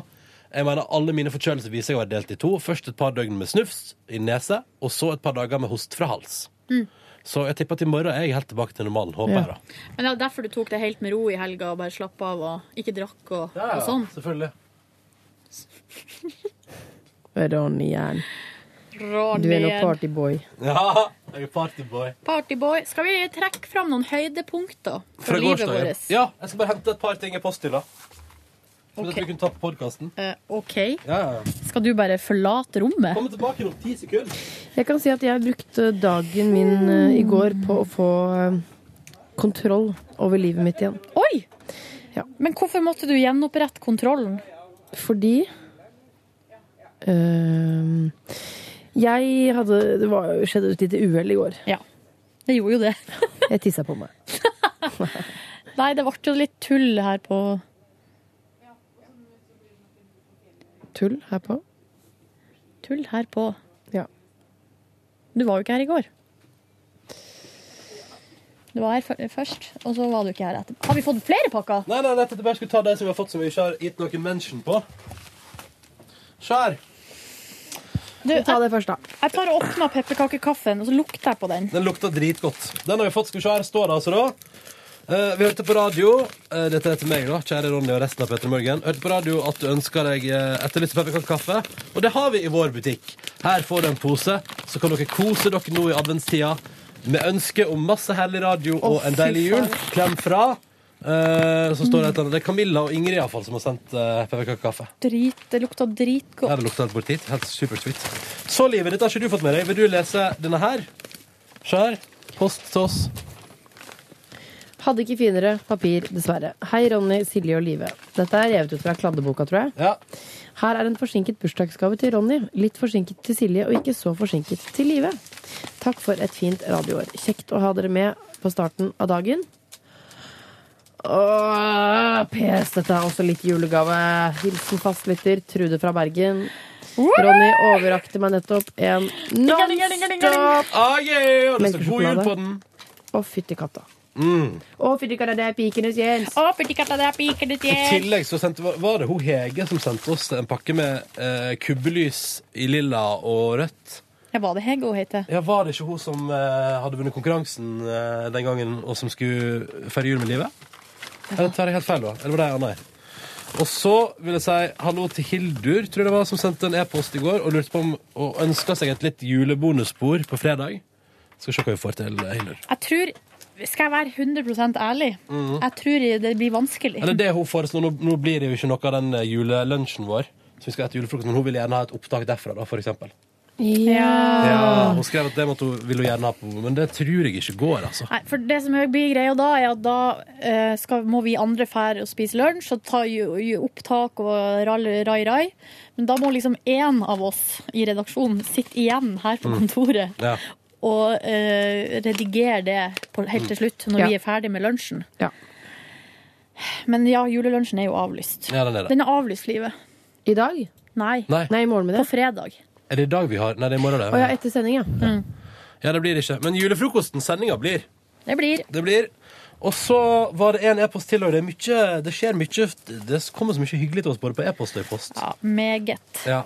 [SPEAKER 2] jeg mener Alle mine forkjølelser viser jeg å være delt i to. Først et par døgn med snufs i nese, og så et par dager med host fra hals.
[SPEAKER 3] Mm.
[SPEAKER 2] Så jeg tipper at i morgen er jeg helt tilbake til normalen, håper jeg, da.
[SPEAKER 3] Men det er derfor du tok det helt med ro i helga og bare slapp av og ikke drakk og, og sånn.
[SPEAKER 2] selvfølgelig.
[SPEAKER 4] Ronny Jern. Du er nå
[SPEAKER 3] Ronny.
[SPEAKER 4] partyboy.
[SPEAKER 2] Ja, jeg er partyboy.
[SPEAKER 3] Partyboy. Skal vi trekke fram noen høydepunkter fra, livet
[SPEAKER 2] gårsdagen.
[SPEAKER 3] vårt?
[SPEAKER 2] Ja, jeg skal bare hente et par ting i posthylla. Som okay. du kunne ta på podkasten.
[SPEAKER 3] Eh, OK.
[SPEAKER 2] Ja, ja, ja.
[SPEAKER 3] Skal du bare forlate rommet?
[SPEAKER 2] Kom tilbake om ti sekunder.
[SPEAKER 4] Jeg kan si at jeg brukte dagen min eh, i går på å få eh, kontroll over livet mitt igjen.
[SPEAKER 3] Oi! Men hvorfor måtte du gjenopprette kontrollen?
[SPEAKER 4] Fordi eh, jeg hadde Det var, skjedde et lite uhell i går.
[SPEAKER 3] Ja. Det gjorde jo det.
[SPEAKER 4] Jeg tissa på meg.
[SPEAKER 3] Nei, det ble jo litt tull her på
[SPEAKER 4] Tull her på.
[SPEAKER 3] Tull her på.
[SPEAKER 4] Ja.
[SPEAKER 3] Du var jo ikke her i går. Du var her fø- først, og så var du ikke her etterpå. Har vi fått flere pakker?
[SPEAKER 2] Nei, nei, nei, jeg bare skulle ta de som vi har fått som vi ikke har gitt noen mention på. Se her.
[SPEAKER 3] Du,
[SPEAKER 4] Ta det først, da.
[SPEAKER 3] Jeg tar og åpner pepperkakekaffen, og så lukter jeg på den.
[SPEAKER 2] Den lukta dritgodt. Den har vi fått. Skal vi se, her står det altså, da. Eh, vi hørte på radio eh, Dette er til meg, da, kjære Ronny og resten av Petter Morgen. Hørte på radio at du ønska deg uh, etterlyst pepperkakekaffe. Og det har vi i vår butikk. Her får du en pose, så kan dere kose dere nå i adventstida med ønske om masse herlig radio og en deilig jul. Klem fra. Eh, så står det et eller annet. Det er Camilla og Ingrid i hvert fall, som har sendt uh, pepperkakekaffe.
[SPEAKER 3] Drit, det lukter
[SPEAKER 2] Her
[SPEAKER 3] dritgodt.
[SPEAKER 2] har det lukta helt bort hit. Helt supersweet. Så, Livet, dette har ikke du fått med deg. Vil du lese denne her? Se her. Post til oss.
[SPEAKER 4] Hadde ikke finere papir, dessverre. Hei, Ronny, Silje og Live. Dette er revet ut fra kladdeboka, tror jeg. Her er en forsinket bursdagsgave til Ronny. Litt forsinket til Silje, og ikke så forsinket til Live. Takk for et fint radioår. Kjekt å ha dere med på starten av dagen. Åh, PS, dette er også litt julegave. Hilsen fastlytter Trude fra Bergen. Ronny overrakte meg nettopp en nonstop
[SPEAKER 2] Ah, yeah, og det står god jul
[SPEAKER 4] melkesjokolade.
[SPEAKER 2] på den.
[SPEAKER 4] Å, fytti katta.
[SPEAKER 2] Mm.
[SPEAKER 4] Å, fytti katta, det er pikenes Jens.
[SPEAKER 3] Å, fytti katta, det er pikenes
[SPEAKER 2] I tillegg så sendte, var- var det hun Hege som sendte oss en pakke med eh, kubbelys i lilla og rødt.
[SPEAKER 3] Ja, var det Hege hun heter?
[SPEAKER 2] Ja, Var det ikke hun som eh, hadde vunnet konkurransen eh, den gangen, og som skulle feire jul med livet? Eller tar jeg helt feil, da? Eller var det ei anna? Og så vil jeg si hallo til Hildur, tror jeg det var, som sendte en e-post i går og lurte på om og ønska seg et litt julebonusbord på fredag. Skal se hva vi får til, eh, Hildur.
[SPEAKER 3] Jeg tror, skal jeg være 100 ærlig,
[SPEAKER 2] Mhm.
[SPEAKER 3] jeg tror det blir vanskelig.
[SPEAKER 2] Eller det hun foreslår, nå, nå blir det jo ikke noe av den eh, julelunsjen vår, så vi skal etter julefrokost, men hun vil gjerne ha et opptak derfra, da, for eksempel. Ja, hun skrev at det måtte hun, ville hun gjerne ha på, men det tror jeg ikke går, altså.
[SPEAKER 3] Nei, for det som er- blir greia da, er at da eh, skal, må vi andre fære og spise lunsj og ta jo, jo opptak og rall- rai rai. Men da må liksom én av oss i redaksjonen sitte igjen her på
[SPEAKER 2] Mm.
[SPEAKER 3] kontoret
[SPEAKER 2] Ja.
[SPEAKER 3] og eh, redigere det på, helt
[SPEAKER 2] Mm.
[SPEAKER 3] til slutt, når
[SPEAKER 2] Ja.
[SPEAKER 3] vi er ferdig med lunsjen. Men ja, julelunsjen er jo avlyst.
[SPEAKER 2] Ja, den er det.
[SPEAKER 3] avlyst, livet.
[SPEAKER 4] I dag?
[SPEAKER 3] Nei.
[SPEAKER 2] Nei.
[SPEAKER 3] På fredag.
[SPEAKER 2] Er det i dag vi har? Nei, det er i morgen. Det.
[SPEAKER 4] Å ja, etter sending, ja.
[SPEAKER 2] Ja, det blir det ikke. Men julefrokosten, sendinga, blir.
[SPEAKER 3] Det blir.
[SPEAKER 2] Det blir. Og så var det en e-post til, og det, er mye, det skjer mye Det kommer så mye hyggelig til oss både på e-post og i post.
[SPEAKER 3] Ja, meget.
[SPEAKER 2] Ja.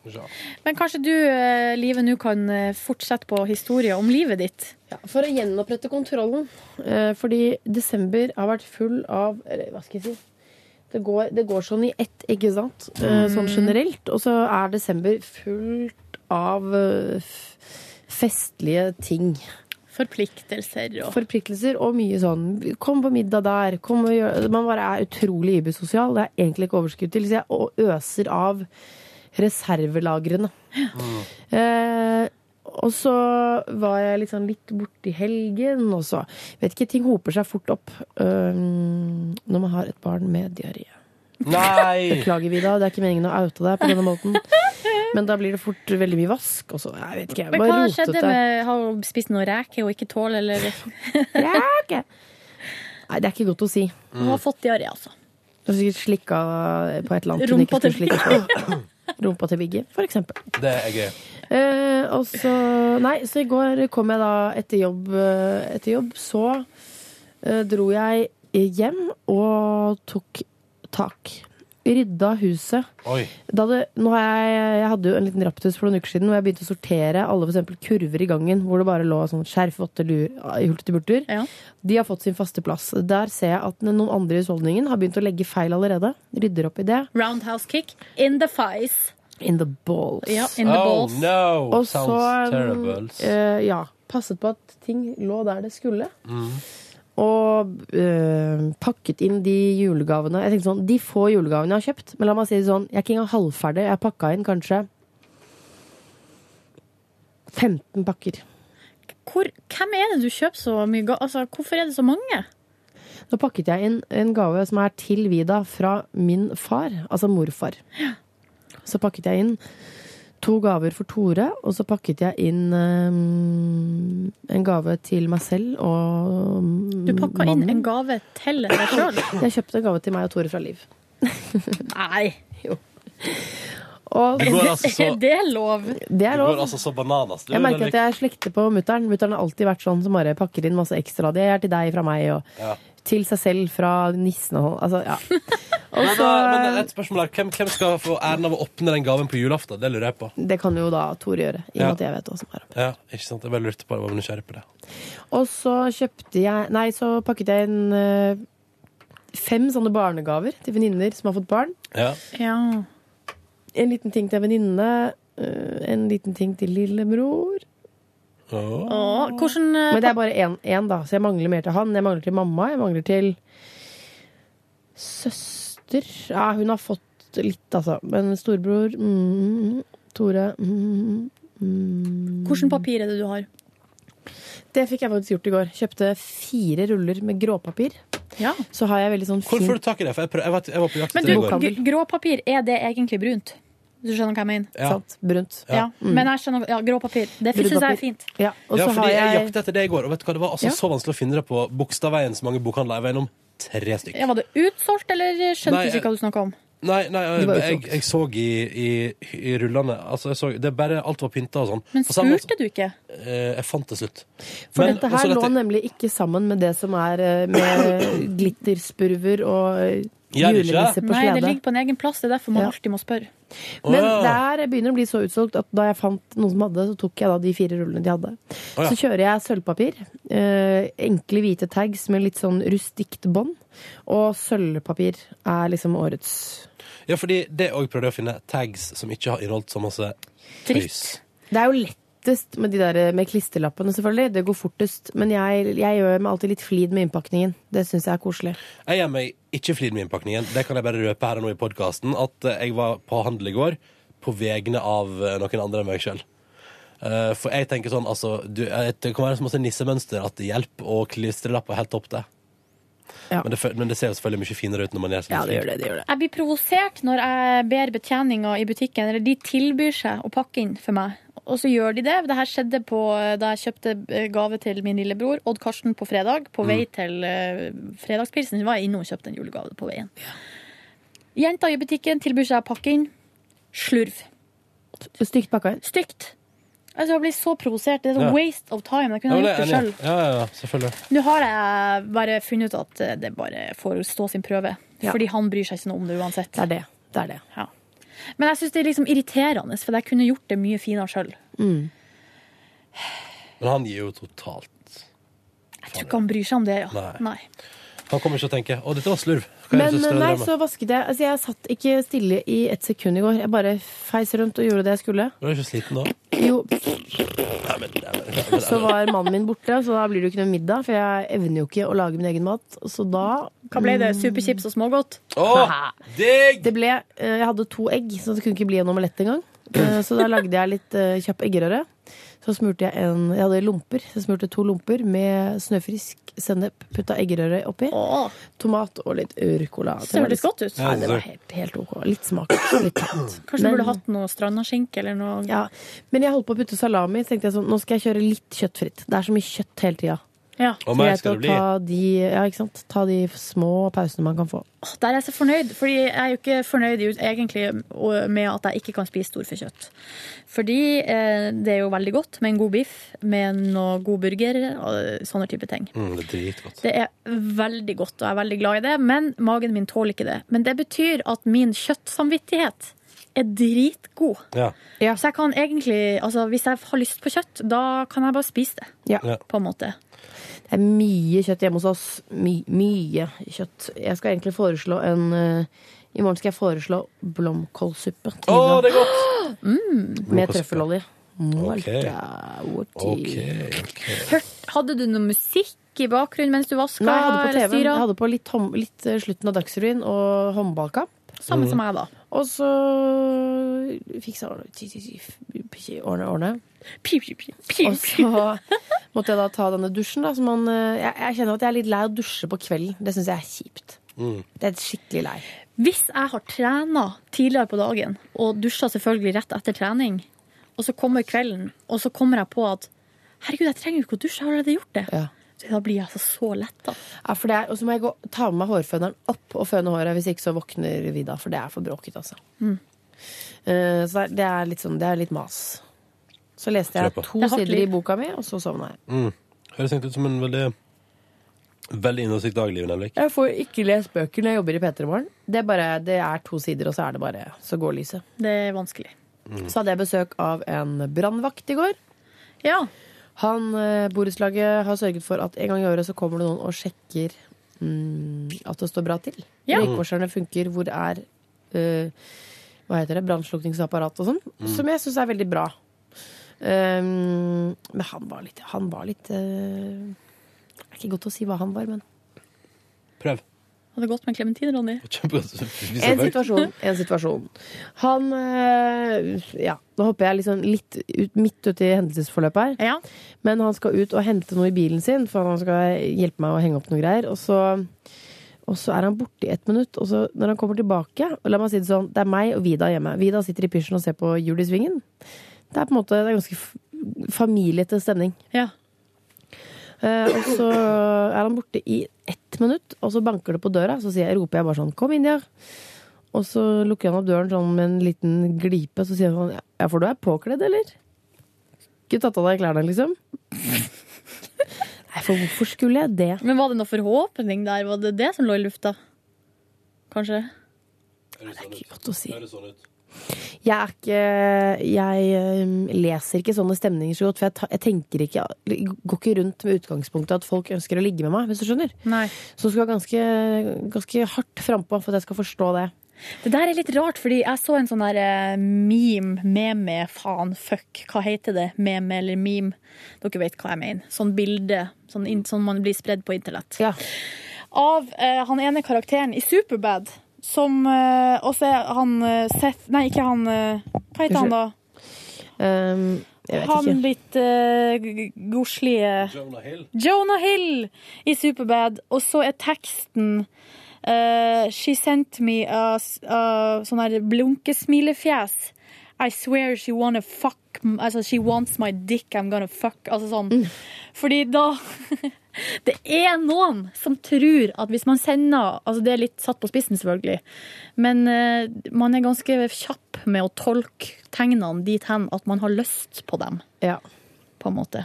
[SPEAKER 2] Skal vi se.
[SPEAKER 3] Men kanskje du, eh, Live, nå kan eh, fortsette på historien om livet ditt?
[SPEAKER 4] For å gjenopprette kontrollen. Eh, fordi desember har vært full av eller, Hva skal jeg si? Det går, det går sånn i ett, ikke sant? Eh,
[SPEAKER 10] Mm.
[SPEAKER 4] sånn generelt. Og så er desember fullt av eh, f- festlige ting.
[SPEAKER 3] Forpliktelser og
[SPEAKER 4] Forpliktelser og mye sånn Kom på middag der. Kom og gjør, man bare er utrolig ibersosial. Det er egentlig ikke overskudd til. Så jeg å- øser av reservelagrene. Eh, og så var jeg liksom litt borte i helgen, og så Vet ikke, ting hoper seg fort opp eh, når man har et barn med diaré.
[SPEAKER 2] Nei!
[SPEAKER 4] Beklager, Vida. Det er ikke meningen å oute deg på denne måten. Men da blir det fort veldig mye vask, og så Jeg vet ikke. Jeg
[SPEAKER 3] Men
[SPEAKER 4] bare
[SPEAKER 3] hva
[SPEAKER 4] rotet
[SPEAKER 3] skjedde
[SPEAKER 4] det.
[SPEAKER 3] med Har hun spist noe reker hun ikke tåler, eller
[SPEAKER 2] Mm.
[SPEAKER 4] Reker? Nei, det er ikke godt å si.
[SPEAKER 3] Hun har fått diaré, altså.
[SPEAKER 4] Du har sikkert slikka på et eller annet hun
[SPEAKER 3] Rumpa
[SPEAKER 4] ikke
[SPEAKER 3] til
[SPEAKER 4] skulle slikke på. Rumpa til Biggie, for eksempel.
[SPEAKER 2] Det er gøy.
[SPEAKER 4] Eh, og så Nei, så i går kom jeg da etter jobb. eh, Etter jobb så eh, dro jeg hjem og tok tak. Rydda huset.
[SPEAKER 2] Oi.
[SPEAKER 4] Da det, nå har jeg, jeg hadde jo en liten raptus for noen uker siden hvor jeg begynte å sortere alle for eksempel kurver i gangen hvor det bare lå sånn skjerf, votter, lur, hulterburter. De har fått sin faste plass. Der ser jeg at noen andre i husholdningen har begynt å legge feil allerede. Rydder opp i det.
[SPEAKER 3] Roundhouse kick in the face.
[SPEAKER 4] In the balls.
[SPEAKER 3] Ja, in the Oh, balls. no.
[SPEAKER 4] Og
[SPEAKER 3] Sounds
[SPEAKER 4] så,
[SPEAKER 3] terrible.
[SPEAKER 4] eh, ja, passet på at ting lå der det skulle.
[SPEAKER 3] Mm.
[SPEAKER 4] Og eh, pakket inn de julegavene. Jeg tenkte sånn, De få julegavene jeg har kjøpt. Men la meg si det sånn, jeg er ikke engang halvferdig. Jeg pakka inn kanskje 15 pakker.
[SPEAKER 3] Hvor, hvem er det du kjøper så mye ga... Altså, hvorfor er det så mange?
[SPEAKER 4] Nå pakket jeg inn en gave som er til Vida fra min far, altså morfar. Så pakket jeg inn to gaver for Tore, og så pakket jeg inn ehm, en gave til meg selv og mm,
[SPEAKER 3] Du pakka inn
[SPEAKER 4] mannen.
[SPEAKER 3] en gave til deg sjøl.
[SPEAKER 4] Jeg kjøpte en gave til meg og Tore fra Liv.
[SPEAKER 3] Nei.
[SPEAKER 4] Og,
[SPEAKER 2] Det går altså så- Er
[SPEAKER 3] det lov?
[SPEAKER 4] Det er lov.
[SPEAKER 2] går altså så bananas. Du,
[SPEAKER 4] Jeg merker
[SPEAKER 2] den
[SPEAKER 4] at jeg slekter på mutter'n. Mutter'n har alltid vært sånn som bare pakker inn masse ekstra. Det er til deg fra meg, og
[SPEAKER 2] Ja.
[SPEAKER 4] til seg selv fra nissen og Altså, ja. Og
[SPEAKER 2] Men,
[SPEAKER 4] så-
[SPEAKER 2] eh, men et spørsmål her. Hvem, hvem skal få æren av å åpne den gaven på julaften? Det lurer jeg på.
[SPEAKER 4] Det kan jo da Tore gjøre, i og med
[SPEAKER 2] Ja.
[SPEAKER 4] at jeg vet hva som er.
[SPEAKER 2] Ja, ikke sant? Jeg bare lurte på det. Jeg var nysgjerrig på det.
[SPEAKER 4] Og så kjøpte jeg Nei, så pakket jeg inn eh, fem sånne barnegaver til venninner som har fått barn.
[SPEAKER 2] Ja.
[SPEAKER 4] En liten ting til en venninne. eh, en liten ting til lillebror.
[SPEAKER 3] Åh, hvordan, eh,
[SPEAKER 4] Men det er bare én, én, da. Så jeg mangler mer til han. Jeg mangler til mamma. Jeg mangler til søster. Ja, hun har fått litt, altså. Men storebror mm, Tore mm, mm.
[SPEAKER 3] Hvilket papir er det du har?
[SPEAKER 4] Det fikk jeg faktisk gjort i går. Kjøpte fire ruller med gråpapir. så har jeg veldig sånn
[SPEAKER 2] Hvor
[SPEAKER 4] fin
[SPEAKER 2] får du tak i det? For jeg, prøv, jeg, var, jeg var på jakt
[SPEAKER 3] Men
[SPEAKER 2] etter
[SPEAKER 3] du,
[SPEAKER 2] det i går.
[SPEAKER 3] gr- gråpapir, er det egentlig brunt? Hvis du skjønner hva jeg mener?
[SPEAKER 2] Ja. Sant.
[SPEAKER 4] Brunt.
[SPEAKER 3] Ja.
[SPEAKER 2] Mm.
[SPEAKER 3] Men jeg skjønner, ja, gråpapir. Det
[SPEAKER 4] Brunt
[SPEAKER 3] syns jeg
[SPEAKER 4] papir.
[SPEAKER 3] er fint.
[SPEAKER 4] Ja,
[SPEAKER 2] ja, fordi jeg, jakta etter det i går, og vet du hva, det var altså
[SPEAKER 3] Ja.
[SPEAKER 2] så vanskelig å finne det på Bogstadveien, så mange bokhandler jeg var innom. Tre stykk.
[SPEAKER 3] Ja, var det utsolgt, eller skjønte
[SPEAKER 2] Nei,
[SPEAKER 3] du
[SPEAKER 2] jeg-
[SPEAKER 3] ikke hva du snakka om?
[SPEAKER 2] Nei, nei jeg,
[SPEAKER 3] Det var jo
[SPEAKER 2] jeg, jeg så i, i, i rullene altså jeg så, Det er bare alt var pynta og sånn.
[SPEAKER 4] Men
[SPEAKER 2] På samme måte-
[SPEAKER 4] spurte
[SPEAKER 3] du ikke?
[SPEAKER 2] Eh, jeg fant det slutt.
[SPEAKER 4] For
[SPEAKER 2] Men
[SPEAKER 4] dette
[SPEAKER 2] også
[SPEAKER 4] her lå
[SPEAKER 2] dette-
[SPEAKER 4] nemlig ikke sammen med det som er eh, med glitterspurver og eh,
[SPEAKER 2] Gjør det ikke?
[SPEAKER 4] julenisse på
[SPEAKER 3] Nei, det
[SPEAKER 4] slede.
[SPEAKER 3] ligger på en egen plass. Det er derfor man alltid må spørre.
[SPEAKER 4] Men der begynner det å bli så utsolgt at da jeg fant noen som hadde, så tok jeg da de fire rullene de hadde.
[SPEAKER 3] Å, ja.
[SPEAKER 4] Så kjører jeg sølvpapir. eh, enkle hvite tags med litt sånn rustikt bånd. Og sølvpapir er liksom årets
[SPEAKER 2] Ja, fordi det òg prøvde jeg å finne tags som ikke har inneholdt så masse tøys.
[SPEAKER 4] Det er jo lettest med de der eh, med klisterlappene, selvfølgelig. Det går fortest. Men jeg, jeg gjør meg alltid litt flid med innpakningen. Det syns jeg er koselig.
[SPEAKER 2] Jeg gjør meg ikke flid med innpakningen. Det kan jeg bare røpe her og nå i podkasten. At eh, jeg var på handel i går på vegne av eh, noen andre enn meg sjøl. for jeg tenker sånn, altså du, eh, Det kan være så masse nissemønster at det hjelper, og klistrelapper er helt topp, det. Men, det. fø- men det ser jo selvfølgelig mye finere ut når man gjør sånn.
[SPEAKER 4] Ja, det gjør det, det gjør det.
[SPEAKER 3] Jeg blir provosert når jeg ber betjeninga i butikken, eller de tilbyr seg å pakke inn for meg. Og så gjør de det. Det her skjedde på, da jeg kjøpte eh, gave til min lillebror, Odd Karsten, på fredag. På vei
[SPEAKER 10] Mm.
[SPEAKER 3] til eh, fredagspilsen var jeg inne og kjøpte en julegave på veien. Jenta i butikken tilbyr seg å pakke inn slurv.
[SPEAKER 4] Stygt pakka inn?
[SPEAKER 3] Stygt. Altså, jeg blir så provosert. Det er
[SPEAKER 2] Ja.
[SPEAKER 3] sånn waste of time.
[SPEAKER 2] Ja,
[SPEAKER 3] Jeg kunne
[SPEAKER 2] men
[SPEAKER 3] ha
[SPEAKER 2] det
[SPEAKER 3] gjort
[SPEAKER 2] er
[SPEAKER 3] det
[SPEAKER 2] enig.
[SPEAKER 3] sjøl.
[SPEAKER 2] Ja, ja, ja, selvfølgelig.
[SPEAKER 3] Nå har jeg bare funnet ut at eh, det bare får stå sin prøve.
[SPEAKER 4] Ja.
[SPEAKER 3] Fordi han bryr seg ikke noe om det uansett. Det
[SPEAKER 4] er det.
[SPEAKER 3] Ja. Men jeg syns det er liksom irriterende, for jeg kunne gjort det mye finere sjøl.
[SPEAKER 2] Men han gir jo totalt.
[SPEAKER 3] Jeg tror ikke han bryr seg om det. Ja.
[SPEAKER 2] Nei.
[SPEAKER 3] Nei.
[SPEAKER 2] Han kommer ikke til å tenke 'Å, dette var slurv'. Hva er det
[SPEAKER 4] Men eh,
[SPEAKER 2] som står i
[SPEAKER 4] nei,
[SPEAKER 2] drømmen?
[SPEAKER 4] så vasket jeg. Altså, jeg satt ikke stille i ett sekund i går. Jeg bare feis rundt og gjorde det jeg skulle.
[SPEAKER 2] Du er ikke sliten da?
[SPEAKER 4] Jo,
[SPEAKER 2] Nei, men, nei, men, nei, men,
[SPEAKER 4] så var mannen min borte, så da blir det jo ikke noe middag, for jeg evner jo ikke å lage min egen mat. Så da
[SPEAKER 3] Hva ble det? Superchips og smågodt?
[SPEAKER 2] Å, digg!
[SPEAKER 4] Det ble, eh, jeg hadde to egg, så det kunne ikke bli en omelett engang. Eh, Så da lagde jeg litt eh, kjapp eggerøre. Så smurte jeg en Jeg hadde lomper. Så jeg smurte to lomper med snøfrisk sennep. Putta eggerøre oppi. Tomat og litt urcola.
[SPEAKER 3] Så det hørtes godt ut.
[SPEAKER 4] Nei, det var helt, helt ok. Litt smak. Litt tamt.
[SPEAKER 3] Kanskje du burde hatt noe strandaskinke eller noe
[SPEAKER 4] Ja, men jeg holdt på å putte salami, så tenkte jeg sånn, nå skal jeg kjøre litt kjøttfritt. Det er så mye kjøtt hele tida.
[SPEAKER 3] Ja.
[SPEAKER 4] Så greit å ta de, ja, ikke sant? ta de små pausene man kan få.
[SPEAKER 3] Åh, Der er jeg så fornøyd, fordi jeg er jo ikke fornøyd i- egentlig med at jeg ikke kan spise storfekjøtt. Fordi eh, det er jo veldig godt med en god biff, med noe god burger og sånne type ting.
[SPEAKER 2] Mm, det er dritgodt.
[SPEAKER 3] Det er veldig godt, og jeg er veldig glad i det, men magen min tåler ikke det. Men det betyr at min kjøttsamvittighet er dritgod.
[SPEAKER 2] Ja.
[SPEAKER 3] Så jeg kan egentlig, altså hvis jeg har lyst på kjøtt, da kan jeg bare spise det,
[SPEAKER 2] Ja.
[SPEAKER 3] på en måte.
[SPEAKER 4] Det er mye kjøtt hjemme hos oss. My, mye kjøtt. Jeg skal egentlig foreslå en eh, I morgen skal jeg foreslå blomkålsuppe. til middag.
[SPEAKER 2] det er godt!
[SPEAKER 4] Mm, Med trøffelolje.
[SPEAKER 2] Ok.
[SPEAKER 4] Ok,
[SPEAKER 2] ok.
[SPEAKER 3] Hørt, hadde du noe musikk i bakgrunnen mens du vaska?
[SPEAKER 4] Nei, jeg hadde på TV. Jeg hadde på litt, hånd- litt eh, slutten av Dagsrevyen og håndballkamp.
[SPEAKER 3] Samme som jeg, da.
[SPEAKER 4] Og så fiksa jeg ordne, ordne. Og så måtte jeg da ta denne dusjen, da. Som man, eh, jeg, jeg kjenner at jeg er litt lei av å dusje på kvelden. Det syns jeg er kjipt. Det er skikkelig lei.
[SPEAKER 3] Hvis jeg har trena tidligere på dagen, og dusja selvfølgelig rett etter trening, og så kommer kvelden, og så kommer jeg på at herregud, jeg trenger jo ikke å dusje, jeg har allerede gjort det. Så Da blir jeg altså så letta.
[SPEAKER 4] Ja, for det er, og så må jeg gå, ta med meg hårføneren opp og føne håret, hvis ikke så våkner vi da, for det er for bråkete, altså.
[SPEAKER 3] Mm.
[SPEAKER 4] Eh, så det er- det er litt sånn, det er litt mas. Så leste jeg
[SPEAKER 2] Tror jeg på.
[SPEAKER 4] to
[SPEAKER 2] Det er hardt
[SPEAKER 4] sider i
[SPEAKER 2] liv.
[SPEAKER 4] boka mi, og så sovna jeg.
[SPEAKER 2] Mm. Høres egentlig ut som en veldig Veldig innholdsrik dag, Liv Nelvik.
[SPEAKER 4] Jeg får ikke lest bøker når jeg jobber i P3 Morgen. Det er, bare, det er to sider, og så er det bare så går lyset.
[SPEAKER 3] Det er vanskelig.
[SPEAKER 4] Så hadde jeg besøk av en brannvakt i går.
[SPEAKER 3] Ja.
[SPEAKER 4] Han, eh, Borettslaget har sørget for at en gang i året så kommer det noen og sjekker mm, at det står bra til.
[SPEAKER 10] Ja.
[SPEAKER 4] Røykvarslerne funker. Hvor er eh, hva heter det, brannslukningsapparat og sånn.
[SPEAKER 10] Mm.
[SPEAKER 4] Som jeg syns er veldig bra. Um, men han var litt, han var litt eh, Det er ikke godt å si hva han var, men
[SPEAKER 2] Prøv.
[SPEAKER 3] hadde gått med en klementin, Ronny?
[SPEAKER 4] En situasjon. En situasjon. Han eh, Ja, nå hopper jeg liksom litt ut, midt ute i hendelsesforløpet her. Men han skal ut og hente noe i bilen sin, for han skal hjelpe meg å henge opp noe greier. Og så, og så er han borte i ett minutt, og så når han kommer tilbake og La meg si det sånn, det er meg og Vida hjemme. Vida sitter i pysjen og ser på Jul i Svingen. Det er på en måte det er ganske f- familiete stemning. Eh, og så er han borte i ett minutt, og så banker det på døra. Så sier jeg, roper jeg bare sånn 'Kom inn, ja'. Og så lukker han opp døren sånn med en liten glipe. Så sier han sånn 'Ja, for du er påkledd, eller?' Ikke tatt av deg klærne, liksom. Nei, for hvorfor skulle jeg det?
[SPEAKER 3] Men var det noe forhåpning der? Var det det som lå i lufta? Kanskje?
[SPEAKER 2] sånn
[SPEAKER 4] Godt å si. Jeg er ikke Jeg øhm, leser ikke sånne stemninger så godt, for jeg, ta, jeg tenker ikke jeg Går ikke rundt med utgangspunktet at folk ønsker å ligge med meg, hvis du skjønner. Så du skal være ganske, ganske hardt frampå for at jeg skal forstå det.
[SPEAKER 3] Det der er litt rart, fordi jeg så en sånn der eh, meme, meme, faen, fuck, hva heter det? Meme eller meme? Dere vet hva jeg mener. Sånn bilde sånn, in- sånn man blir spredd på internett. Av eh, han ene karakteren i Superbad, som eh, også er han eh, Seth Nei, ikke han eh, Hva heter han da?
[SPEAKER 4] Øhm, Ehm, jeg vet
[SPEAKER 3] Han
[SPEAKER 4] ikke.
[SPEAKER 3] litt uh, godslige Jonah Hill. i Superbad. Og så er teksten eh, She sent me a, s- a sånn her blunkesmilefjes. I swear she wanna fuck m- Altså, she wants my dick, I'm gonna fuck. Altså sånn. Fordi da Det er noen som tror at hvis man sender Altså, det er litt satt på spissen, selvfølgelig. Men eh, man er ganske kjapp med å tolke tegnene dit hen at man har lyst på dem. På en måte.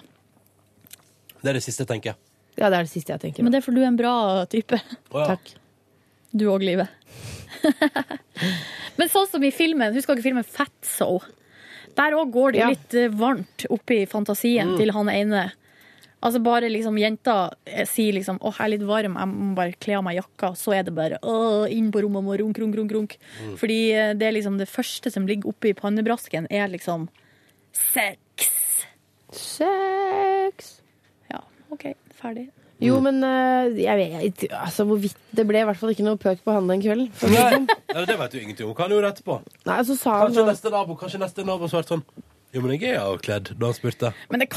[SPEAKER 2] Det er det siste, tenker jeg.
[SPEAKER 4] Ja, det er det siste jeg tenker.
[SPEAKER 3] Men det er for du er en bra type.
[SPEAKER 4] Takk.
[SPEAKER 3] Du òg, Live. Men sånn som i filmen, husker dere filmen Fatso? Der òg går det jo litt eh, varmt oppi fantasien
[SPEAKER 12] Mm.
[SPEAKER 3] til han ene. Altså bare liksom jenta eh, sier liksom 'Å, jeg er litt varm, jeg må bare kle av meg jakka', så er det bare Åh, inn på rommet og runk, runk, runk. runk.
[SPEAKER 12] Mm.
[SPEAKER 3] Fordi eh, det er liksom det første som ligger oppi pannebrasken, er liksom sex.
[SPEAKER 4] Sex.
[SPEAKER 3] Ja, OK. Ferdig.
[SPEAKER 4] Jo, men øh, jeg vet ikke altså, hvorvidt det ble i hvert fall ikke noe pøk på han den kvelden. For å si det sånn.
[SPEAKER 2] Eller, det vet du ingenting om. Hva han gjorde etterpå?
[SPEAKER 4] Nei, så sa han
[SPEAKER 2] Kanskje neste nabo kanskje neste nabo svarte sånn Jo, men jeg er jo kledd, da han spurte.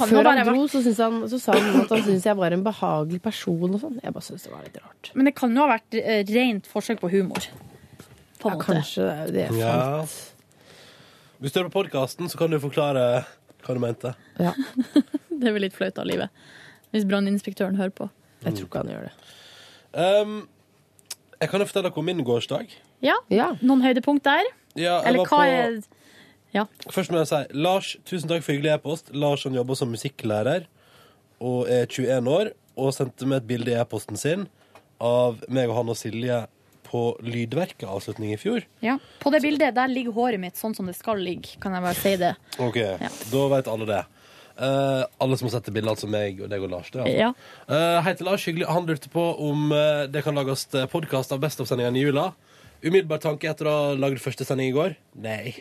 [SPEAKER 4] Før han dro, så, syntes han, så sa han at han syntes jeg var en behagelig person og sånn. Jeg bare syntes det var litt rart.
[SPEAKER 3] Men det kan jo ha vært eh, rent forsøk på humor. På en måte.
[SPEAKER 4] Kanskje det er det jeg fant.
[SPEAKER 2] Ja. Hvis du hører på podkasten, så kan du forklare hva du mente.
[SPEAKER 3] Det er vel litt flaut av livet. Hvis branninspektøren hører på.
[SPEAKER 4] Jeg tror ikke han gjør det.
[SPEAKER 2] Um, jeg kan jo fortelle dere om min gårsdag.
[SPEAKER 3] Ja, noen høydepunkt der?
[SPEAKER 2] Ja, jeg
[SPEAKER 3] Eller
[SPEAKER 2] var
[SPEAKER 3] hva
[SPEAKER 2] på-
[SPEAKER 3] er
[SPEAKER 2] Først må jeg si Lars, tusen takk for hyggelig e-post. Lars han jobber som musikklærer og er 21 år. Og sendte meg et bilde i e-posten sin av meg og han og Silje på Lydverket-avslutning i fjor.
[SPEAKER 3] ja. På det bildet der ligger håret mitt sånn som det skal ligge, kan jeg bare si det.
[SPEAKER 2] Ok, da vet alle det. Eh, alle som har sett det bildet, altså meg og deg og Lars. Det, altså.
[SPEAKER 3] Ja.
[SPEAKER 2] Eh, hei til Lars, hyggelig. Han lurte på om eh, det kan lages podkast av Best of-sendingene i jula. Umiddelbar tanke etter å ha lagd første sending i går? Nei.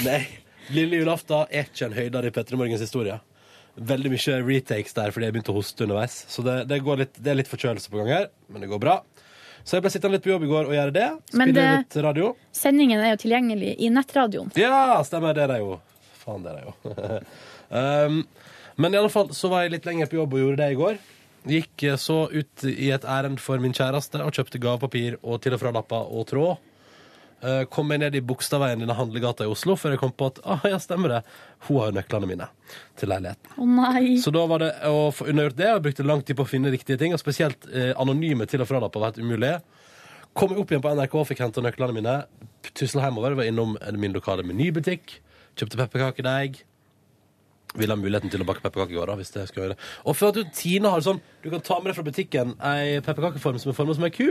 [SPEAKER 2] Nei. Lille julaften er ikke en høydare i Petter Morgens historie. Veldig mye retakes der fordi jeg begynte å hoste underveis. Så det, det, går litt, det er litt forkjølelse på gang her, men det går bra. Så jeg ble sittende litt på jobb i går og gjøre det.
[SPEAKER 3] Men
[SPEAKER 2] Spille
[SPEAKER 3] det-
[SPEAKER 2] litt radio.
[SPEAKER 3] Sendingen er jo tilgjengelig i nettradioen.
[SPEAKER 2] Ja, stemmer. Det er de jo. Faen, det er de jo. um, men i alle fall så var jeg litt lenger på jobb og gjorde det i går. Gikk eh, så ut i et ærend for min kjæreste og kjøpte gavepapir og til og fra lapper og tråd. Eh, kom meg ned i Bogstadveien i den handlegata i Oslo før jeg kom på at ah, ja, stemmer det. Hun har jo nøklene mine til leiligheten.
[SPEAKER 3] Å nei.
[SPEAKER 2] Så da var det å få unnagjort det, og jeg brukte lang tid på å finne riktige ting. Og spesielt eh, anonyme til- og fralapper var helt umulig. Kom jeg opp igjen på NRK, fikk henta nøklene mine. Tusla hjemover, var innom min lokale menybutikk. Kjøpte pepperkakedeig. Ville ha muligheten til å bake pepperkaker i går, da, hvis det skulle være det. Og før at du, Tina har sånn Du kan ta med deg fra butikken ei pepperkakeform som er forma som ei ku.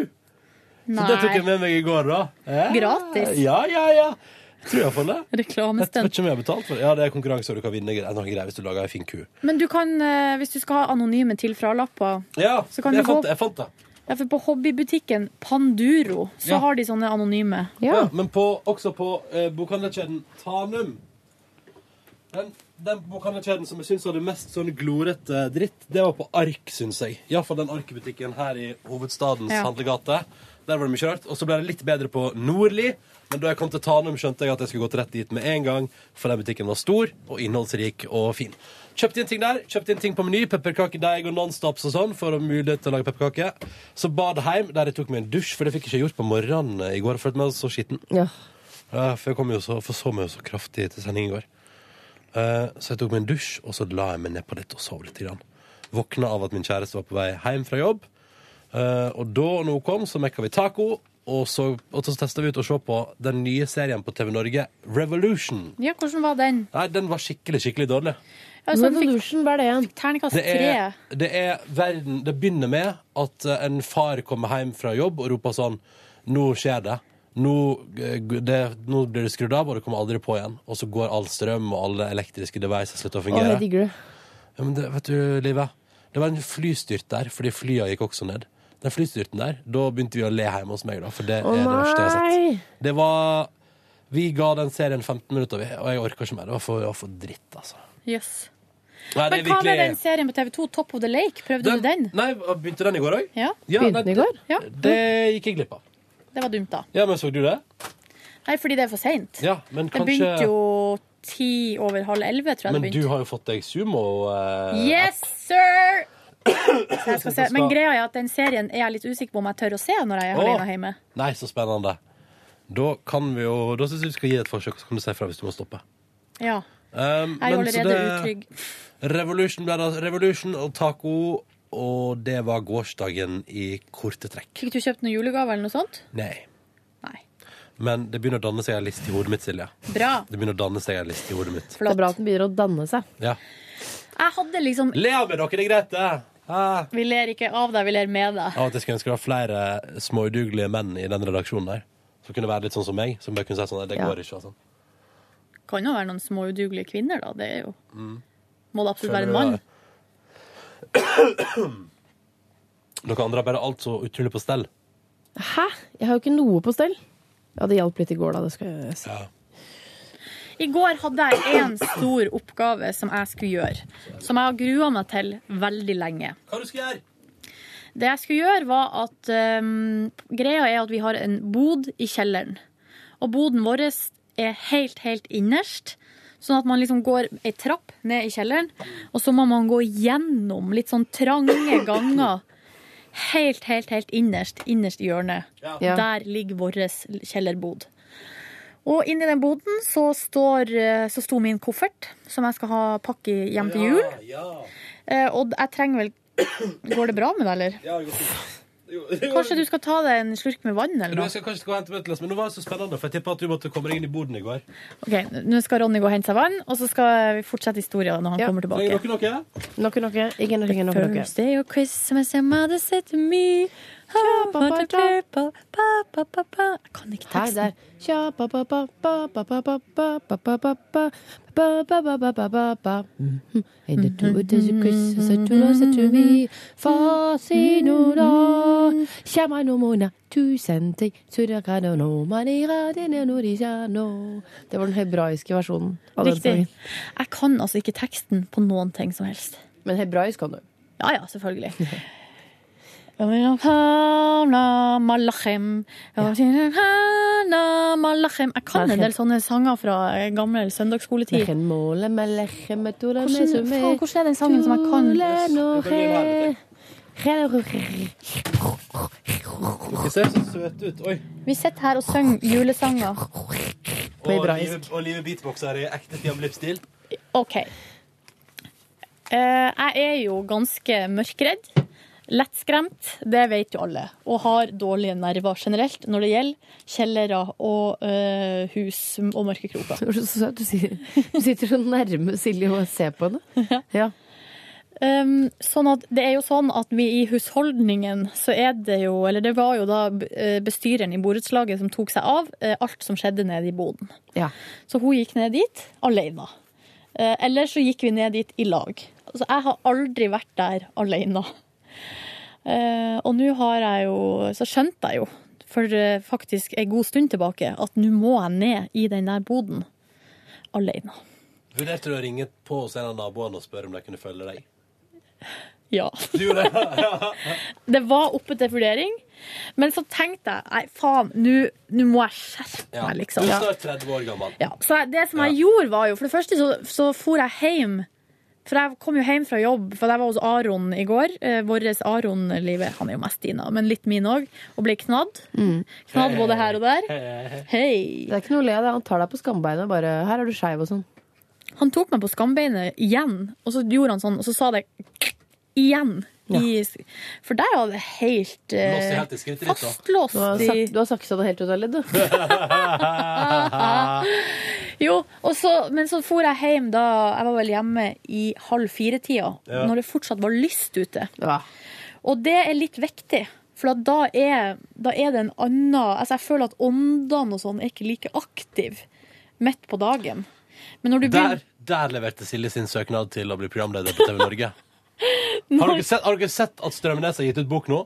[SPEAKER 2] Så det tok jeg med meg i går, da. Ja.
[SPEAKER 3] Gratis.
[SPEAKER 2] Ja, ja, ja. Tror jeg for det. Jeg
[SPEAKER 3] Reklamestunt.
[SPEAKER 2] vet ikke om jeg har betalt for det. Ja, det er konkurranse, og du kan vinne gre- noen greier hvis du lager ei fin ku.
[SPEAKER 3] Men du kan, eh, hvis du skal ha anonyme til-fra-lapper
[SPEAKER 2] Ja,
[SPEAKER 3] Så kan
[SPEAKER 2] jeg,
[SPEAKER 3] du gå-
[SPEAKER 2] fant, det, jeg fant det.
[SPEAKER 3] Ja, for på hobbybutikken Panduro så
[SPEAKER 2] Ja.
[SPEAKER 3] har de sånne anonyme.
[SPEAKER 2] Ja, men på, også på eh, bokhandelkjeden Tanum Den, den bokhandelkjeden som jeg syns hadde mest sånn glorete dritt, det var på Ark, syns jeg. Iallfall den Ark-butikken her i hovedstadens
[SPEAKER 13] Ja.
[SPEAKER 2] handlegate. Der var det mye rart. Og så ble det litt bedre på Nordli. Men da jeg kom til Tanum, skjønte jeg at jeg skulle gått rett dit med en gang, for den butikken var stor og innholdsrik og fin. Kjøpte inn ting der, kjøpte inn ting på Meny, pepperkakedeig og Nonstops og sånn, for å ha mulighet til å lage pepperkaker. Så bad hjem, der jeg tok meg en dusj, for det fikk jeg ikke gjort på morgenen i går, for jeg følte meg så skitten.
[SPEAKER 4] Ja.
[SPEAKER 2] Ja, for jeg kom jo så, forsov meg jo så kraftig til sending i går. Eh, så jeg tok meg en dusj, og så la jeg meg nedpå dette og sov litt. Grann. Våkna av at min kjæreste var på vei hjem fra jobb. Eh, og da når hun kom, så mekka vi taco, og så, og så testa vi ut å se på den nye serien på TV Norge, Revolution.
[SPEAKER 3] Ja, hvordan var den?
[SPEAKER 2] Nei, den var skikkelig, skikkelig dårlig.
[SPEAKER 3] sånn Revolution,
[SPEAKER 4] hva er det igjen?
[SPEAKER 3] Terningkast
[SPEAKER 2] Det er,
[SPEAKER 3] tre.
[SPEAKER 2] det er verden Det begynner med at eh, en far kommer hjem fra jobb og roper sånn Nå skjer det. Nå, eh, gu- det, nå blir det skrudd av, og det kommer aldri på igjen. Og så går all strøm og alle elektriske devices slutter å
[SPEAKER 4] Å,
[SPEAKER 2] fungere.
[SPEAKER 4] jeg digger det.
[SPEAKER 2] Ja, men det, vet du, Live, det var en flystyrt der, fordi flya gikk også ned. Den flystyrten der, da begynte vi å le hjemme hos meg, da, for det
[SPEAKER 4] Å,
[SPEAKER 2] er det verste jeg har
[SPEAKER 4] nei!
[SPEAKER 2] sett. Det var Vi ga den serien 15 minutter, vi, og jeg orka ikke mer. Det var for, det var for dritt, altså.
[SPEAKER 3] Jøss.
[SPEAKER 2] Nei, det
[SPEAKER 3] Men
[SPEAKER 2] er
[SPEAKER 3] hva
[SPEAKER 2] virkelig-
[SPEAKER 3] med den serien på TV2, Top of the Lake? Prøvde du den?
[SPEAKER 2] Nei, begynte den i går òg?
[SPEAKER 3] Ja.
[SPEAKER 2] Ja, Begynte den i går?
[SPEAKER 3] Ja,
[SPEAKER 2] Det gikk jeg glipp av.
[SPEAKER 3] det var dumt, da.
[SPEAKER 2] Ja, men så du det?
[SPEAKER 3] Nei, fordi det er for seint.
[SPEAKER 2] Ja, men
[SPEAKER 3] Det
[SPEAKER 2] kanskje
[SPEAKER 3] begynte jo ti over halv elleve, tror jeg
[SPEAKER 2] Men
[SPEAKER 3] det
[SPEAKER 2] du
[SPEAKER 3] begynte.
[SPEAKER 2] har jo fått deg sumo. eh,
[SPEAKER 3] Yes, sir! Så jeg skal se.
[SPEAKER 2] skal-
[SPEAKER 3] Men greia er at den serien er jeg litt usikker på om jeg tør å se når jeg er
[SPEAKER 2] Åh.
[SPEAKER 3] alene hjemme.
[SPEAKER 2] Nei, så spennende. Da kan vi jo Da syns jeg du skal gi et forsøk, og så kan du si fra hvis du må stoppe.
[SPEAKER 3] Ja.
[SPEAKER 2] Um,
[SPEAKER 3] Jeg er jo
[SPEAKER 2] men så
[SPEAKER 3] allerede utrygg.
[SPEAKER 2] Revolution ble det. Revolution og taco, og det var gårsdagen i korte trekk.
[SPEAKER 3] Fikk du kjøpt noen julegave eller noe sånt?
[SPEAKER 2] Nei. Men det begynner å danne seg en liste i hodet mitt, Silje.
[SPEAKER 3] Bra.
[SPEAKER 2] Det begynner å danne seg en liste i hodet mitt.
[SPEAKER 4] Det er bra at den begynner å danne seg.
[SPEAKER 2] Ja.
[SPEAKER 3] Jeg hadde liksom
[SPEAKER 2] Le av meg, dere, det er greit, det. Ah.
[SPEAKER 3] Vi ler ikke av deg, vi ler med
[SPEAKER 2] Av
[SPEAKER 3] deg.
[SPEAKER 2] og til skulle jeg ønske det var flere småudugelige menn i den redaksjonen der. Som kunne være litt sånn som meg. Som bare kunne si sånn, «Nei, det
[SPEAKER 3] Ja.
[SPEAKER 2] går ikke. og Sånn.
[SPEAKER 3] Kan jo være noen små udugelige kvinner, da. Det er jo
[SPEAKER 2] Mm.
[SPEAKER 3] Må det absolutt være en mann?
[SPEAKER 2] Føler Dere andre har bare alt så utrolig på stell.
[SPEAKER 4] Hæ? Jeg har jo ikke noe på stell. Ja, det hjalp litt i går, da. Det skal jeg si.
[SPEAKER 3] I går hadde jeg en stor oppgave som jeg skulle gjøre. Som jeg har grua meg til veldig lenge.
[SPEAKER 2] Hva du skal gjøre?
[SPEAKER 3] Det jeg skulle gjøre, var at ehm, Greia er at vi har en bod i kjelleren. Og boden vår er helt, helt innerst. Sånn at man liksom går ei trapp ned i kjelleren, og så må man gå gjennom litt sånn trange ganger. Helt, helt, helt innerst, innerst i hjørnet.
[SPEAKER 14] Ja. Ja.
[SPEAKER 3] Der ligger vår kjellerbod. Og inni den boden så, står, eh, så sto min koffert, som jeg skal ha pakke hjem til jul. Eh, Og jeg trenger vel Går det bra med deg, eller? Kanskje du skal ta deg en slurk med vann, eller
[SPEAKER 2] Du, jeg
[SPEAKER 3] noe?
[SPEAKER 2] skal kanskje gå og hente meg et glass, men nå var det så spennende, for jeg tippa at du måtte komme deg inn i boden i går.
[SPEAKER 3] Ok, Nå skal Ronny gå og hente seg vann, og så skal vi fortsette historien når han kommer tilbake.
[SPEAKER 2] Trenger dere noe?
[SPEAKER 4] Noe, noe. Ikke noe, ikke noe. noe.
[SPEAKER 3] First day of Christmas, your mother said to me How about a purple pa, pa, pa, pa. Jeg kan ikke
[SPEAKER 4] Her, der.
[SPEAKER 3] teksten.
[SPEAKER 4] Tja, pa, pa, pa, pa, pa, pa, pa, pa, pa, pa, pa, pa. Ba, ba, ba, ba, ba, ba, ba.
[SPEAKER 3] Mm-hmm.
[SPEAKER 4] Mhm. And the two it is a Christmas, a two loves a to me.
[SPEAKER 3] Mm-hmm.
[SPEAKER 4] Fasinola. Shama no mona, tu sente, surakano no manira, dine norisa no. Det var den hebraiske versjonen av den
[SPEAKER 3] Riktig.
[SPEAKER 4] sangen.
[SPEAKER 3] Jeg kan altså ikke teksten på noen ting som helst.
[SPEAKER 4] Men hebraisk kan du.
[SPEAKER 3] Ja ja, selvfølgelig. Malachem. Jeg kan en del sånne sanger fra gammel søndagsskoletid. Hvordan, faen, hvordan er den sangen som jeg kan?
[SPEAKER 2] Dere ser så søte ut. Oi.
[SPEAKER 3] Vi sitter her og synger julesanger.
[SPEAKER 2] Og livet, og livet beatboxer i ekte Stian Blipp-stil.
[SPEAKER 3] OK. Eh, jeg er jo ganske mørkredd. Lettskremt, det vet jo alle. Og har dårlige nerver generelt når det gjelder kjellere og eh, hus og mørke kroker.
[SPEAKER 4] Du er så søt. Du sier- du sitter så nærme Silje og ser på henne. Ja.
[SPEAKER 3] Um, sånn at det er jo sånn at vi i husholdningen så er det jo Eller det var jo da eh, bestyreren i borettslaget som tok seg av eh, alt som skjedde nede i boden.
[SPEAKER 4] Ja.
[SPEAKER 3] Så hun gikk ned dit alene. Eh, Eller så gikk vi ned dit i lag. Altså, jeg har aldri vært der alene. Eh, Og nå har jeg jo Så skjønte jeg jo for eh, faktisk en god stund tilbake at nå må jeg ned i den der boden alene.
[SPEAKER 2] Vurderte du å ringe på hos en av naboene og spørre om de kunne følge deg?
[SPEAKER 3] Ja.
[SPEAKER 2] Du gjorde det? Ja.
[SPEAKER 3] Det var oppe til vurdering, men så tenkte jeg nei, faen, nå- nå må jeg skjerpe
[SPEAKER 2] Ja.
[SPEAKER 3] meg,
[SPEAKER 2] Du
[SPEAKER 3] liksom.
[SPEAKER 2] er snart 30 år gammel.
[SPEAKER 3] Ja, så jeg- det som jeg gjorde var jo, for det første så, så for jeg hjem, for jeg kom jo hjem fra jobb, for jeg var hos Aron i går, eh, våres Aron livet, han er jo mest dina, men litt min også, og ble knadd. Knadd både her og der. Hei!
[SPEAKER 4] Det er ikke noe å le av. det. Han tar deg på skambeinet og bare 'Her er du skeiv' og sånn.
[SPEAKER 3] Han tok meg på skambeinet igjen, og så gjorde han sånn, og så sa det igjen. I, for der var det
[SPEAKER 4] Låst
[SPEAKER 3] helt
[SPEAKER 4] i
[SPEAKER 3] eh,
[SPEAKER 4] helt i skrittet ditt, da.
[SPEAKER 3] fastlåst
[SPEAKER 4] Du har
[SPEAKER 3] i
[SPEAKER 4] sak- Du har saksa det helt ut av ledd, du.
[SPEAKER 3] Jo, og så, men så for jeg hjem da Jeg var vel hjemme i halv fire-tida,
[SPEAKER 4] Ja.
[SPEAKER 3] når det fortsatt var lyst ute.
[SPEAKER 4] Ja.
[SPEAKER 3] Og det er litt viktig, for at da, er, da er det en annen Altså, jeg føler at åndene og sånn er ikke like aktive midt på dagen. Men når du
[SPEAKER 2] Der,
[SPEAKER 3] begynner
[SPEAKER 2] der leverte Silje sin søknad til å bli programleder på TV Norge. Har dere sett, har dere sett at Strømnes har gitt ut bok nå?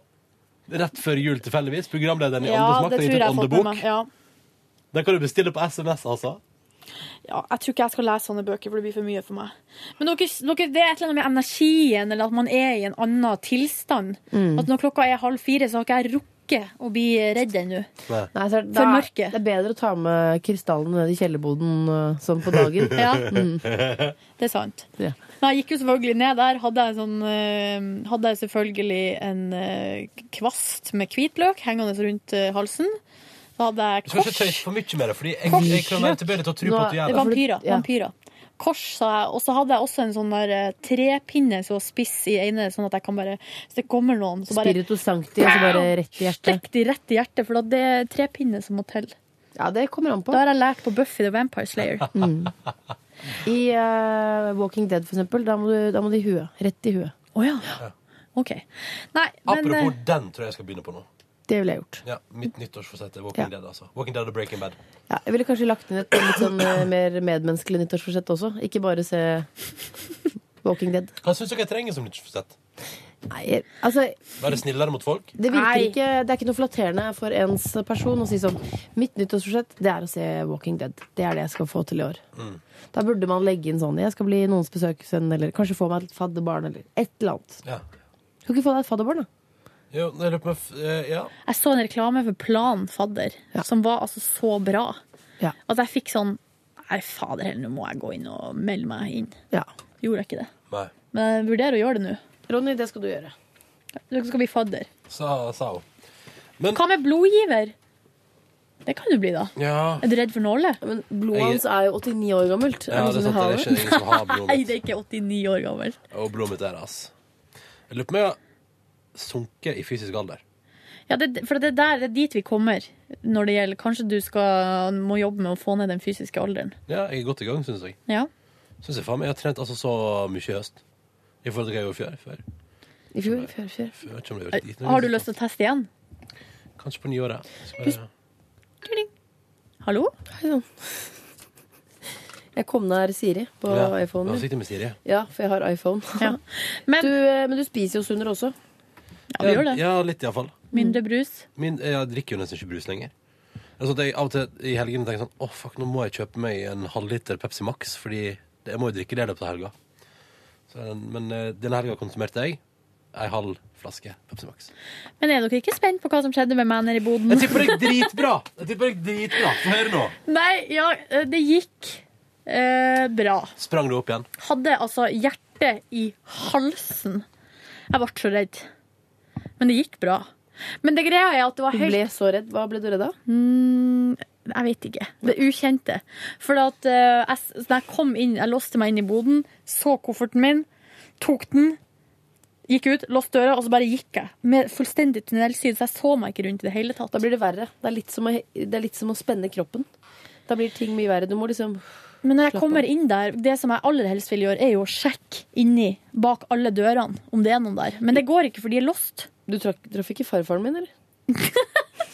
[SPEAKER 2] Rett før jul, tilfeldigvis. Programlederen i Åndesmakt har gitt ut åndebok.
[SPEAKER 3] Ja.
[SPEAKER 2] Den kan du bestille på SMS, altså.
[SPEAKER 3] ja, jeg tror ikke jeg skal lese sånne bøker, for det blir for mye for meg. Men dere, dere, det er et eller annet med energien, eller at man er i en annen tilstand.
[SPEAKER 4] Mm.
[SPEAKER 3] At når klokka er halv fire, så har ikke jeg rukket å bli redd ennå.
[SPEAKER 4] Nei, så er det-
[SPEAKER 3] For
[SPEAKER 4] da-
[SPEAKER 3] mørke.
[SPEAKER 4] Det er bedre å ta med krystallene ned i kjellerboden eh, sånn på dagen.
[SPEAKER 3] Ja.
[SPEAKER 4] Mm.
[SPEAKER 3] Det er sant.
[SPEAKER 4] Ja.
[SPEAKER 3] Men jeg gikk jo selvfølgelig ned der. Hadde jeg, en sånn, eh, hadde jeg selvfølgelig en eh, kvast med hvitløk hengende rundt eh, halsen. Så hadde jeg
[SPEAKER 2] Du skal ikke
[SPEAKER 3] kors.
[SPEAKER 2] tøyse for mye med det, Fordi jeg, jeg kan være tilbøyelig til å tro på at du gjør det.
[SPEAKER 3] Vampyrer. vampyrer. Kors, sa jeg. Og så hadde jeg også en sånn der eh, trepinne så spiss i ene, sånn at jeg kan bare Hvis det kommer noen, så bare
[SPEAKER 4] Spiritus sancti, altså bare rett i hjertet.
[SPEAKER 3] Stikk de rett i hjertet, for da det er trepinne som må til.
[SPEAKER 4] Ja, det kommer an på.
[SPEAKER 3] Da har jeg lært på Buffy the Vampire Slayer.
[SPEAKER 4] I eh, Walking Dead, for eksempel, da må, du, da må du i huet. Rett i huet.
[SPEAKER 3] Å ja. OK. Nei, men
[SPEAKER 2] Apropos
[SPEAKER 3] eh,
[SPEAKER 2] den tror jeg jeg skal begynne på nå.
[SPEAKER 4] Det ville jeg gjort.
[SPEAKER 2] Ja, Mitt nyttårsforsett er Walking Dead. altså Walking Dead og Breaking Bad.
[SPEAKER 4] Ja, jeg ville kanskje lagt inn et litt sånn eh, mer medmenneskelig nyttårsforsett også. Ikke bare se Walking Dead.
[SPEAKER 2] Hva syns dere jeg trenger som nyttårsforsett?
[SPEAKER 4] Nei, altså,
[SPEAKER 2] Være snillere mot folk?
[SPEAKER 4] det, virker ikke, det er ikke noe flatterende for ens person å si sånn Mitt nyttårsforsett det er å se Walking Dead. Det er det jeg skal få til i år.
[SPEAKER 2] Mm.
[SPEAKER 4] Da burde man legge inn sånn Jeg skal bli noens besøkssønn, eller kanskje få meg et fadderbarn, eller et eller annet.
[SPEAKER 2] Ja.
[SPEAKER 4] Skal ikke få deg et fadderbarn, da?
[SPEAKER 2] Jo, jeg lurer på om jeg f- eh, Ja.
[SPEAKER 3] Jeg så en reklame for Plan fadder, som var altså så bra. At jeg fikk sånn Nei, fader heller, nå må jeg gå inn og melde meg inn. Gjorde jeg ikke det.
[SPEAKER 2] Nei.
[SPEAKER 3] Men jeg vurderer å gjøre det nå.
[SPEAKER 4] Ronny, det skal du gjøre.
[SPEAKER 3] Dere skal bli fadder.
[SPEAKER 2] Sa, sa hun.
[SPEAKER 3] Hva med blodgiver? Det kan du bli, da.
[SPEAKER 2] Ja.
[SPEAKER 3] Er du redd for nåler?
[SPEAKER 4] Men blodet hans er jo 89 år gammelt. sånn
[SPEAKER 2] Ja, det er sant, det er ikke ingen som har blodet.
[SPEAKER 3] Nei, det er ikke 89 år gammelt.
[SPEAKER 2] Og blodet mitt er det, ass. Jeg lurer på om jeg har sunket i fysisk alder.
[SPEAKER 3] Ja, det, for det er, der, det er dit vi kommer når det gjelder Kanskje du skal, må jobbe med å få ned den fysiske alderen.
[SPEAKER 2] Ja, jeg er godt i gang, syns jeg.
[SPEAKER 3] Ja.
[SPEAKER 2] Synes jeg faen meg, Jeg har trent altså så mye i høst i forhold til hva jeg gjorde før. før.
[SPEAKER 4] I fjor, fjor, fjor.
[SPEAKER 2] Jeg vet ikke om det liksom har vært dit.
[SPEAKER 3] Har du lyst til å teste igjen?
[SPEAKER 2] Kanskje på nyåret. Skal
[SPEAKER 3] Husk-
[SPEAKER 2] jeg-
[SPEAKER 3] Hallo?
[SPEAKER 4] Hei sann. Jeg kom nær Siri på
[SPEAKER 2] Ja,
[SPEAKER 4] iPhonen.
[SPEAKER 2] nå
[SPEAKER 4] min.
[SPEAKER 2] sitter jeg med Siri.
[SPEAKER 4] Ja, for jeg har iPhone.
[SPEAKER 3] Men,
[SPEAKER 4] du, eh, men du spiser jo sunnere også.
[SPEAKER 3] Ja, vi gjør det.
[SPEAKER 2] Ja, litt iallfall.
[SPEAKER 3] Mindre brus.
[SPEAKER 2] Min, jeg drikker jo nesten ikke brus lenger. Altså at jeg av og til i helgene tenker sånn Å, fuck, nå må jeg kjøpe meg en halvliter Pepsi Max, fordi det, jeg må jo drikke det i løpet av helga. Så, er den- men eh, denne helga konsumerte jeg ei halv flaske Pepsi Max.
[SPEAKER 3] Men er dere ikke spent på hva som skjedde med meg nede i boden?
[SPEAKER 2] Jeg tipper det gikk dritbra! Jeg tipper det gikk dritbra. Få høre nå.
[SPEAKER 3] Nei, ja, det gikk eh, bra.
[SPEAKER 2] Sprang du opp igjen?
[SPEAKER 3] Hadde altså hjertet i halsen. Jeg ble så redd. Men det gikk bra. Men det greia er at det var
[SPEAKER 4] Du
[SPEAKER 3] helt
[SPEAKER 4] ble så redd. Hva ble du redd av?
[SPEAKER 3] Mm, jeg vet ikke. Det ukjente. For at eh, jeg, s- da jeg kom inn, jeg låste meg inn i boden, så kofferten min, tok den, gikk ut, låste døra, og så bare gikk jeg. Med fullstendig tunnelsyn, så jeg så meg ikke rundt i det hele tatt.
[SPEAKER 4] Da blir det verre. Det er litt som å, det er litt som å spenne kroppen. Da blir ting mye verre. Du må liksom
[SPEAKER 3] Men når jeg
[SPEAKER 4] Slapp
[SPEAKER 3] kommer
[SPEAKER 4] av.
[SPEAKER 3] inn der, det som jeg aller helst vil gjøre, er jo å sjekke inni, bak alle dørene, om det er noen der. Men det går ikke, for de er låst.
[SPEAKER 4] Du traff ikke farfaren min, eller?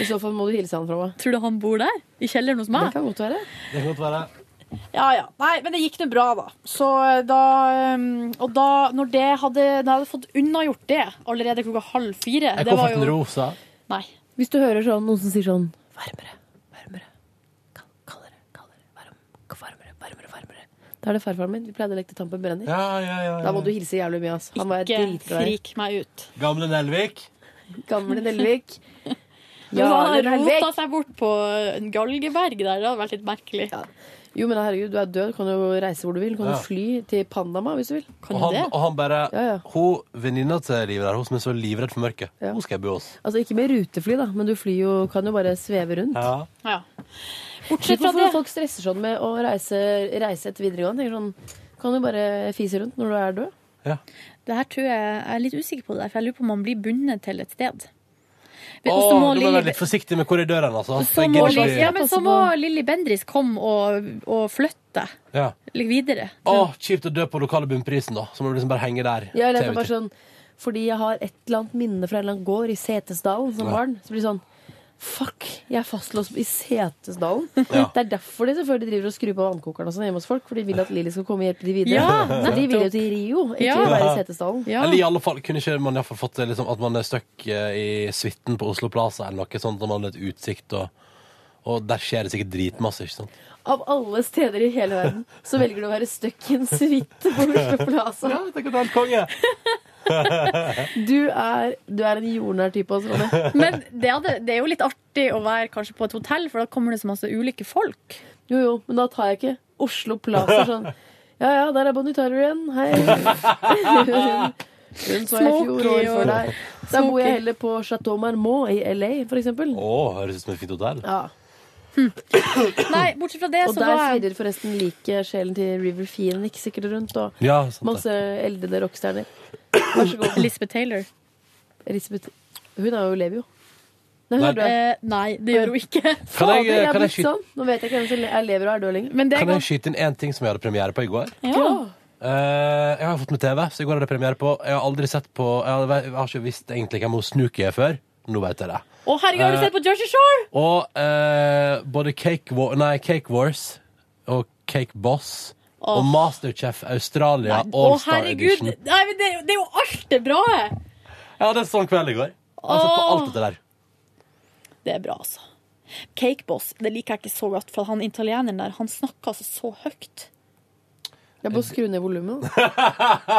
[SPEAKER 4] I så fall må du hilse han fra meg.
[SPEAKER 3] Tror du han bor der? I kjelleren hos meg?
[SPEAKER 4] Det kan godt være.
[SPEAKER 2] Det kan godt være.
[SPEAKER 3] Ja, ja. Nei, men det gikk nå bra, da. Så eh, da um, Og da, når det hadde, når jeg hadde fått unnagjort det allerede klokka halv fire
[SPEAKER 4] Er
[SPEAKER 3] det var
[SPEAKER 4] kofferten
[SPEAKER 3] jo-
[SPEAKER 2] rosa?
[SPEAKER 3] Nei.
[SPEAKER 4] Hvis du hører sånn, noen som sier sånn Da er det farfaren min. Vi pleide å leke til Tampen brenner.
[SPEAKER 2] Ja, ja, ja, ja.
[SPEAKER 4] Da må du hilse jævlig mye. ass. Han var
[SPEAKER 3] Ikke
[SPEAKER 4] dritglad i
[SPEAKER 3] frik meg ut.
[SPEAKER 2] Gamle Nelvik.
[SPEAKER 4] Gamle Nelvik.
[SPEAKER 3] Ja,
[SPEAKER 4] Jarle
[SPEAKER 3] han
[SPEAKER 4] Nelvik.
[SPEAKER 3] rota seg bort på en galgeberg der. Det hadde vært litt merkelig.
[SPEAKER 4] Jo, men herregud, du er død. Du kan jo reise hvor du vil. Du kan
[SPEAKER 2] Ja.
[SPEAKER 4] jo fly til Panama hvis du vil.
[SPEAKER 2] Og han, og han bare Hun venninna til livet der, hun som er så livredd for mørket, hun skal jeg bo hos.
[SPEAKER 4] Altså ikke med rutefly, da, men du flyr jo, kan jo bare sveve rundt.
[SPEAKER 2] Ja.
[SPEAKER 3] Ja.
[SPEAKER 4] Bortsett fra det. Folk stresser sånn med å reise, reise etter videregående. Tenker sånn, kan du bare fise rundt når du er død?
[SPEAKER 3] Det her tror jeg, jeg er litt usikker på det der, for jeg lurer på om man blir bundet til et sted.
[SPEAKER 2] Å,
[SPEAKER 3] Og så må
[SPEAKER 2] du må være
[SPEAKER 3] Lilly-
[SPEAKER 2] litt forsiktig med hvor er døren, altså.
[SPEAKER 3] så
[SPEAKER 2] Jeg
[SPEAKER 3] må
[SPEAKER 2] gidder
[SPEAKER 3] Lilly-
[SPEAKER 2] ikke-
[SPEAKER 3] ja, men så må Lilly Bendriss komme og, og flytte
[SPEAKER 2] Ja.
[SPEAKER 3] litt videre.
[SPEAKER 2] Å, kjipt å dø på lokale bunnprisen, da. Så må du liksom bare henge der.
[SPEAKER 4] Ja, eller
[SPEAKER 2] til
[SPEAKER 4] at det er bare
[SPEAKER 2] evig tid.
[SPEAKER 4] sånn, fordi jeg har et eller annet minne fra en eller annen gård i Setesdalen som
[SPEAKER 2] Ja.
[SPEAKER 4] barn. Så blir det sånn Fuck, jeg er fastlåst i Setesdalen.
[SPEAKER 2] Ja.
[SPEAKER 4] Det er derfor de selvfølgelig driver og skrur på vannkokeren og sånn hjemme hos folk. For de vil at Lilly skal komme og hjelpe de videre.
[SPEAKER 2] Ja,
[SPEAKER 4] så de vil jo til Rio, ikke
[SPEAKER 2] Ja.
[SPEAKER 4] være i Setesdalen.
[SPEAKER 2] Eller i alle fall, kunne ikke man i alle fall fått det liksom, at man er stuck eh, i suiten på Oslo Plaza eller noe sånt, og man har litt utsikt, og, og der skjer det sikkert dritmasse, ikke sant?
[SPEAKER 4] Av alle steder i hele verden så velger du å være stuck i en suite på Oslo Plaza.
[SPEAKER 2] Ja, tenk at du er konge!
[SPEAKER 4] Du er, du er en jordnær type, altså, Ronny.
[SPEAKER 3] Men det, hadde, det er jo litt artig å være kanskje på et hotell, for da kommer det så masse ulike folk.
[SPEAKER 4] Jo, jo, men da tar jeg ikke Oslo Plaza sånn. Ja, ja, der er Bonitario igjen. Hei. Hun, hun så jeg i fjor år
[SPEAKER 2] Smokey og-
[SPEAKER 4] før deg. Da bor
[SPEAKER 2] Smokey.
[SPEAKER 4] jeg heller på Chateau Marmont i LA, for eksempel.
[SPEAKER 2] Å, høres ut som et fint hotell.
[SPEAKER 4] Ja.
[SPEAKER 3] Nei, bortsett fra det,
[SPEAKER 4] Og
[SPEAKER 3] så
[SPEAKER 4] der
[SPEAKER 3] var jeg
[SPEAKER 4] svirrer forresten like sjelen til River Phoenix sikkert rundt, og
[SPEAKER 2] Ja, sant det.
[SPEAKER 4] masse eldrede rockstjerner. Vær så god.
[SPEAKER 3] Elizabeth Taylor.
[SPEAKER 4] Elisabeth Hun er jo lever jo.
[SPEAKER 3] Nei.
[SPEAKER 4] er død.
[SPEAKER 3] Eh, nei, det gjør hun ikke.
[SPEAKER 2] Kan jeg-
[SPEAKER 4] Fader, jeg
[SPEAKER 2] kan
[SPEAKER 4] er
[SPEAKER 2] jeg
[SPEAKER 4] blitt
[SPEAKER 2] skyte-
[SPEAKER 4] sånn. Nå vet jeg ikke hvem som le- er lever og er død lenger.
[SPEAKER 2] Kan jeg skyte inn én ting som jeg hadde premiere på i går?
[SPEAKER 4] Ja.
[SPEAKER 2] Eh, jeg har fått med TV, så i går hadde jeg premiere på Jeg har aldri sett på Jeg har, jeg har ikke visst egentlig hvem hun Snooki er før. Nå vet jeg det.
[SPEAKER 3] Å, herregud, har du
[SPEAKER 2] Eh,
[SPEAKER 3] sett på Jersey Shore?
[SPEAKER 2] Og eh, både Cake, War, nei, Cake Wars og Cake Boss
[SPEAKER 3] Åh.
[SPEAKER 2] og Masterchef Australia
[SPEAKER 3] Å,
[SPEAKER 2] Allstar
[SPEAKER 3] herregud.
[SPEAKER 2] Edition.
[SPEAKER 3] Nei, men det, er jo- det er jo alt det bra!
[SPEAKER 2] Jeg hadde en sånn kveld i går. Jeg har sett på alt dette der.
[SPEAKER 3] Det er bra, altså. Cakeboss det liker jeg ikke så godt, for han italieneren der han snakker altså så høyt.
[SPEAKER 4] Jeg må skru ned volumet.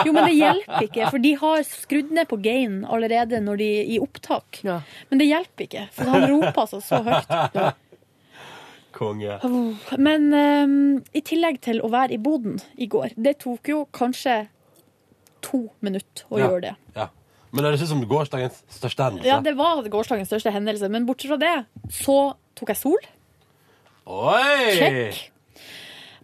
[SPEAKER 3] Jo, men det hjelper ikke, for de har skrudd ned på gain allerede når de, i opptak. Men det hjelper ikke, for han roper altså så høyt.
[SPEAKER 2] Konge.
[SPEAKER 3] Men ehm, i tillegg til å være i boden i går, det tok jo kanskje to minutter å
[SPEAKER 2] Ja.
[SPEAKER 3] gjøre det.
[SPEAKER 2] Ja. Men det høres ut som gårsdagens største hendelse.
[SPEAKER 3] Ja, det var gårsdagens største hendelse, men bortsett fra det, så tok jeg sol,
[SPEAKER 2] Oi!
[SPEAKER 3] Check.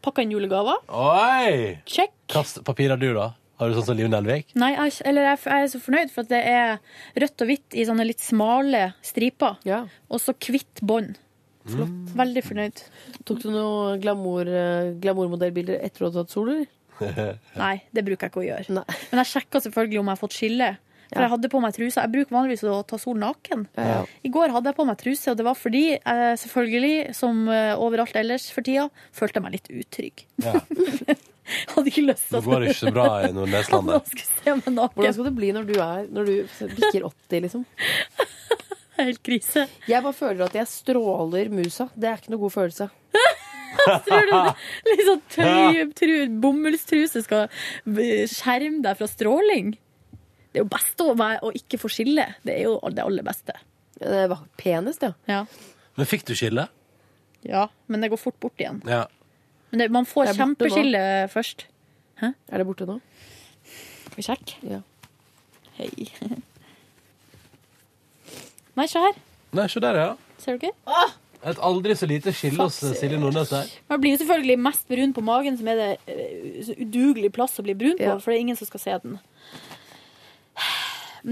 [SPEAKER 3] pakka inn julegaver.
[SPEAKER 2] Oi!
[SPEAKER 3] Check.
[SPEAKER 2] Kast papirer du, da. Har du sånn som Liv Nelvik?
[SPEAKER 3] Nei, jeg, er ikke- eller jeg, er- jeg er så fornøyd, for at det er rødt og hvitt i sånne litt smale striper. Og så hvitt bånd. Mm.
[SPEAKER 4] Flott.
[SPEAKER 3] Veldig fornøyd.
[SPEAKER 4] Tok du noen glamour, eh, glamourmodellbilder etter at du hadde tatt sol, eller?
[SPEAKER 3] Nei, det bruker jeg ikke å gjøre. Men jeg sjekka selvfølgelig om jeg har fått skille. For
[SPEAKER 4] Ja.
[SPEAKER 3] jeg hadde på meg truse. Jeg bruker vanligvis å ta sol naken. I går hadde jeg på meg truse, og det var fordi jeg selvfølgelig, som eh, overalt ellers for tida, følte jeg meg litt utrygg.
[SPEAKER 2] Ja.
[SPEAKER 3] hadde ikke lyst til
[SPEAKER 2] Nå går det ikke så bra i Nordneslandet.
[SPEAKER 4] Hvordan skal det bli når du, er, når du bikker 80, liksom?
[SPEAKER 3] Helt krise.
[SPEAKER 4] Jeg bare føler at jeg stråler musa. Det er ikke noe god følelse.
[SPEAKER 3] Tror du det? Litt sånn tøy, tru- bomullstruse skal eh, skjerme deg fra stråling? Det er jo best å, være, å ikke få skille. Det er jo det aller beste.
[SPEAKER 4] Det var Eh, penest, ja.
[SPEAKER 3] Ja,
[SPEAKER 2] Men fikk du skille?
[SPEAKER 3] ja men det går fort bort igjen.
[SPEAKER 2] Ja.
[SPEAKER 3] Men det, man får
[SPEAKER 4] Det er borte nå.
[SPEAKER 3] kjempeskille først. Hæ?
[SPEAKER 4] Er det borte nå?
[SPEAKER 3] Skal vi sjekke?
[SPEAKER 4] Ja.
[SPEAKER 3] Hei. Nei, se her.
[SPEAKER 2] Nei, se der, ja.
[SPEAKER 3] Ser du ikke?
[SPEAKER 2] Et aldri så lite skille hos eh, Silje Nordnes her.
[SPEAKER 3] Man blir jo selvfølgelig mest brun på magen, som er det eh, så udugelig plass å bli brun på,
[SPEAKER 4] Ja.
[SPEAKER 3] for det er ingen som skal se den.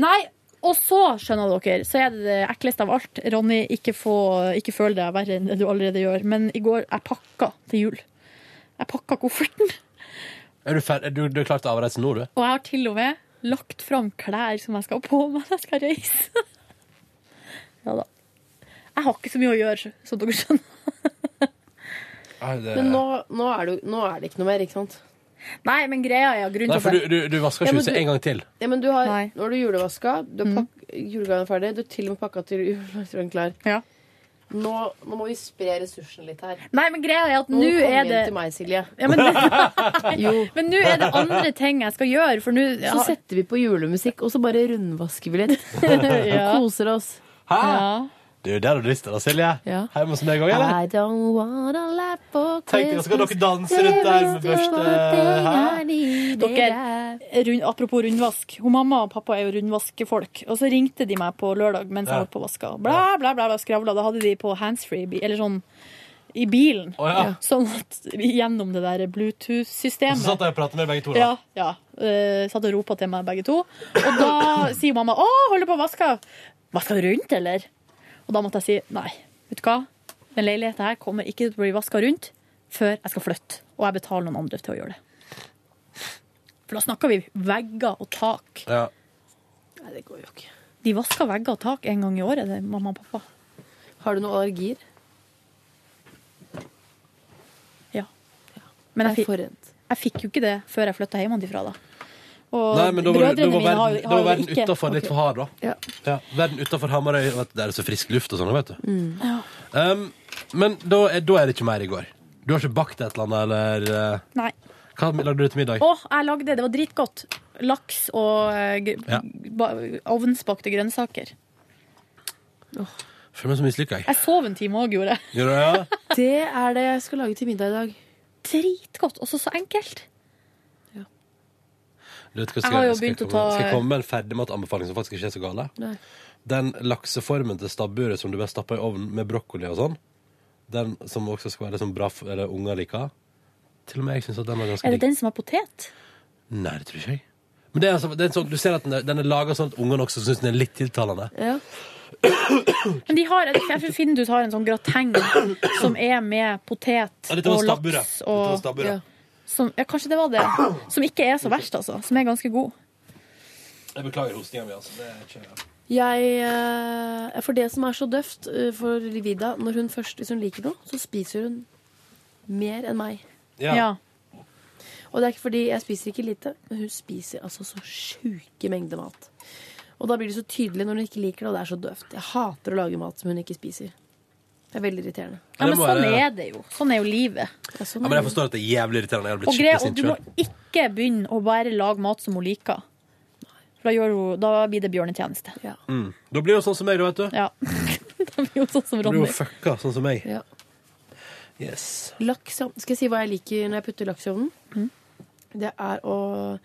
[SPEAKER 3] Nei, og så, skjønner dere, så er det det ekleste av alt. Ronny, ikke, få, ikke føl deg verre enn det du allerede gjør, men i går jeg pakka til jul. Jeg pakka kofferten,
[SPEAKER 2] Er du, fer er du, du er klar til avreise nå, du?
[SPEAKER 3] og jeg har til og med lagt fram klær som jeg skal ha på meg når jeg skal reise. ja da. Jeg har ikke så mye å gjøre, som dere skjønner.
[SPEAKER 4] Men nå, nå, er det, jo- nå er det ikke noe mer, ikke sant?
[SPEAKER 3] Nei, men greia er grunnen
[SPEAKER 2] Nei, for du, du, du vasker ikke huset en gang til.
[SPEAKER 4] Ja, men du har, Mm. nå har du julevaska, du har pakk- julegaven er ferdig, du har til og med pakka til julegaven klar. nå, nå må vi spre ressursene litt her.
[SPEAKER 3] Nei, men greia er at
[SPEAKER 4] Nå
[SPEAKER 3] nå
[SPEAKER 4] kom
[SPEAKER 3] er
[SPEAKER 4] igjen
[SPEAKER 3] det
[SPEAKER 4] til meg, Silje.
[SPEAKER 3] Ja, men, men nå er det andre ting jeg skal gjøre, for nå
[SPEAKER 4] Så setter vi på julemusikk, og så bare rundvasker vi litt.
[SPEAKER 3] Ja.
[SPEAKER 4] Og koser oss.
[SPEAKER 15] Hæ? Du, der har du lyst til det, Silje.
[SPEAKER 4] Ja.
[SPEAKER 15] Hjemme hos meg òg, eller?
[SPEAKER 4] I don't wanna laugh for
[SPEAKER 15] Tenk dere, skal dere danse rundt der med børste Hæ?
[SPEAKER 3] Dere, rund, apropos rundvask. Hun Mamma og pappa er jo rundvaskefolk. Og så ringte de meg på lørdag mens
[SPEAKER 15] Ja.
[SPEAKER 3] jeg holdt på å vaske. Bla, bla, bla, bla skravla. Da hadde de på handsfree, bi- eller sånn i bilen.
[SPEAKER 15] Å, ja.
[SPEAKER 3] Sånn at gjennom det
[SPEAKER 15] Og
[SPEAKER 3] der
[SPEAKER 15] så
[SPEAKER 3] Bluetooth-systemet.
[SPEAKER 15] satt jeg og pratet med begge to.
[SPEAKER 3] Ja,
[SPEAKER 15] da.
[SPEAKER 3] ja. Eh, satt og ropa til meg begge to. Og da sier mamma 'Å, holder på å vaske'. Vaska rundt, eller? Og da måtte jeg si nei. Vet du hva? Den leiligheten her kommer ikke til å bli vaska rundt før jeg skal flytte. Og jeg betaler noen andre til å gjøre det. For da snakker vi vegger og tak.
[SPEAKER 15] Ja.
[SPEAKER 4] Nei, det går jo ikke.
[SPEAKER 3] De vasker vegger og tak en gang i året, det er mamma og pappa.
[SPEAKER 4] Har du noen allergier?
[SPEAKER 3] Ja. Men jeg
[SPEAKER 4] Det er
[SPEAKER 3] fikk, jeg fikk jo ikke det før jeg flytta hjemmefra, da. Og
[SPEAKER 2] Nei, men da var, da
[SPEAKER 3] brødrene
[SPEAKER 2] var
[SPEAKER 3] mine har-
[SPEAKER 2] verden, da var
[SPEAKER 3] har jo
[SPEAKER 2] verden
[SPEAKER 3] ikke-
[SPEAKER 2] utenfor litt for hard, da.
[SPEAKER 4] Ja.
[SPEAKER 2] Verden utenfor Hamarøy, vet du, der er det så frisk luft og sånn, vet du.
[SPEAKER 4] Mm.
[SPEAKER 2] Um, men da er, da er det ikke mer i går. Du har ikke bakt et eller annet, eller eh,
[SPEAKER 3] Nei.
[SPEAKER 2] Hva lagde du til middag?
[SPEAKER 3] Å, jeg lagde det. Det var dritgodt. Laks og eh, gr-
[SPEAKER 2] Ja.
[SPEAKER 3] ba- ovnsbakte grønnsaker.
[SPEAKER 2] Føler meg så mislykka, jeg.
[SPEAKER 3] Jeg sov en time òg, gjorde jeg.
[SPEAKER 2] Gjør du det? Ja?
[SPEAKER 4] Det er det jeg skal lage til middag i dag.
[SPEAKER 3] Dritgodt. Også så enkelt.
[SPEAKER 2] Du vet hva,
[SPEAKER 3] Jeg har jo
[SPEAKER 2] skal,
[SPEAKER 3] begynt å
[SPEAKER 2] komme-
[SPEAKER 3] ta-
[SPEAKER 2] Skal jeg komme med en ferdigmatanbefaling som faktisk ikke er så gale?
[SPEAKER 4] Nei.
[SPEAKER 2] Den lakseformen til stabburet som du bare stapper i ovnen med brokkoli og sånn, den som også skal være liksom bra for eller unger liker Til og med jeg syns at den var ganske
[SPEAKER 3] Er det
[SPEAKER 2] digg.
[SPEAKER 3] den som er potet?
[SPEAKER 2] Nei, det tror ikke jeg. Men det er altså, det er en sånn, du ser at den er, den er laga sånn at ungene også syns den er litt tiltalende.
[SPEAKER 3] Ja. Men de har, jeg finner du har en sånn grateng som er med potet
[SPEAKER 2] Ja, dette var
[SPEAKER 3] og
[SPEAKER 2] stabburet.
[SPEAKER 3] laks.
[SPEAKER 2] Dette var
[SPEAKER 3] Og,
[SPEAKER 2] stabburet.
[SPEAKER 3] Som, ja, kanskje det var det. Som ikke er så verst, altså. Som er ganske god.
[SPEAKER 2] Jeg beklager hostinga mi, altså. Det er ikke
[SPEAKER 4] Jeg, eh, for det som er så døvt eh, for Vida, når hun først hvis hun liker noe, så spiser hun mer enn meg.
[SPEAKER 2] Ja. Ja.
[SPEAKER 4] Og det er ikke fordi jeg spiser ikke lite, men hun spiser altså så sjuke mengder mat. Og da blir det så tydelig når hun ikke liker det, og det er så døvt. Jeg hater å lage mat som hun ikke spiser. Det er veldig irriterende. sånn
[SPEAKER 3] Ja, men
[SPEAKER 2] må
[SPEAKER 3] sånn
[SPEAKER 2] være-
[SPEAKER 3] er det jo. Sånn er jo livet.
[SPEAKER 2] Ja, men jeg forstår at det er jævlig irriterende. Jeg hadde
[SPEAKER 3] Og,
[SPEAKER 2] blitt skikkelig
[SPEAKER 3] greia, og
[SPEAKER 2] sint
[SPEAKER 3] du må
[SPEAKER 2] sjøl.
[SPEAKER 3] ikke begynne å bare lage mat som hun liker. For da, gjør hun, da blir det bjørnetjeneste.
[SPEAKER 2] Mm. Da blir det jo sånn som meg, da, vet du.
[SPEAKER 3] Ja. da blir hun sånn som
[SPEAKER 2] Da blir
[SPEAKER 3] Ronny.
[SPEAKER 2] jo fucka sånn som meg.
[SPEAKER 4] Ja.
[SPEAKER 2] Yes.
[SPEAKER 4] Laks, ja. Skal jeg si hva jeg liker når jeg putter laks i ovnen? Det er å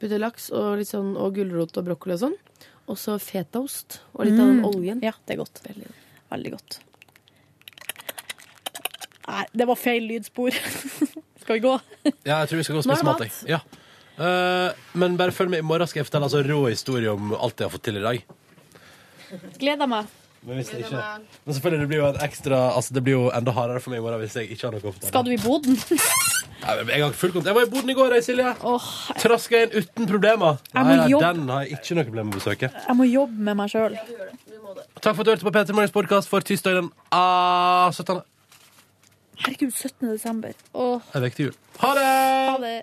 [SPEAKER 4] putte laks og, litt sånn, og gulrot og brokkoli og sånn. Og så fetaost og litt av den
[SPEAKER 3] Mm.
[SPEAKER 4] oljen.
[SPEAKER 3] Ja, det er godt. Veldig godt. Nei, det var feil lydspor. Skal vi gå?
[SPEAKER 2] Ja, jeg tror vi skal gå og
[SPEAKER 3] Nå er
[SPEAKER 2] spise
[SPEAKER 3] det
[SPEAKER 2] mat,
[SPEAKER 3] mat.
[SPEAKER 2] jeg. Ja. Eh, men bare følg med i morgen, skal jeg fortelle altså, rå historie om alt jeg har fått til i dag.
[SPEAKER 3] Gleder meg.
[SPEAKER 2] Men, hvis jeg ikke, men selvfølgelig, det blir jo en ekstra Altså, det blir jo enda hardere for meg i morgen hvis jeg ikke har noe å fortelle.
[SPEAKER 3] Skal du i boden?
[SPEAKER 2] Nei, men Jeg har full kont- Jeg var i Boden i går, jeg, Silje. Traska inn uten problemer.
[SPEAKER 3] Jeg må
[SPEAKER 2] Nei, nei,
[SPEAKER 3] jobbe.
[SPEAKER 2] den har jeg ikke noe problem med å besøke.
[SPEAKER 3] Jeg må jobbe med meg sjøl.
[SPEAKER 2] Takk for at du hørte på P3 Morgens podkast for tirsdag den ah, 17.
[SPEAKER 3] Herregud, 17. desember. Åh.
[SPEAKER 2] Det er vekk til jul. Ha det!
[SPEAKER 3] Ha det.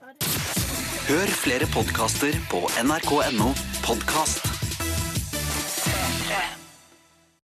[SPEAKER 7] Hør flere podkaster på nrk.no podkast.